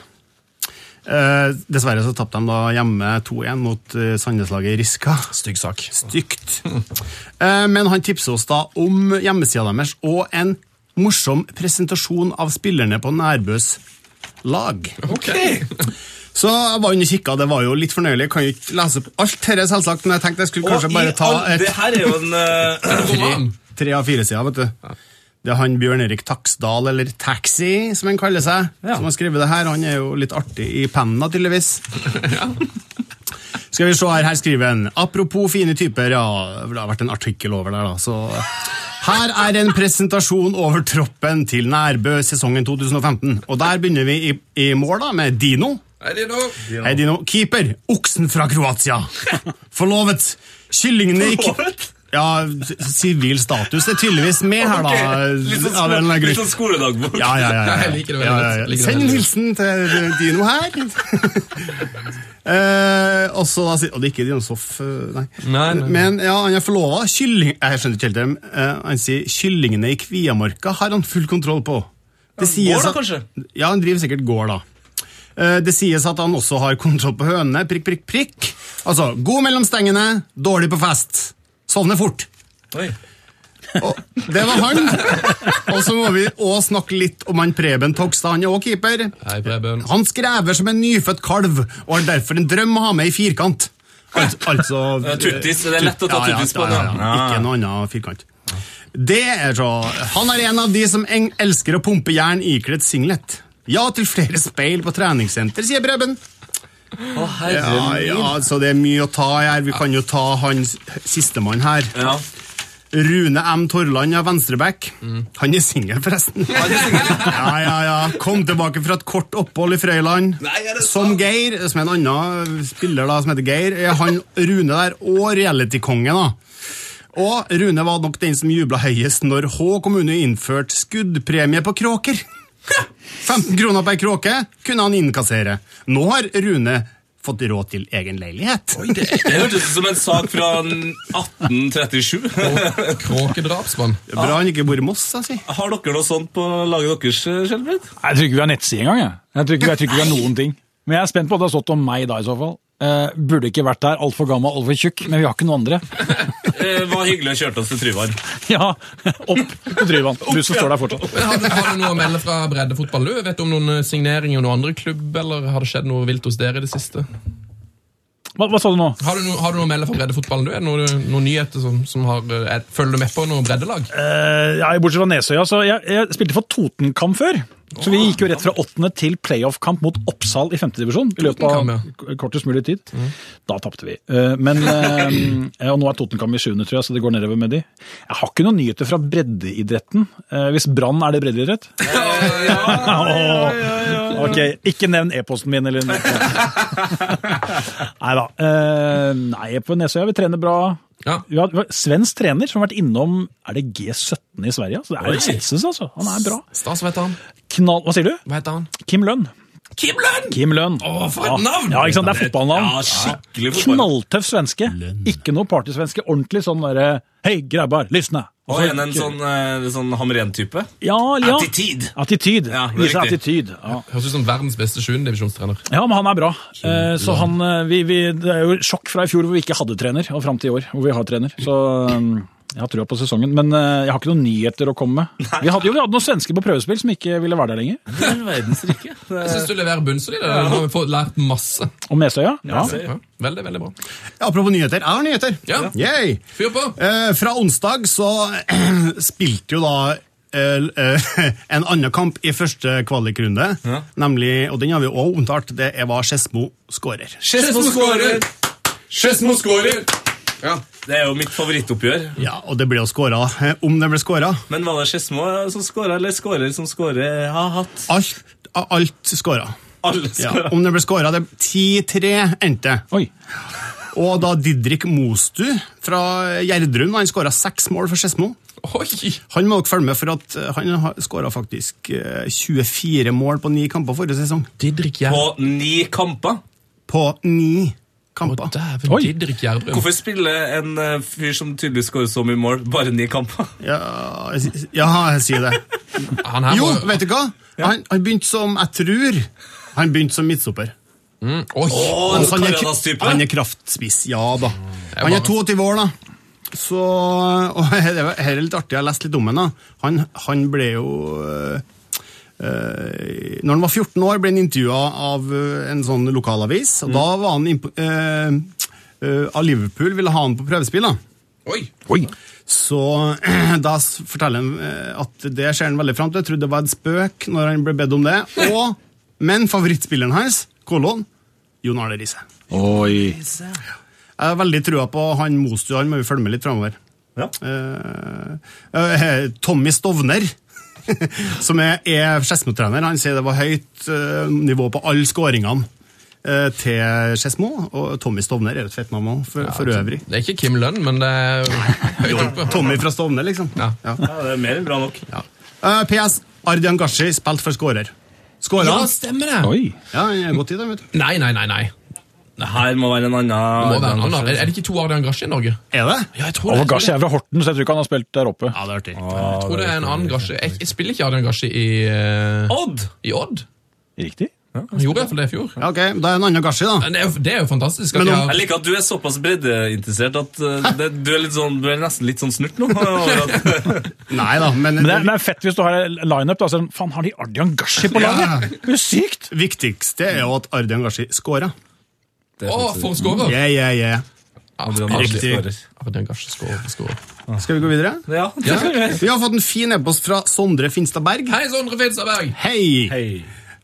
Speaker 11: Eh, dessverre så tapte de da hjemme 2-1 mot eh, Sandneslaget Riska.
Speaker 6: Stygg sak.
Speaker 11: Stygt. Eh, Men han tipser oss da om hjemmesida deres og en morsom presentasjon av spillerne på Nærbøs lag.
Speaker 6: Ok.
Speaker 11: Så jeg var inne og kikka, det var jo litt fornøyelig. Jeg kan jo ikke lese opp alt dette, selvsagt, men jeg tenkte jeg skulle kanskje
Speaker 3: Og i
Speaker 11: bare ta
Speaker 3: all-
Speaker 11: et Altså-
Speaker 3: Det her er jo en eh,
Speaker 6: Roman.
Speaker 11: tre av fire sider, vet du. Det er han Bjørn Erik Taksdal, eller Taxi, som han kaller seg, som har skrevet det her. Han er jo litt artig i penna, tydeligvis. Skal vi se her, her skriver han Apropos fine typer, ja, det har vært en artikkel over der, da, så Her er en presentasjon over troppen til Nærbø sesongen 2015. Og der begynner vi i, i mål, da, med Dino.
Speaker 6: Hei, Dino.
Speaker 11: Hei, Dino. Keeper. Oksen fra Kroatia. Forlovet. Kyllingene i
Speaker 3: Forlovet?
Speaker 11: Ja, s- sivil status er tydeligvis med her, da.
Speaker 3: Litt sånn,
Speaker 11: av en eller
Speaker 3: skole,
Speaker 11: annen
Speaker 3: litt
Speaker 11: grunn.
Speaker 3: sånn skoledagbok.
Speaker 11: Ja, ja, ja. ja.
Speaker 6: Ja, jeg liker det veldig
Speaker 11: Ja, ja,
Speaker 6: godt.
Speaker 11: ja.
Speaker 6: Liker det
Speaker 11: Send en
Speaker 6: veldig
Speaker 11: hilsen til Dino her. Eh, og så da sier Og det er ikke Dino Soff, eh, nei.
Speaker 6: Nei, nei.
Speaker 11: Men ja, han er forlova. Kylling... Jeg skjønner ikke helt det. men, eh, han sier kyllingene i Kviamarka har han full kontroll på. Det
Speaker 3: Går da,
Speaker 11: at-
Speaker 3: kanskje?
Speaker 11: Ja, han driver sikkert gård, da. Eh, Det sies at han også har kontroll på hønene. Prikk, prikk, prikk. Altså, god mellom stengene, dårlig på fest. Sovner fort.
Speaker 3: Oi.
Speaker 11: Og det var han. Og så må vi òg snakke litt om han Preben Togstad. Han er òg keeper.
Speaker 6: Hei, Preben.
Speaker 11: Han skrever som en nyfødt kalv, og har derfor en drøm å ha med i firkant. Al altså
Speaker 3: Ja, tuttis. Det er lett å ta
Speaker 11: Ja, ja,
Speaker 3: tuttis på
Speaker 11: ja,
Speaker 3: den.
Speaker 11: ja, ja. Ikke noe annet firkant. Det er så Han er en av de som eng elsker å pumpe jern ikledd singlet. Ja til flere speil på treningssenter, sier Preben.
Speaker 3: Å, herre
Speaker 11: Ja,
Speaker 3: min.
Speaker 11: ja, så det er mye å ta i her. Vi kan jo ta han s- sistemann her.
Speaker 3: Ja.
Speaker 11: Rune M. Torland av Venstrebekk. Han er singel, forresten. ja, ja, ja. Kom tilbake fra et kort opphold i Frøyland. Som Geir, som er en annen spiller da, som heter Geir, er han Rune der og reality-konge. da. Og Rune var nok den som jubla høyest når Hå kommune innførte skuddpremie på kråker. 15 kroner per kråke kunne han innkassere. Nå har Rune fått råd til egen leilighet.
Speaker 3: Det hørtes ut som en sak fra 1837.
Speaker 6: Kråkedrapsmann.
Speaker 11: Bra han ikke bor i Moss, altså. jeg sier.
Speaker 3: Har dere noe sånt på laget deres, Skjelbred?
Speaker 7: Nei, Jeg tror ikke vi har nettside engang. Jeg. Jeg, tror ikke, jeg tror ikke vi har noen ting. Men jeg er spent på at det har stått om meg da, i så fall. Eh, burde ikke vært der. Altfor gammel, altfor tjukk. Men vi har ikke noen andre.
Speaker 3: Det var hyggelig å kjøre oss til Tryvann.
Speaker 7: ja, opp på Tryvann. Du som står der fortsatt.
Speaker 6: Men Har du, har du noe å melde fra breddefotball? Du vet du om noen eh, signeringer og noen andre klubb, eller har det skjedd noe vilt hos dere i det siste?
Speaker 7: Hva, hva sa du nå?
Speaker 6: Har du, noe, har du noe å melde fra breddefotballen? Du? Er det noe- noen nyheter som, som har, er, følger du med på noe breddelag?
Speaker 7: Eh, ja, bortsett fra Nesøya, så jeg, jeg spilte for Totenkamp før. Så vi gikk jo rett fra åttende til playoff-kamp mot Oppsal i femte divisjon. I løpet av
Speaker 6: Totenkamp,
Speaker 7: k- kortest mulig tid. Da tapte vi. Eh, men, eh, og nå er Totenkamp i sjuende, tror jeg, så det går nedover med de. Jeg har ikke noen nyheter fra breddeidretten. Eh, hvis Brann er det breddeidrett? Åh, Ok, ikke nevn e-posten min eller noe. Neida. Eh, nei, på Nesøya, vi trener bra.
Speaker 6: Ja.
Speaker 7: Vi har vi har svensk trener som har vært innom er det G17 i Sverige. Så det er Jesus, altså. Han er bra.
Speaker 6: Stas, hva heter han?
Speaker 7: Knall, hva sier du?
Speaker 6: Hva heter han?
Speaker 7: Kim Lønn.
Speaker 6: Kim Lund!
Speaker 7: Kim Lønn.
Speaker 6: Å, for et navn!
Speaker 7: Ja, ikke sant? Det er
Speaker 3: Ja,
Speaker 7: fotballnavn.
Speaker 3: skikkelig fotball.
Speaker 7: Knalltøff svenske. Ikke noe partysvenske. Ordentlig sånn derre Hei, grabbar, lysne!
Speaker 3: Og en, en sånn, eh, sånn Hamren-type.
Speaker 7: ja, ja.
Speaker 3: Attityd.
Speaker 7: Attityd.
Speaker 3: Ja, det er
Speaker 7: Vise
Speaker 3: riktig.
Speaker 7: attityd. Ja.
Speaker 6: Høres ut som verdens beste sjuendedivisjonstrener.
Speaker 7: Ja, men han er bra. Eh, så han, eh, vi, vi, det er jo sjokk fra i fjor hvor vi ikke hadde trener, og fram til i år hvor vi har trener. Så um, Jeg har trua på sesongen, men eh, jeg har ikke noen nyheter å komme med. Vi hadde, jo, vi hadde noen svensker på prøvespill som ikke ville være der lenger.
Speaker 3: All verdens rike.
Speaker 6: Jeg syns du leverer bunnsolid. eller? Nå har vi fått lært masse.
Speaker 7: Og Mesøya. Ja.
Speaker 6: Ja, veldig, veldig bra.
Speaker 11: Apropos nyheter, jeg har nyheter.
Speaker 6: Ja.
Speaker 11: Yay!
Speaker 6: Fyr på!
Speaker 11: Eh, fra onsdag så spilte jo da eh, eh, en annen kamp i første kvalikrunde, nemlig, og den har vi også omtalt, det er hva Skedsmo skårer.
Speaker 6: Skedsmo skårer! Skedsmo skårer! Ja.
Speaker 3: Det er jo mitt favorittoppgjør.
Speaker 11: Ja, og det ble jo skåra. Eh, Om det ble skåra?
Speaker 3: Men var det Skedsmo som skåra, eller skårer som skårer har hatt?
Speaker 11: Alt, alt skåra.
Speaker 3: Alle
Speaker 11: Ja,
Speaker 3: skåra.
Speaker 11: om det ble skåra, det 10-3 endte.
Speaker 7: Oi.
Speaker 11: Og da Didrik Mostu fra Gjerdrum, han skåra seks mål for Skedsmo.
Speaker 6: Oi!
Speaker 11: Han må dere følge med, for at eh, han skåra faktisk eh, 24 mål på ni kamper forrige sesong.
Speaker 6: Didrik Gjerd.
Speaker 3: På ni kamper.
Speaker 11: På ni kamper.
Speaker 6: Dæven,
Speaker 7: Oi.
Speaker 6: Didrik Gjerdrum.
Speaker 3: Hvorfor spiller en eh, fyr som tydeligvis skårer så mye mål, bare ni kamper?
Speaker 11: Ja, jeg si- ja, jeg sier det.
Speaker 6: Han her
Speaker 11: Jo,
Speaker 6: var-
Speaker 11: vet du hva? Han, han begynte som, jeg tror, han begynte som midtstopper.
Speaker 6: Mm, Oi!
Speaker 3: Åh,
Speaker 11: Altså, han, er,
Speaker 3: Karadas-type.
Speaker 11: han er kraftspiss, ja da. Han er 22 år, da. Så, og her er her er litt artig, jeg har lest litt om ham. Han, han ble jo øh, øh, Når han var 14 år, ble han intervjua av øh, en sånn lokalavis. Og da var han impo- øh, øh, Av Liverpool ville ha han på prøvespill. da.
Speaker 6: Oi.
Speaker 11: Så da s- forteller han eh, at det ser han veldig fram til. Jeg trodde det var en spøk når han ble bedt om det. Og, men favorittspilleren hans, kolon, Jon Arne Riise.
Speaker 7: Oi.
Speaker 11: Jeg har veldig trua på han Mostu, han må vi følge med litt framover. Eh,
Speaker 3: Ja.
Speaker 11: Tommy Stovner, som er, er Skedsmo-trener, han sier det var høyt eh, nivå på alle skåringene eh, til Skedsmo. Og Tommy Stovner er jo et fett navn også, for, for øvrig.
Speaker 6: Det er ikke Kim Lønn, men det er høyt oppe.
Speaker 11: Tommy fra Stovner, liksom.
Speaker 6: Ja.
Speaker 3: Ja, det er mer enn bra nok.
Speaker 11: Eh, PS. Ardian Gashi spilte for skårer. Skåra?
Speaker 6: Ja,
Speaker 11: Ja,
Speaker 6: stemmer det!
Speaker 7: Oi.
Speaker 11: han er godt i det, vet du.
Speaker 6: Nei, nei, nei. nei.
Speaker 3: Det her må være en annen
Speaker 6: Må være en annen. Er er det ikke to Ardian Grasje i Norge?
Speaker 11: Er det?
Speaker 6: Ja, jeg tror
Speaker 7: Og
Speaker 6: det. Jeg tror
Speaker 7: Gashi
Speaker 6: det,
Speaker 7: er fra Horten, så jeg tror ikke han har spilt der oppe.
Speaker 11: Ja, det er artig.
Speaker 6: jeg tror det er en annen Grasje. Jeg, jeg spiller ikke Ardian Grasje i, eh,
Speaker 3: Odd!
Speaker 6: i Odd.
Speaker 7: Riktig.
Speaker 6: Han gjorde iallfall det i fjor.
Speaker 11: Ja, ok, Da er det en annen Gashi, da.
Speaker 6: Men Det er jo, det er jo fantastisk. At
Speaker 11: Men
Speaker 6: de
Speaker 11: om-
Speaker 3: Jeg
Speaker 6: har,
Speaker 3: liker at du er såpass breddeinteressert at eh, det, du, er litt sånn, du er nesten litt sånn snurt nå. over at-
Speaker 11: Eh, Nei da,
Speaker 7: Men
Speaker 11: men,
Speaker 7: det, er- men det er fett hvis du har en lineup. da, så er det sånn, Faen, har de Ardian Gashi på laget?! Det er jo sykt!
Speaker 11: det viktigste er jo at Ardian Gashi skåra.
Speaker 6: å, for scorer!
Speaker 11: Yeah, yeah, yeah.
Speaker 6: Ardian
Speaker 11: Riktig.
Speaker 6: Grasje Ardian Grasje scorer. scorer.
Speaker 11: Skal vi gå videre?
Speaker 3: Ja, det kan vi gjøre.
Speaker 11: Vi har fått en fin e-post fra Sondre Finstad Berg.
Speaker 6: Hei, Sondre Finstadberg!
Speaker 11: Hei!
Speaker 3: Hei.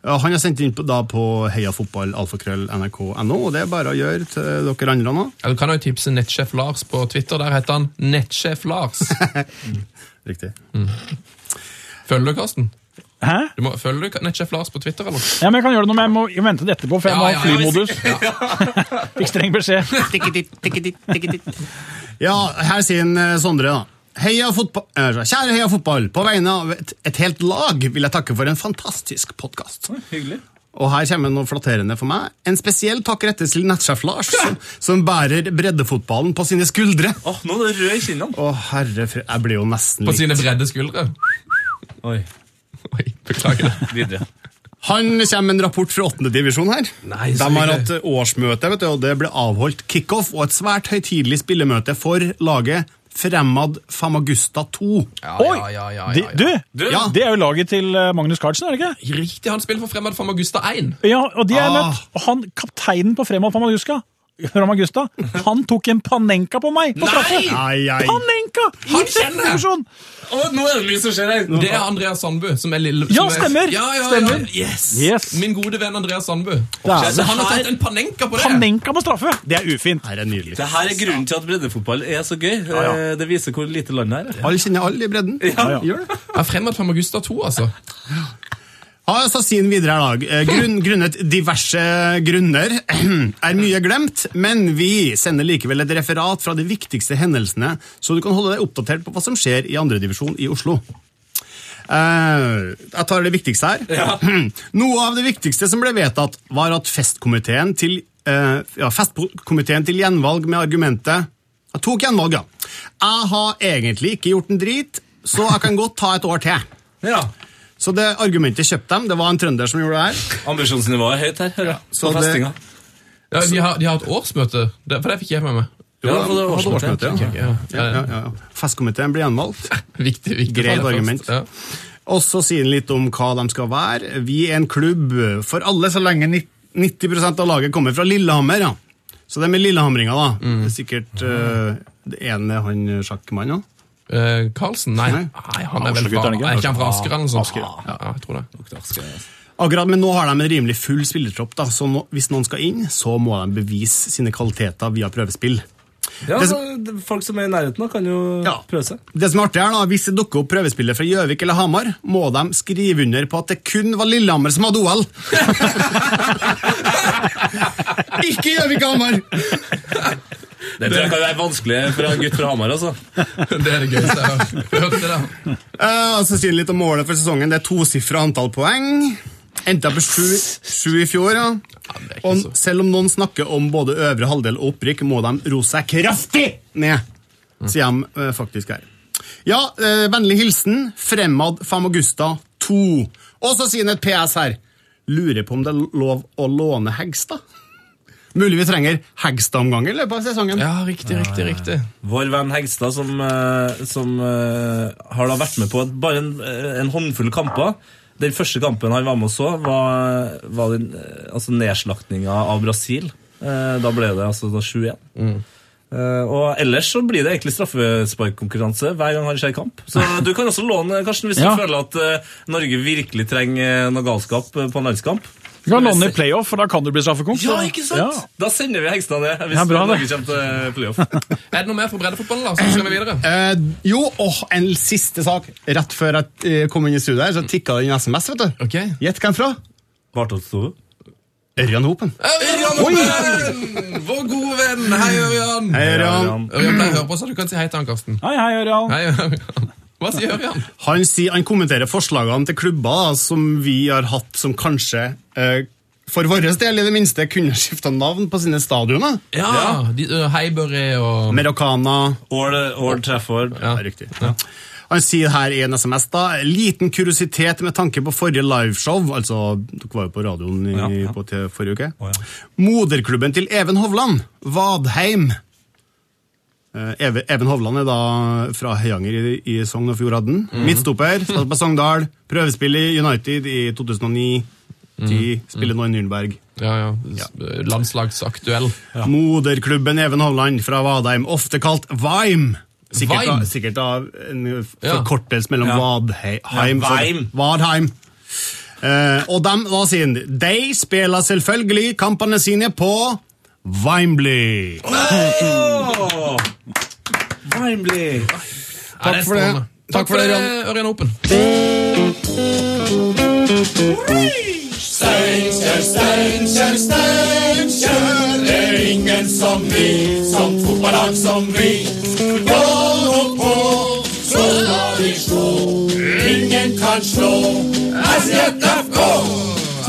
Speaker 11: Ja, Han har sendt inn på, da på heiafotballalfakrøll.nrk.no, og det er bare å gjøre til dere andre nå.
Speaker 6: Ja, du kan jo tipse Nettsjef Lars på Twitter. Der heter han Nettsjef Lars.
Speaker 11: Riktig.
Speaker 6: Følger du Karsten?
Speaker 7: Hæ?
Speaker 6: Du må, følger du Nettsjef Lars på Twitter, eller?
Speaker 7: Ja, men Jeg kan gjøre det nå, men jeg må jeg vente til etterpå, for jeg
Speaker 6: Ja,
Speaker 7: må ha
Speaker 6: ja, ja.
Speaker 7: flymodus. Fikk streng beskjed.
Speaker 11: Ja, her sier en, eh, Sondre da. Heia fotball, eh, kjære Heia fotball, på vegne av et, et helt lag vil jeg takke for en fantastisk podkast. Og her kommer noe flatterende for meg. En spesiell takk rettes til nettsjef Lars, som, som bærer breddefotballen på sine skuldre.
Speaker 3: Åh, nå er det rød i kinnene.
Speaker 11: Å, herre fred, jeg blir jo nesten
Speaker 6: På
Speaker 11: litt
Speaker 6: sine bredde skuldre.
Speaker 3: Oi,
Speaker 6: Oi, beklager det.
Speaker 3: videre.
Speaker 11: Han kommer med en rapport fra 8. divisjon her.
Speaker 6: Nei, så
Speaker 11: De har
Speaker 6: hyggelig.
Speaker 11: hatt årsmøte, vet du, og det ble avholdt kickoff og et svært høytidelig spillemøte for laget Fremad Famagusta 2.
Speaker 6: Ja,
Speaker 7: Oi!
Speaker 6: ja, ja, ja,
Speaker 7: De,
Speaker 6: ja, ja.
Speaker 7: du,
Speaker 11: Ja.
Speaker 7: det er jo laget til eh, Magnus Carlsen, er det ikke?
Speaker 6: Riktig, han spiller for Fremad for Magusta 1.
Speaker 7: Ja, og de er
Speaker 11: Ah.
Speaker 7: møtt. Og han, kapteinen på Fremad Famagusta, Famagusta, han tok en panenka på meg på straffe!
Speaker 11: Ai, ai.
Speaker 7: Panenka! I
Speaker 6: Han kjenner
Speaker 7: sjette
Speaker 6: jeg.
Speaker 7: divisjon!
Speaker 3: Åh, nå er det mye som skjer her.
Speaker 6: Det er Andreas Sandbu som er lille...
Speaker 7: Ja,
Speaker 6: som er-
Speaker 7: stemmer.
Speaker 6: Ja, ja,
Speaker 7: Stemmer.
Speaker 6: Ja. Yes.
Speaker 7: Yes.
Speaker 6: Min gode venn Andreas Sandbu.
Speaker 7: Dæven.
Speaker 6: Så han har tatt en panenka på det.
Speaker 7: Panenka på straffe! Det er ufint.
Speaker 11: Her er nydelig.
Speaker 3: Det her er grunnen til at breddefotball er så gøy. Eh, Det viser hvor lite landet er.
Speaker 11: Alle kjenner alle i bredden.
Speaker 7: ja.
Speaker 11: Gjør det.
Speaker 6: Ja, Fremad for Magusta 2, altså.
Speaker 11: Ja, så sier han videre her, da. Eh, Grunn, grunnet diverse grunner er mye glemt, men vi sender likevel et referat fra de viktigste hendelsene, så du kan holde deg oppdatert på hva som skjer i andredivisjon i Oslo. Eh, jeg tar det viktigste her. Noe av det viktigste som ble vedtatt, var at festkomiteen til, eh, ja, festkomiteen til gjenvalg med argumentet Jeg tok gjenvalg, ja. Jeg har egentlig ikke gjort en drit, så jeg kan godt ta et år til.
Speaker 3: Ja,
Speaker 11: Så det argumentet kjøpte dem. Det var en trønder som gjorde det her.
Speaker 3: Ambisjonsnivået er høyt her. hører jeg.
Speaker 11: Så
Speaker 3: På
Speaker 11: det-
Speaker 3: festinga.
Speaker 6: Ja, de, har, de har et årsmøte, det, for det fikk jeg med meg.
Speaker 3: Ja, for det var
Speaker 11: Hadde
Speaker 3: årsmøte.
Speaker 11: årsmøte, ja.
Speaker 6: Ja.
Speaker 11: Ja, ja, ja. Festkomiteen blir gjenvalgt.
Speaker 6: Viktig, viktig.
Speaker 11: Greit
Speaker 6: Først,
Speaker 11: argument.
Speaker 6: Ja.
Speaker 11: Og så sier han litt om hva de skal være. Vi er en klubb for alle så lenge ni- 90 av laget kommer fra Lillehammer. Ja. Så det er med lillehamringer, da.
Speaker 6: Mm.
Speaker 11: Det er sikkert eh, det ene er han sjakkmannen. da.
Speaker 6: Eh, Karlsen? Nei.
Speaker 11: Nei.
Speaker 6: Nei, han er vel
Speaker 7: Oslo-gutt,
Speaker 6: fra,
Speaker 7: er det ikke?
Speaker 6: er ikke han fra Asker eller noe sånt?
Speaker 11: Asker, ja.
Speaker 6: ja, jeg tror det.
Speaker 11: Akkurat, Men nå har de en rimelig full spillertropp, da, så nå, hvis noen skal inn, så må de bevise sine kvaliteter via prøvespill.
Speaker 3: Ja,
Speaker 11: Det
Speaker 3: så,
Speaker 11: som-
Speaker 3: det- folk som er i nærheten, da, kan jo
Speaker 11: Ja.
Speaker 3: prøve seg.
Speaker 11: Det som er artig er da, Hvis det dukker opp prøvespillet fra Gjøvik eller Hamar, må de skrive under på at det kun var Lillehammer som hadde OL. Ikke Gjøvik og Hamar!
Speaker 3: Det tror jeg kan være vanskelig for en gutt fra Hamar, altså.
Speaker 6: Det er det gøyeste jeg har hørt. det da.
Speaker 11: Eh, og så sier han litt om målet for sesongen. Det er tosifra antall poeng. Endte på sju, sju i fjor. Ja.
Speaker 6: det er ikke
Speaker 11: Og
Speaker 6: så-
Speaker 11: selv om noen snakker om både øvre halvdel og opprykk, må de roe seg kraftig ned, sier de eh, faktisk her. Ja, eh, vennlig hilsen Fremad 5 Augusta 2. Og så sier han et PS her. Lurer på om det er lov å låne Hegstad? Mulig vi trenger Hegstad-omgang i løpet av sesongen.
Speaker 6: Ja, riktig, riktig, riktig.
Speaker 3: Vår venn Hegstad, som, eh, som eh, har da vært med på et- bare en, eh, en håndfull kamper. Den første kampen han var med og så, var, var den, eh, altså nedslaktinga av Brasil. Eh, Da ble det altså da 7-1.
Speaker 7: Mm.
Speaker 3: Eh, og ellers så blir det egentlig straffesparkkonkurranse hver gang han ser kamp. Så du kan også låne, Karsten, hvis
Speaker 7: Ja.
Speaker 3: du føler at eh, Norge virkelig trenger noe galskap eh, på en landskamp.
Speaker 7: Du kan låne i playoff, for da kan du bli straffekonk.
Speaker 3: Ja, ikke sant?
Speaker 7: Ja.
Speaker 3: Da sender vi Hegstad ned hvis
Speaker 7: Ja, bra,
Speaker 3: Norge
Speaker 7: det.
Speaker 3: kommer til playoff.
Speaker 6: Er det noe mer fra breddefotballen, da? Så skal vi videre.
Speaker 11: Eh, jo, og en siste sak. Rett før jeg eh, kom inn i studio her, så tikka det inn SMS, vet du.
Speaker 6: Ok.
Speaker 11: Gjett hvem fra?
Speaker 3: Bartholdt Stove.
Speaker 11: Ørjan Hopen.
Speaker 6: Ørjan Hoppen! Vår gode venn! Hei, Ørjan!
Speaker 11: Hei, Ørjan.
Speaker 6: Ørjan pleier å høre på, så du kan si hei til han, Karsten.
Speaker 7: Hei, hei, Ørjan.
Speaker 6: Hei, Ørjan. Hva sier Ørjan?
Speaker 11: Han, sier, han kommenterer forslagene til klubber da, som vi har hatt som kanskje, eh, for vår del i det minste, kunne skifta navn på sine stadioner.
Speaker 6: Ja, de, ø, Heiberg og
Speaker 11: Merokana
Speaker 3: Ål Ål Trafford.
Speaker 6: Ja.
Speaker 11: Riktig. Han sier her i en SMS da, liten kuriositet med tanke på forrige liveshow, altså dere var jo på radioen i, På, til forrige uke. Moderklubben til Even Hovland, Vadheim. Eh, Eve, Even Hovland er da fra Høyanger i, i Sogn og Fjordadden.
Speaker 6: Mhm.
Speaker 11: Midtstopper, spilte på Sogndal, prøvespill i United i 2009. 10,
Speaker 6: Mhm.
Speaker 11: spiller nå i Nürnberg.
Speaker 6: Ja, ja. S- Landslagsaktuell.
Speaker 11: Moderklubben Even Hovland fra Vadheim, ofte kalt Vime. Sikkert,
Speaker 6: Vime?
Speaker 11: Av, sikkert av en
Speaker 6: Ja.
Speaker 11: forkortelse mellom
Speaker 3: Ja.
Speaker 11: Vadheim
Speaker 3: Ja, Vime.
Speaker 11: Vadheim. Eh, og dem, da sier han, de spiller selvfølgelig kampene sine på Vimbley.
Speaker 3: Wimbley.
Speaker 6: Takk
Speaker 11: for det.
Speaker 6: Takk for det, Ørjan Hoppen.
Speaker 10: Steinkjer, Steinkjer, Steinkjer. Det er ingen som vi, som fotballag som vi. Gå nå på, så skal vi slå. Ingen kan slå SJFK.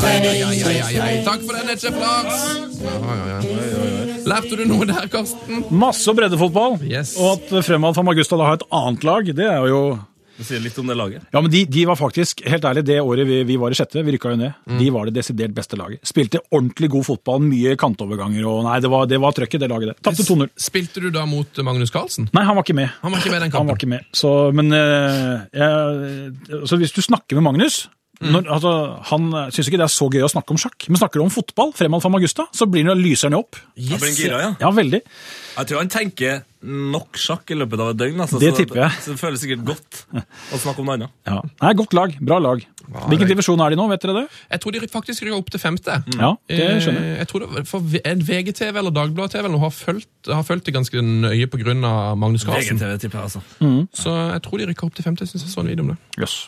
Speaker 10: Steinkjer,
Speaker 6: Takk for det, Netchef Lars. Ja, ja, ja. Lærte du noe der, Karsten?
Speaker 7: Masse breddefotball.
Speaker 6: Yes.
Speaker 7: Og at Fremad van Magusta da har et annet lag, det er jo
Speaker 3: Det sier litt om det laget.
Speaker 7: Ja, men de, de var faktisk, helt ærlig, det året vi, vi var i sjette, vi rykka jo ned, de var det desidert beste laget. Spilte ordentlig god fotball, mye kantoverganger og Nei, det var, det var trøkk i det laget, det. Tapte 2-0.
Speaker 6: Spilte du da mot Magnus Carlsen?
Speaker 7: Nei, han var ikke med.
Speaker 6: Han var ikke med i den kampen.
Speaker 7: Han var ikke med. Så, men eh, jeg, så hvis du snakker med Magnus når, altså, Han syns ikke det er så gøy å snakke om sjakk, men snakker du om fotball, Fremad van Magusta, så blir han lyser han jo opp.
Speaker 3: Da blir han gira, ja.
Speaker 7: Ja, veldig.
Speaker 3: Jeg tror han tenker nok sjakk i løpet av et døgn. Altså,
Speaker 7: Det
Speaker 3: så-
Speaker 7: tipper jeg.
Speaker 3: Så det føles sikkert godt å snakke om noe annet.
Speaker 7: Ja. Nei, godt lag. Bra lag. Hvilken divisjon er de nå, vet dere det?
Speaker 6: Jeg tror de faktisk rykka opp til femte.
Speaker 7: Mm. Ja, det skjønner jeg.
Speaker 6: Eh, Jeg tror det, var- for V- en VGTV eller Dagbladet-TV eller noe har fulgt, har fulgt det ganske nøye pga. Magnus Carlsen.
Speaker 3: VGTV, tipper jeg, altså.
Speaker 6: Så jeg tror de rykka opp til femte. Jeg synes jeg så en video om det.
Speaker 7: Jøss.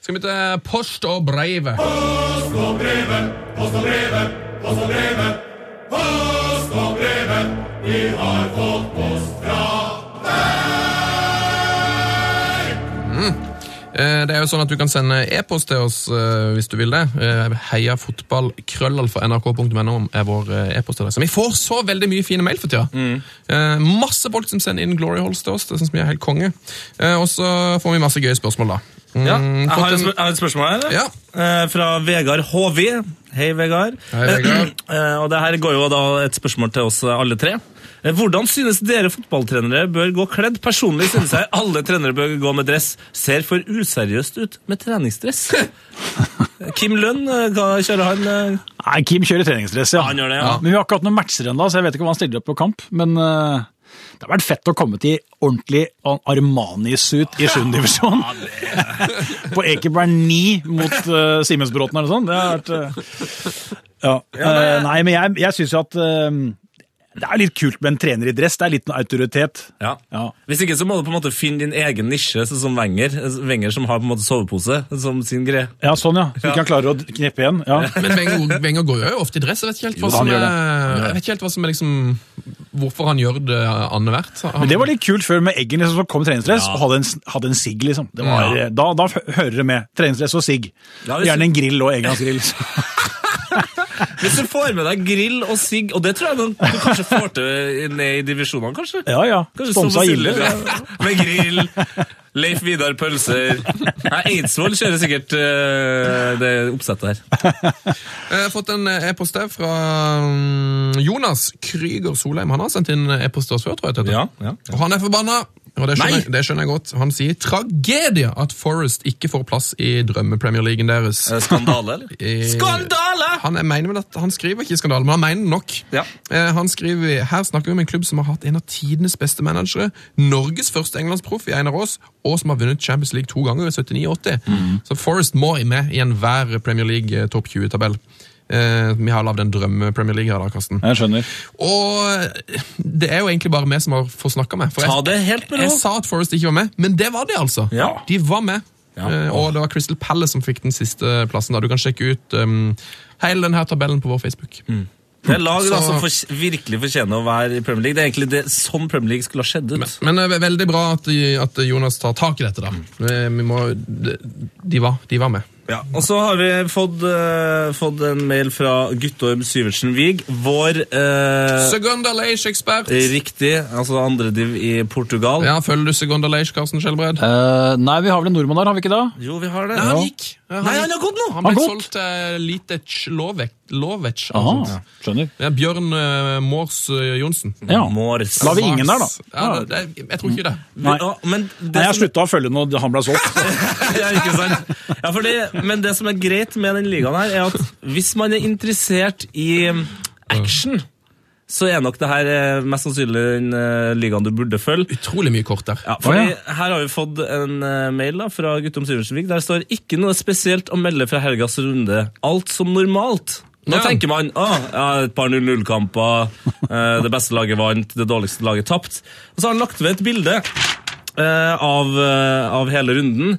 Speaker 6: Skal vi til Post og Breive?
Speaker 10: Post og brevet, post og brevet, post og brevet. Post og brevet, vi har fått post fra
Speaker 6: Eh, Det er jo sånn at Du kan sende e-post til oss eh, hvis du vil det. Eh, Heia fotball krøllalfa nrk.no er vår eh, e-postadresse. Vi får så veldig mye fine mail for tida.
Speaker 7: Mm.
Speaker 6: Eh, Masse folk som sender inn glory holes til oss. Det syns vi er helt konge. Eh, Og så får vi masse gøye spørsmål, da. Mm,
Speaker 3: Ja, jeg
Speaker 6: fått
Speaker 3: har et,
Speaker 6: en-
Speaker 3: spør jeg har et spørsmål her.
Speaker 6: Ja.
Speaker 3: Eh, fra Vegard HV. Hei, Vegard.
Speaker 6: Hei, Vegard.
Speaker 3: Eh, og det her går jo da et spørsmål til oss alle tre. Eh, Hvordan synes dere fotballtrenere bør gå kledd? Personlig synes jeg alle trenere bør gå med dress. Ser for useriøst ut med treningsdress. Kim Lønn, eh, hva kjører han? eh?
Speaker 7: Nei, Kim kjører treningsdress, ja.
Speaker 3: Han gjør det, ja.
Speaker 7: Men vi har ikke hatt noen matcher ennå, så jeg vet ikke om han stiller opp på kamp. Men eh, det har vært fett å komme til ordentlig Armani-suit i 7. divisjon. på Ekeberg 9 mot eh, Simensbråten eller noe sånt. Det har vært eh, Ja. Eh, nei, men jeg, jeg syns jo at eh, det er litt kult med en trener i dress. Det er litt en autoritet.
Speaker 3: Ja.
Speaker 7: Ja.
Speaker 3: Hvis ikke så må du på en måte finne din egen nisje, sånn som Wenger, Wenger som har på en måte sovepose som sin greie.
Speaker 7: Ja, sånn, ja. Så ikke han klarer å kneppe igjen. Ja.
Speaker 6: Men Wenger, Wenger går jo ofte i dress. Jeg vet ikke helt hva
Speaker 7: da, han
Speaker 6: som
Speaker 7: gjør
Speaker 6: er,
Speaker 7: det.
Speaker 6: jeg vet ikke helt hva som er liksom, hvorfor han gjør det annethvert.
Speaker 7: Men det var litt kult før med Eggen liksom, som kom i treningsdress og hadde en, hadde en sigg. Liksom. Det var, da, da hø- hører det med. Treningsdress og sigg.
Speaker 3: Ja, det-
Speaker 7: Gjerne en grill og engangsgrill. liksom.
Speaker 3: Hvis du får med deg grill og sigg, og det tror jeg man- du kanskje får til ned i divisjonene, kanskje?
Speaker 7: Ja, ja.
Speaker 3: Kanskje
Speaker 7: Sponsa
Speaker 3: Sove
Speaker 7: Gille.
Speaker 3: Silje, ja. Med grill. Leif Vidar Pølser. Nei, Eidsvoll kjører sikkert eh, det oppsettet her.
Speaker 6: Jeg har fått en eh, e-post her fra mm, Jonas Kryger Solheim. Han har sendt inn eh, e-post til oss før, tror jeg. Tete.
Speaker 3: Ja, ja.
Speaker 6: Og han er forbanna, og det skjønner, jeg, det skjønner jeg godt. Han sier tragedie at Forest ikke får plass i drømmepremierligaen deres.
Speaker 3: Eh, Skandale, eller?
Speaker 6: Eh,
Speaker 3: Skandale!
Speaker 6: Han, jeg mener vel at han skriver ikke skandale, men han mener det nok.
Speaker 3: Ja.
Speaker 6: Eh, han skriver her snakker vi om en klubb som har hatt en av tidenes beste managere, Norges første englandsproff i Einar Aas, og som har vunnet Champions League to ganger i 79-80.
Speaker 3: Mhm.
Speaker 6: Så Forest må med i enhver Premier League eh, topp 20-tabell. Eh, vi har lagd en drømme-Premier League her, da, Karsten.
Speaker 7: Jeg skjønner.
Speaker 6: Og eh, det er jo egentlig bare vi som har fått snakka med. For
Speaker 3: Ta det helt med ro.
Speaker 6: jeg sa at Forest ikke var med, men det var de altså.
Speaker 3: Ja.
Speaker 6: De var med. Eh, Og det var Crystal Palace som fikk den siste plassen. da. Du kan sjekke ut um, hele denne tabellen på vår Facebook.
Speaker 3: Det er lag da,
Speaker 6: Så-
Speaker 3: som for, virkelig fortjener å være i Premier League. Det er egentlig det, sånn Premier League skulle ha skjedd ut.
Speaker 6: Men det er veldig bra at, at Jonas tar tak i dette, da. Eh, Vi må, de, de, var, de var med.
Speaker 3: Ja, og så har vi fått, eh, fått en mail fra Guttorm Syvertsen Wiig, vår eh,
Speaker 6: Segunda Leish-ekspert.
Speaker 3: riktig, altså andrediv i Portugal.
Speaker 6: Ja, Følger du Segunda Leish, Karsten Skjelbred?
Speaker 7: Eh, nei, vi har vel en nordmann der, har vi ikke det?
Speaker 3: Jo, vi har det.
Speaker 6: Nei, Eh, han gikk.
Speaker 3: Nei, han har gått nå.
Speaker 6: Han ble
Speaker 7: Han har gått.
Speaker 6: solgt til Litec Lovec. Lovec eller
Speaker 7: Aha,
Speaker 6: noe sånt.
Speaker 7: skjønner.
Speaker 6: Det er Bjørn uh, Mårs eh, Johnsen.
Speaker 7: Ja.
Speaker 3: Mors.
Speaker 7: Da har vi ingen der, da.
Speaker 6: Ja, det, det, jeg tror ikke det.
Speaker 7: Nei.
Speaker 3: Ja, men det
Speaker 7: Nei, jeg
Speaker 3: som-
Speaker 7: slutta å følge når han ble solgt.
Speaker 3: ja, ikke sant? Ja, for det, men det som er greit med den ligaen her, er at hvis man er interessert i um, action, så er nok det her eh, mest sannsynlig den eh, ligaen du burde følge.
Speaker 6: Utrolig mye kort der.
Speaker 3: Ja, fordi
Speaker 7: Å, ja.
Speaker 3: Her har vi fått en eh, mail da, fra Guttom Syversenvik. Der står ikke noe spesielt å melde fra helgas runde. Alt som normalt. Nå
Speaker 6: Ja.
Speaker 3: tenker man ah, ja, et par 0-0-kamper, eh, det beste laget vant, det dårligste laget tapt. Og så har han lagt ved et bilde eh, av, eh, av hele runden.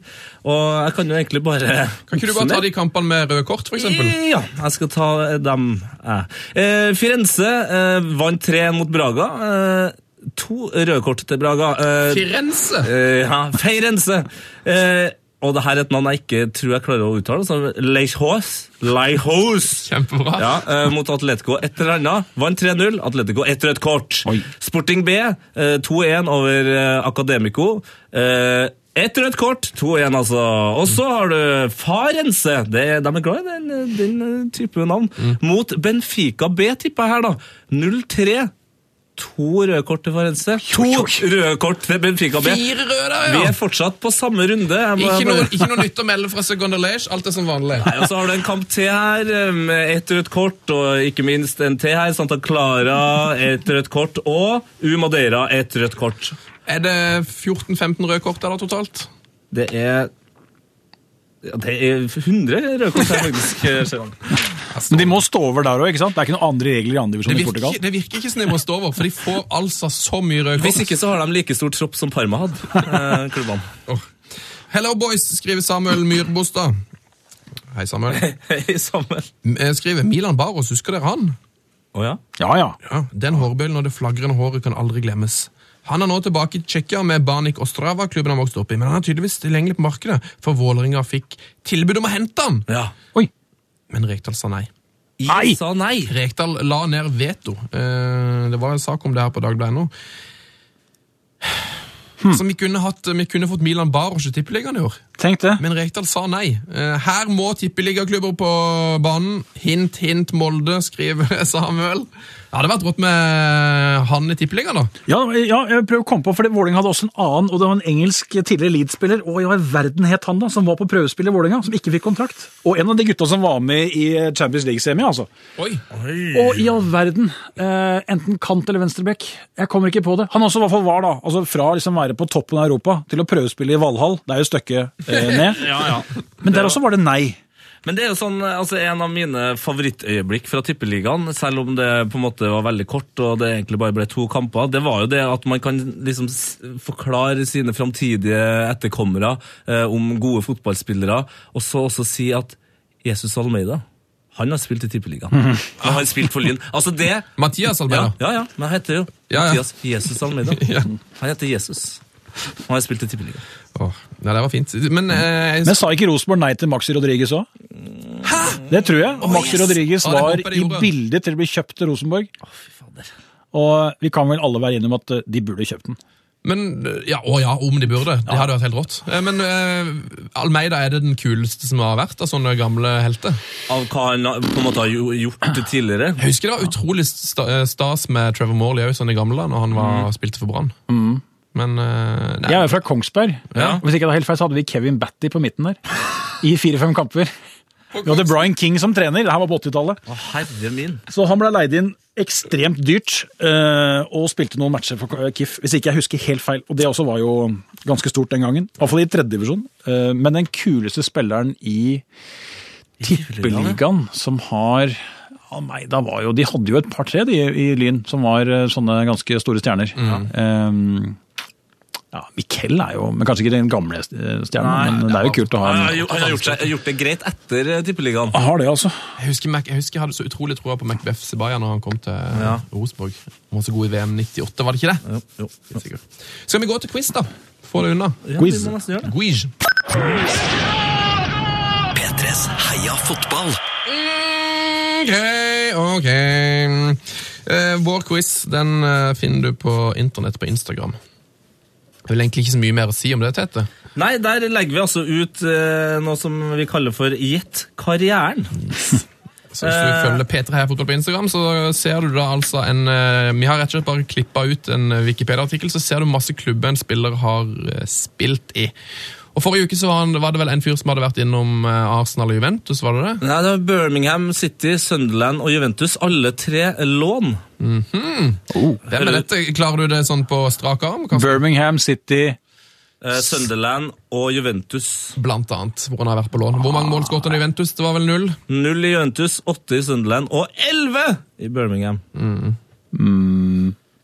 Speaker 3: Og jeg kan jo egentlig bare
Speaker 6: Kan ikke du bare ta de kampene med røde kort, for eksempel?
Speaker 3: ja, jeg skal ta eh, dem. jeg. Eh, Firenze eh, vant 3-1 mot Braga. Eh, to røde kort til Braga. Eh,
Speaker 6: Firenze!
Speaker 3: Eh, ja, Feirense. Eh, og det her er et navn jeg ikke tror jeg klarer å uttale. Så Leihos. Leihos.
Speaker 6: Kjempebra.
Speaker 3: Ja, eh, mot Atletico et eller annet. Vant 3-0. Atletico ett rødt kort. Sporting B eh, 2-1 over eh, Akademico. Eh, ett rødt kort, 2-1 altså. Og så har du Farense. Det, de er glad i den, eh, den eh, type navn. Mot Benfica B, tipper jeg her, da. 0-3. To røde kort til Farense. To røde kort til Benfica B.
Speaker 6: Fire røde der,
Speaker 3: Vi
Speaker 6: ja!
Speaker 3: er fortsatt på samme runde. Jeg må-
Speaker 6: Ikke noe, ikke noe nytt å melde fra Segunda Leish, alt er som vanlig.
Speaker 3: Nei, og så har du en kamp til her, eh, med ett rødt kort, og ikke minst en til her. Santa Clara, ett rødt kort, og U Madeira, ett rødt kort.
Speaker 6: Er det 14-15 røde kort der da totalt?
Speaker 3: Det er ja, det er 100 røde kort her, faktisk. eh, Sjøvann.
Speaker 7: Men de må stå over der òg, ikke sant? Det er ikke noen andre regler i andre
Speaker 6: Det
Speaker 7: divisjon i
Speaker 6: virker,
Speaker 7: Portugal.
Speaker 6: ikke- det virker ikke som de må stå over, for de får altså så mye røde
Speaker 3: Hvis
Speaker 6: kort.
Speaker 3: ikke så har de like stor tropp som Parma hadde. eh, klubbene.
Speaker 6: Hello boys, skriver Samuel Myrbostad. Hei, Samuel.
Speaker 3: Hei, Samuel.
Speaker 6: Jeg skriver Milan Baros, husker dere han?
Speaker 3: Å ja?
Speaker 7: Ja, ja.
Speaker 6: Ja, Den hårbøylen og det flagrende håret kan aldri glemmes. Han er nå tilbake i Tsjekkia med Banik Ostrava, klubben han vokste opp i, men han er tydeligvis tilgjengelig på markedet, for Vålerenga fikk tilbud om å hente han.
Speaker 3: ja.
Speaker 6: Men Rekdal sa nei.
Speaker 3: Nei! Sa nei.
Speaker 6: Rekdal la ned veto. Eh, Det var en sak om det her på Dagbladet.no. Så vi kunne, hatt, vi kunne fått Milan Baros i Tippeligaen i år.
Speaker 7: Tenk det.
Speaker 6: Men Rekdal sa nei. Eh, Her må tippeligaklubber på banen. Hint, hint, Molde, skriver Samuel. Det hadde vært rått med han i tippeligaen, da.
Speaker 7: Ja, ja jeg prøver å komme på, for det- Vålerenga hadde også en annen, og det var en engelsk tidligere Leeds-spiller, og i all verden het han da, som var på prøvespill i Vålerenga, som ikke fikk kontrakt. Og en av de gutta som var med i Champions League-semi, altså.
Speaker 6: Oi.
Speaker 7: Og i all verden, eh, enten kant eller venstrebekk, jeg kommer ikke på det. Han også i hvert fall var da, altså fra liksom være på toppen av Europa til å prøvespille i Valhall, det er jo stykket eh, ned.
Speaker 3: Ja, ja.
Speaker 7: Men der også var det nei.
Speaker 3: Men det er jo sånn, altså en av mine favorittøyeblikk fra Tippeligaen, selv om det på en måte var veldig kort og det egentlig bare ble to kamper, det var jo det at man kan liksom s- forklare sine framtidige etterkommere eh, om gode fotballspillere, og så også si at Jesus Almeida, han har spilt i Tippeligaen.
Speaker 6: Mhm.
Speaker 3: Han har spilt for Lyn. Altså det
Speaker 6: Mathias
Speaker 3: ja,
Speaker 6: Almeida.
Speaker 3: ja, ja, men han heter jo
Speaker 6: Ja, ja.
Speaker 3: Mathias Jesus Almeida.
Speaker 6: Ja.
Speaker 3: Han heter Jesus. Han har spilt i Tippeligaen.
Speaker 6: Åh, nei, det var fint.
Speaker 3: Mm.
Speaker 6: Men eh,
Speaker 7: Men sa ikke Rosenborg nei til Maxi Rodriguez òg? Det tror jeg. Og Maxi
Speaker 6: yes!
Speaker 7: Rodriguez
Speaker 6: Ja, det
Speaker 7: var
Speaker 6: håper jeg
Speaker 7: i
Speaker 6: gjorde.
Speaker 7: bildet til å bli kjøpt til Rosenborg. Og vi kan vel alle være enige om at eh, de burde kjøpt den.
Speaker 6: Men, eh, ja, å ja, om de burde. Det hadde vært helt rått. Eh, Men eh, Almeida er det den kuleste som har vært av sånne gamle helter.
Speaker 3: Av hva han har- på en måte har jo- gjort tidligere.
Speaker 6: Jeg husker det var utrolig sta eh, stas med Trevor Morley òg, sånn i gamle dager, når han
Speaker 3: Mm.
Speaker 6: var, spilte for Brann. Men eh, nei.
Speaker 7: Jeg er jo fra Kongsberg.
Speaker 6: Ja.
Speaker 7: Hvis ikke det er helt feil, så hadde vi Kevin Batty på midten der. I fire-fem kamper. Vi hadde Brian King som trener, det her var på 80-tallet.
Speaker 3: Å, herre min.
Speaker 7: Så han ble leid inn ekstremt dyrt, eh, og spilte noen matcher for K- KIF, hvis ikke jeg husker helt feil. Og det også var jo ganske stort den gangen. I hvert fall i tredjedivisjon. Men den kuleste spilleren i tippeligaen som har ja, nei, da var jo, De hadde jo et par-tre de i Lyn som var eh, sånne ganske store stjerner. Um, ja, Mikkel er jo men Kanskje ikke den gamle eh, stjernen, men det er jo kult å ha
Speaker 3: Han
Speaker 7: en
Speaker 3: har jo- han har gjort, seg- gjort det greit etter eh, Tippeligaen.
Speaker 7: Jeg har det, altså.
Speaker 6: Jeg husker, Mac, jeg husker jeg hadde så utrolig troa på McBeff Sebaya når han kom til eh,
Speaker 3: Ja.
Speaker 6: Rosenborg. Han var så god i VM 98, var det ikke det?
Speaker 3: Jo.
Speaker 6: Helt sikkert. Skal vi gå til quiz, da? Få det unna.
Speaker 7: Quiz.
Speaker 6: Quiz.
Speaker 8: P3s Heia fotball.
Speaker 6: Ok, ok. Eh, vår quiz den eh, finner du på internett på Instagram. Det er vel egentlig ikke så mye mer å si om det, Tete.
Speaker 3: Nei, der legger vi altså ut eh, noe som vi kaller for Gjett karrieren.
Speaker 6: Så hvis du
Speaker 3: Eh.
Speaker 6: følger P3 Heia Fotball på Instagram, så ser du da altså en eh, Vi har rett og slett bare klippa ut en eh, Wikipedia-artikkel, så ser du masse klubber en spiller har eh, spilt i. Og Forrige uke så var, han, var det vel en fyr som hadde vært innom eh, Arsenal og Juventus, var det det?
Speaker 3: Nei, det er Birmingham, City, Sunderland og Juventus. Alle tre lån.
Speaker 6: Hvem er dette? Klarer du det sånn på strak arm? Karsten?
Speaker 7: Birmingham City
Speaker 3: Eh, Sunderland og Juventus.
Speaker 6: Blant annet hvor han har vært på lån. Hvor mange mål skåret han i Juventus? Det var vel null?
Speaker 3: Null i Juventus, åtte i Sunderland og elleve i Birmingham.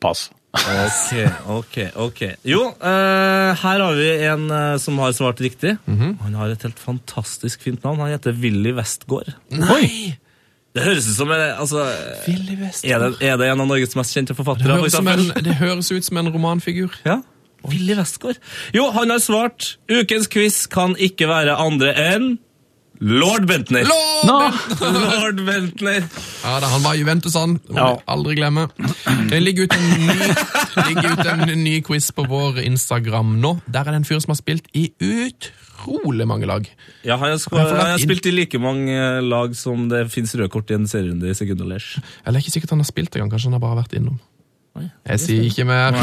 Speaker 7: Pass.
Speaker 3: Ok, ok, ok. Jo, eh, her har vi en eh, som har svart riktig.
Speaker 6: Mhm.
Speaker 3: Han har et helt fantastisk fint navn. Han heter Willy Westgård.
Speaker 6: Nei!
Speaker 3: Det høres ut som en, altså,
Speaker 6: Billy West.
Speaker 3: er, det, er det en av Norges mest kjente forfattere?
Speaker 6: Det
Speaker 3: for
Speaker 6: høres, som en,
Speaker 3: eksempel?
Speaker 6: det høres ut som en romanfigur.
Speaker 3: Ja. Willy Westgård. Jo, han har svart Ukens quiz kan ikke være andre enn Lord Bentner.
Speaker 6: Lån!
Speaker 3: Lord Bentner.
Speaker 6: Ja, da, Han var i Juventus, han. Det må
Speaker 7: Ja.
Speaker 6: vi aldri glemme. Det ligger ut, en ny, ligger ut en ny quiz på vår Instagram nå. Der er det en fyr som har spilt i utrolig mange lag.
Speaker 3: Ja, han har, sko-
Speaker 6: Han har fått
Speaker 3: han har
Speaker 6: inn-
Speaker 3: spilt i like mange eh, lag som det fins røde kort i en serierunde i sekundalers.
Speaker 6: Eller det er ikke sikkert han har spilt engang. Kanskje han har bare vært innom. Jeg sier ikke mer.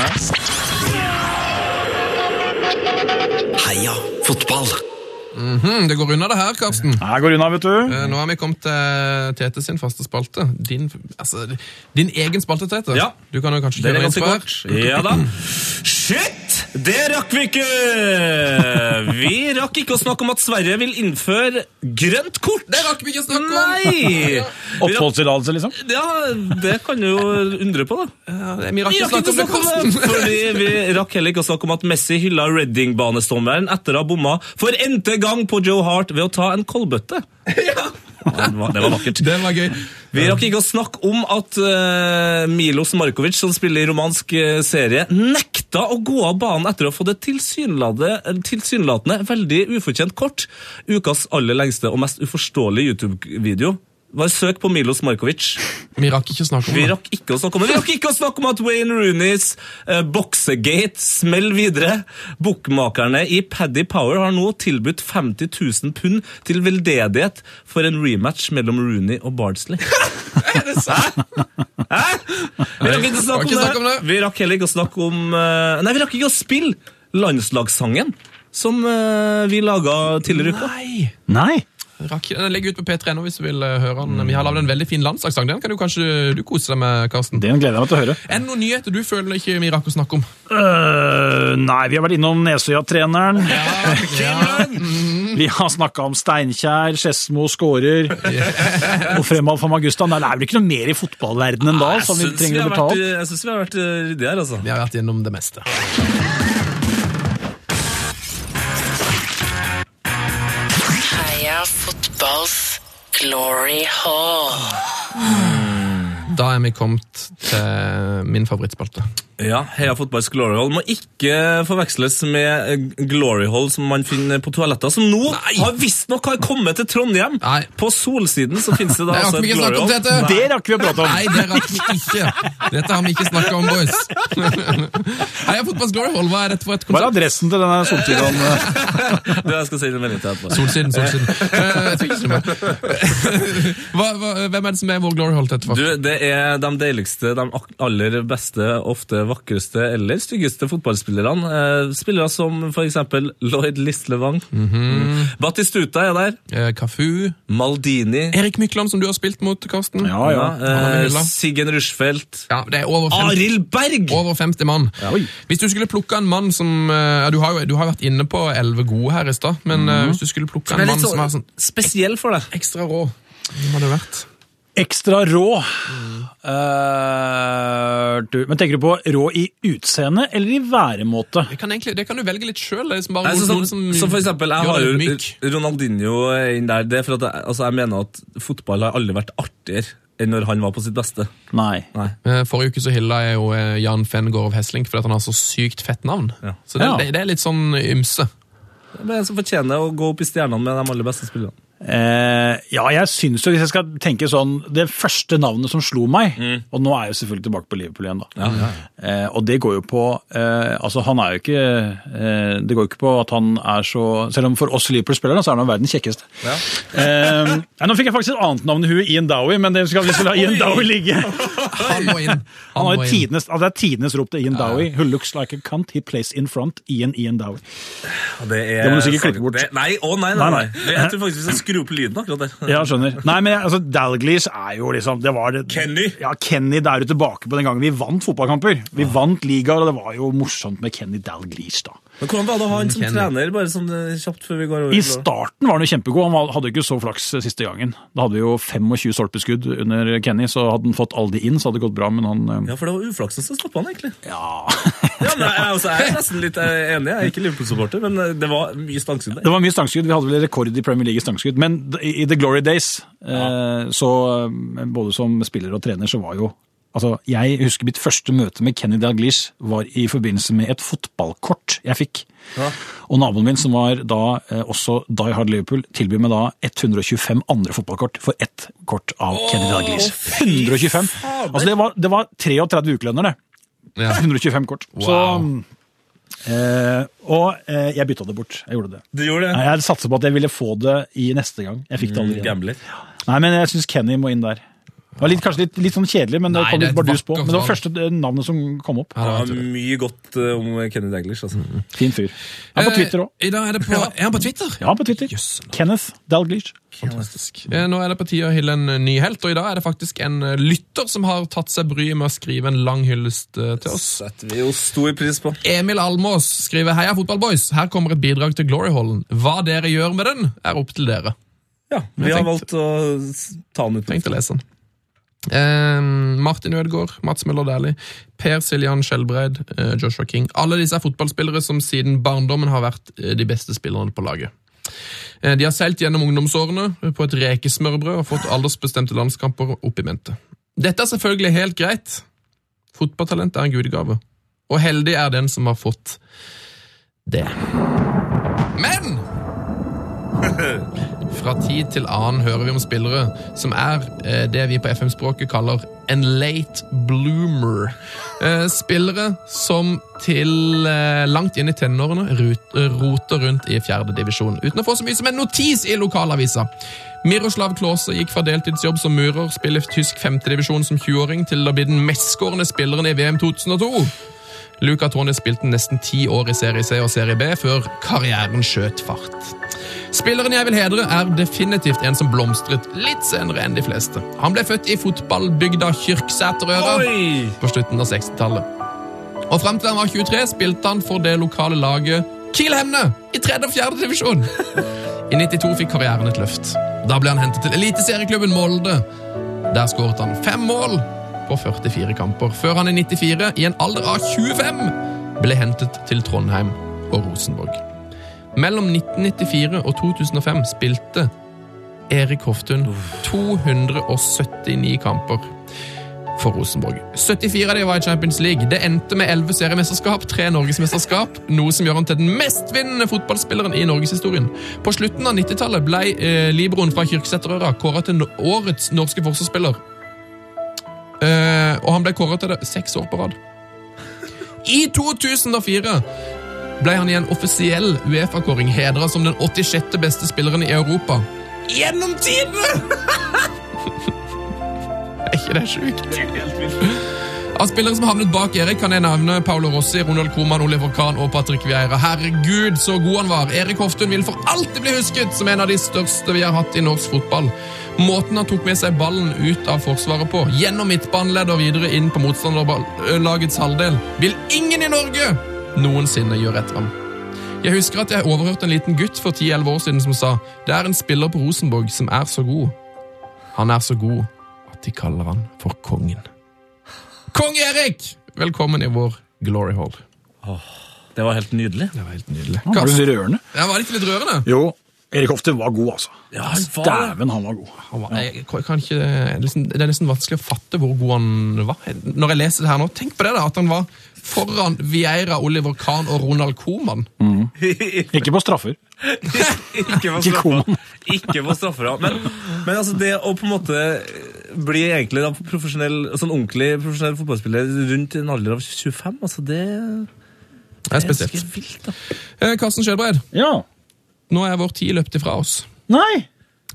Speaker 8: Heia fotball.
Speaker 6: Mm, det går unna, det her, Karsten.
Speaker 7: Her går unna, vet du.
Speaker 6: Eh, Nå har vi kommet til Tete sin faste spalte. Din, altså, din egen spalte, Tete.
Speaker 3: Ja.
Speaker 6: Du kan jo kanskje
Speaker 3: Den
Speaker 6: kjøre inn
Speaker 3: er ganske
Speaker 6: for
Speaker 3: kort. Ja da. Shit! Det rakk vi ikke! Vi rakk ikke å snakke om at Sverige vil innføre grønt kort.
Speaker 6: Det rakk vi ikke å snakke om!
Speaker 3: Nei! Vi rakk-
Speaker 7: Oppholdstillatelse, liksom.
Speaker 3: Ja, det kan du jo undre på, da.
Speaker 6: Ja, vi rakk
Speaker 3: Vi
Speaker 6: ikke å
Speaker 3: rakk
Speaker 6: snakke om det,
Speaker 3: ikke å snakke om det,
Speaker 6: Karsten.
Speaker 3: Fordi vi rakk heller ikke å snakke om at Messi hylla Redding-banestommeren etter å ha bomma for n-te gang på Joe Hart ved å ta en kolbøtte. Ja, det, var, det var vakkert.
Speaker 6: Det var gøy.
Speaker 3: Vi rakk ikke å snakke om at eh, Milos Markovic, som spiller i romansk eh, serie, nekta å gå av banen etter å ha fått et tilsynelatende, eh, tilsynelatende veldig ufortjent kort. Ukas aller lengste og mest uforståelige YouTube-video. Bare søk på Milos Markovic.
Speaker 6: Vi rakk ikke å snakke om
Speaker 3: Vi
Speaker 6: det.
Speaker 3: rakk ikke å snakke om det. Vi rakk ikke å snakke om at Wayne Rooneys eh, boksegate smell videre. Bokmakerne i Paddy Power har nå tilbudt 50 000 pund til veldedighet for en rematch mellom Rooney og Bardsley.
Speaker 6: Er det sant?
Speaker 3: Hæ? Vi rakk ikke å
Speaker 6: Rakk
Speaker 3: snakke
Speaker 6: ikke
Speaker 3: om
Speaker 6: snakke om
Speaker 3: det.
Speaker 6: det.
Speaker 3: Vi rakk heller ikke å snakke om eh, Nei, vi rakk ikke å spille landslagssangen som eh, vi laga tidligere i uka.
Speaker 6: Nei.
Speaker 7: Nei.
Speaker 6: Rakk, den ligger ute på P3 nå hvis du vil eh, høre
Speaker 3: Mm.
Speaker 6: den. Vi har laget en veldig fin landslagssang. Den kan du kanskje du kose deg med, Karsten.
Speaker 7: Den gleder jeg meg til å høre.
Speaker 6: Er det noen nyheter du føler ikke vi rakk å snakke om?
Speaker 7: Øh, nei, vi har vært innom Nesøya-treneren. Vi har snakka om Steinkjer, Skedsmo skårer. Og fremad for Magusta. Nei, det er vel ikke noe mer i fotballverdenen enn da som vi
Speaker 3: Syns vi
Speaker 7: trenger
Speaker 3: har
Speaker 7: å ta
Speaker 3: vært,
Speaker 7: opp?
Speaker 3: eh, jeg syns vi har vært eh, ryddige her, altså.
Speaker 6: Vi har vært gjennom det meste.
Speaker 12: Heia fotballs glory hall.
Speaker 6: Da er vi kommet til min favorittspalte.
Speaker 3: Ja, Heia fotballs glory hall må ikke forveksles med eh, glory hall som man finner på toaletter, som nå har visstnok har kommet til Trondheim.
Speaker 6: Nei.
Speaker 3: På Solsiden så finnes det da
Speaker 4: Det
Speaker 3: altså
Speaker 4: rakk vi
Speaker 3: et
Speaker 4: ikke å
Speaker 3: glory
Speaker 4: snakke om,
Speaker 3: hall.
Speaker 4: Tete!
Speaker 7: Det rakk vi å prate om!
Speaker 6: Nei, det rakk vi ikke. Dette har vi ikke snakket om, boys. Heia Fotballs Glory Hall, hva er dette for et
Speaker 7: Hva er
Speaker 6: konsept?
Speaker 7: adressen til denne soltiden?
Speaker 3: Det jeg skal si en melding til etterpå.
Speaker 6: Solsiden, solsiden. Eh, jeg tror ikke det var. hva, hva, hvem er det som er vår Glory Hall, Tete?
Speaker 3: Du,
Speaker 6: for?
Speaker 3: Det er de deiligste, de ak- aller beste, ofte vakreste eller styggeste fotballspillerne. Eh, spillere som for eksempel Lloyd Lislevang. Batistuta er der.
Speaker 6: Eh, Cafu.
Speaker 3: Maldini.
Speaker 6: Erik Mykland, som du har spilt mot, Karsten.
Speaker 7: Ja, ja.
Speaker 6: Han er
Speaker 3: eh,
Speaker 6: hylla.
Speaker 3: Siggen Rushfeldt.
Speaker 6: Ja, det er over 50
Speaker 3: Arild Berg!
Speaker 6: Over 50 mann. Hvis du skulle plukke en mann som eh, ja, Du har jo du har vært inne på 11 gode her i stad, men
Speaker 3: Mhm.
Speaker 6: eh, hvis du skulle plukke en
Speaker 3: Det er
Speaker 6: mann
Speaker 3: litt
Speaker 6: som er
Speaker 3: sånn
Speaker 6: sånn
Speaker 3: spesiell for deg.
Speaker 6: ekstra rå, hvem hadde det vært?
Speaker 7: Ekstra rå. Mm. Eh, du, men tenker du på rå i utseende eller i væremåte?
Speaker 6: Det kan, egentlig, det kan du velge litt sjøl. Liksom bare
Speaker 3: Nei, så,
Speaker 6: noen
Speaker 3: som,
Speaker 6: som
Speaker 3: så for eksempel, jeg
Speaker 6: gjør
Speaker 3: har
Speaker 6: deg
Speaker 3: jo
Speaker 6: myk.
Speaker 3: Ronaldinho inn der. Det er for at jeg, altså, jeg mener at fotball har aldri vært artigere enn når han var på sitt beste.
Speaker 7: Nei.
Speaker 6: Eh, Forrige uke så hylla jeg jo eh, Jan Fenngård av Heslink fordi at han har så sykt fett navn.
Speaker 3: Ja.
Speaker 6: Så det,
Speaker 7: Ja.
Speaker 6: det, det er litt sånn ymse.
Speaker 3: Men jeg som fortjener å gå opp i stjernene med de aller beste spillerne.
Speaker 7: Eh, ja, jeg syns jo, hvis jeg skal tenke sånn Det første navnet som slo meg, og nå er jeg jo selvfølgelig tilbake på Liverpool igjen, da. Eh, og det går jo på eh, Altså, han er jo ikke eh, Det går jo ikke på at han er så Selv om for oss Liverpool-spillere, så er han jo verdens kjekkeste. Eh, nei, nå fikk jeg faktisk et annet navn i huet, Ian Dowie, men det skal vi skulle la Ian Dowie ligge.
Speaker 6: Han må inn.
Speaker 7: Han har
Speaker 6: må
Speaker 7: jo
Speaker 6: inn.
Speaker 7: tidenes, altså det er tidenes rop til Ian Dowie. Who looks like a cunt, he plays in front. Ian Ian Dowie.
Speaker 3: Det, er,
Speaker 7: Det må du sikkert klippe bort.
Speaker 3: Det, nei, å nei, nei,
Speaker 7: Nei,
Speaker 3: nei.
Speaker 7: nei.
Speaker 3: Det- Jeg tror faktisk vi skal skru opp lyden akkurat der.
Speaker 7: Ja, skjønner. Nei, men jeg- altså, Dalglish er jo liksom det var det,
Speaker 3: Kenny.
Speaker 7: Ja, Kenny, det er jo tilbake på den gangen vi vant fotballkamper. Vi vant ligaer, og det var jo morsomt med Kenny Dalglish da.
Speaker 3: Men hvordan var det å ha han som
Speaker 6: Kenny.
Speaker 3: trener, bare sånn eh, kjapt før vi går over?
Speaker 7: I
Speaker 3: til-
Speaker 7: starten var han jo kjempegod, han var- hadde jo ikke så flaks eh, siste gangen. Da hadde vi jo 25 stolpeskudd under Kenny, så hadde han fått alle de inn, så hadde det gått bra, men han eh,
Speaker 3: Ja, for det var uflaksen som stoppa han, egentlig. Ja,
Speaker 7: Ja.
Speaker 3: men jeg, jeg, altså, jeg er nesten litt eh, enig. Jeg er ikke Liverpool-supporter, men eh, det var mye stangskudd der.
Speaker 7: Det var mye stangskudd, vi hadde vel rekord i Premier League i stangskudd, men d- i i The Glory Days, eh, så eh, både som spiller og trener, så var jo Altså, jeg husker mitt første møte med Kenny Dalglish var i forbindelse med et fotballkort jeg fikk. Og naboen min, som var da eh, også Die Hard Liverpool, tilbyr meg da 125 andre fotballkort for ett kort av Kenny Dalglish. 125! Altså, det var, det var 33 ukelønner, det.
Speaker 6: Ja.
Speaker 7: 125 kort. Så, eh, og eh, jeg bytta det bort. Jeg gjorde det.
Speaker 3: Du gjorde
Speaker 7: Nei,
Speaker 3: det?
Speaker 7: Jeg satser på at jeg ville få det i neste gang. Jeg fikk det aldri. igjen.
Speaker 3: Gambler.
Speaker 7: Nei, men jeg syns Kenny må inn der. Det var litt, kanskje litt, litt sånn kjedelig, men det
Speaker 6: Nei,
Speaker 7: kom
Speaker 6: det er
Speaker 7: litt
Speaker 6: et
Speaker 7: bardus på.
Speaker 6: vakkert
Speaker 7: Men det var
Speaker 6: valg.
Speaker 7: første eh, navnet som kom opp.
Speaker 3: Det var mye godt eh, om Kenny Daglish. Altså.
Speaker 7: Fin fyr. Han er på Twitter òg.
Speaker 6: Eh, I dag er det på, er han på Twitter?
Speaker 7: Ja, på Twitter. Kenneth Dalglish.
Speaker 6: Eh, Nå er det på tide å hylle en eh, ny helt, og i dag er det faktisk en eh, lytter som har tatt seg bryet med å skrive en lang hyllest eh, til oss.
Speaker 3: Setter vi jo stor pris på.
Speaker 6: Emil Almås skriver Heia fotballboys, her kommer et bidrag til Gloryhallen. Hva dere gjør med den, er opp til dere.
Speaker 3: Ja, vi
Speaker 6: Jeg
Speaker 3: har valgt
Speaker 6: tenkte-
Speaker 3: å s- ta den ut.
Speaker 6: Tenk til å lese den. Eh, Martin Ødegaard, Mats Møller Dæhlie, Per Siljan Skjelbreid, eh, Joshua King. Alle disse er fotballspillere som siden barndommen har vært eh, de beste spillerne på laget. Eh, De har seilt gjennom ungdomsårene på et rekesmørbrød og fått aldersbestemte landskamper opp i mente. Dette er selvfølgelig helt greit. Fotballtalent er en gudegave. Og heldig er den som har fått det. Men Fra tid til annen hører vi om spillere som er eh, det vi på FM-språket kaller en late bloomer. Eh, Spillere som til eh, langt inn i tenårene rut- eh, roter rundt i fjerde divisjon, uten å få så mye som en notis i lokalavisa. Miroslav Klause gikk fra deltidsjobb som murer, spille tysk femtedivisjon som 20-åring, til å bli den mestskårende spilleren i VM 2002. Luca Tone spilte nesten ti år i Serie C og Serie B før karrieren skjøt fart. Spilleren jeg vil hedre, er definitivt en som blomstret litt senere enn de fleste. Han ble født i fotballbygda Kyrksæterøra på slutten av 60-tallet. Og fram til han var 23, spilte han for det lokale laget Kielhemne i tredje og fjerde divisjon. I 92 fikk karrieren et løft. Da ble han hentet til eliteserieklubben Molde. Der skåret han fem mål på 44 kamper, før han i 94, i en alder av 25, ble hentet til Trondheim og Rosenborg. Mellom 1994 og 2005 spilte Erik Hoftun 279 kamper for Rosenborg. 74 av de var i Champions League. Det endte med 11 seriemesterskap, 3 norgesmesterskap, noe som gjør han til den mestvinnende fotballspilleren i norgeshistorien. På slutten av 90-tallet ble eh, Libroen fra Kyrksæterøra kåra til no- årets norske forsvarsspiller. Eh, og han ble kåra til det seks år på rad. I 2004 ble han i en offisiell Uefa-kåring hedra som den 86. beste spilleren i Europa. Gjennom tidene! Er ikke det sjukt? Av spillere som havnet bak Erik, kan jeg nevne Paolo Rossi, Ronald Koeman, Oliver Kahn og Patrick Vieira. Herregud, så god han var! Erik Hoftun vil for alltid bli husket som en av de største vi har hatt i norsk fotball. Måten han tok med seg ballen ut av forsvaret på, gjennom midtbaneleddet og videre inn på motstanderlagets halvdel, vil ingen i Norge noensinne gjøre etter ham. Jeg husker at jeg overhørte en liten gutt for 10-11 år siden som sa det er en spiller på Rosenborg som er så god. Han er så god at de kaller han for kongen. Kong Erik! Velkommen i vår glory hall.
Speaker 3: Det var helt nydelig.
Speaker 6: Det var helt nydelig.
Speaker 7: Han var litt rørende.
Speaker 6: Ja, var det ikke litt rørende?
Speaker 7: Jo, Erik Hofte var god, altså.
Speaker 3: Ja, han var det.
Speaker 7: Dæven, han var god.
Speaker 6: Han var, jeg, jeg kan ikke, liksom, det er nesten vanskelig å fatte hvor god han var. Når jeg leser det her nå, tenk på det da, at han var foran Vieira, Oliver Kahn og Ronald Koeman.
Speaker 3: Mm.
Speaker 7: Ikke på straffer.
Speaker 3: Ikke på
Speaker 7: Ikke
Speaker 3: straffa.
Speaker 7: koman.
Speaker 3: Ikke på straffa. Men, men altså det å på en måte bli egentlig da profesjonell, sånn ordentlig profesjonell fotballspiller rundt en alder av 25, altså det
Speaker 6: Det er
Speaker 3: det er
Speaker 6: spesielt.
Speaker 3: ganske vilt, da.
Speaker 6: Eh, Karsten Skjødbreid,
Speaker 7: Ja.
Speaker 6: nå er vår tid løpt ifra oss.
Speaker 7: Nei!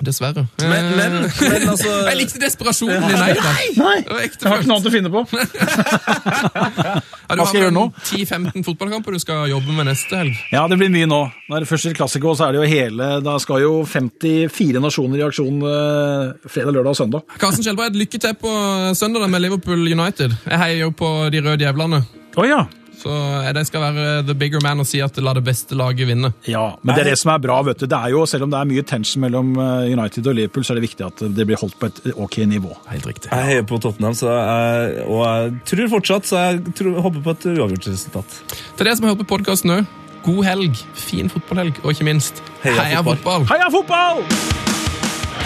Speaker 6: Dessverre.
Speaker 3: Men, men, men altså
Speaker 6: Eh, Jeg likte desperasjonen din. Nei, da.
Speaker 7: Nei!
Speaker 6: Det var ekte
Speaker 7: Jeg har ikke noe annet å finne på.
Speaker 6: Ja, du
Speaker 7: Hva skal jeg
Speaker 6: har
Speaker 7: gjøre nå?
Speaker 6: vel 10-15 fotballkamper du skal jobbe med neste helg.
Speaker 7: Ja, det blir mye nå. Når det først er klassiker, så er det jo hele Da skal jo 54 nasjoner i aksjon eh, fredag, lørdag og søndag.
Speaker 6: Karsten Kjellbreid, lykke til på eh, søndag da med Liverpool United. Jeg heier jo på de røde djevlene.
Speaker 7: Å ja.
Speaker 6: Så jeg skal være the bigger man og si at la det beste laget vinne.
Speaker 7: ja. Men det er det som er bra, vet du. Det er jo, selv om det er mye tension mellom eh, United og Liverpool, så er det viktig at det blir holdt på et ok nivå.
Speaker 6: Helt riktig.
Speaker 3: Jeg heier på Tottenham, så jeg, og jeg tror fortsatt, så jeg tror, håper på et uavgjort resultat.
Speaker 6: Til dere som har hørt på podkasten òg, god helg, fin fotballhelg, og ikke minst
Speaker 3: Heia
Speaker 6: heia
Speaker 3: fotball.
Speaker 6: fotball!
Speaker 7: Heia fotball!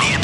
Speaker 8: Ny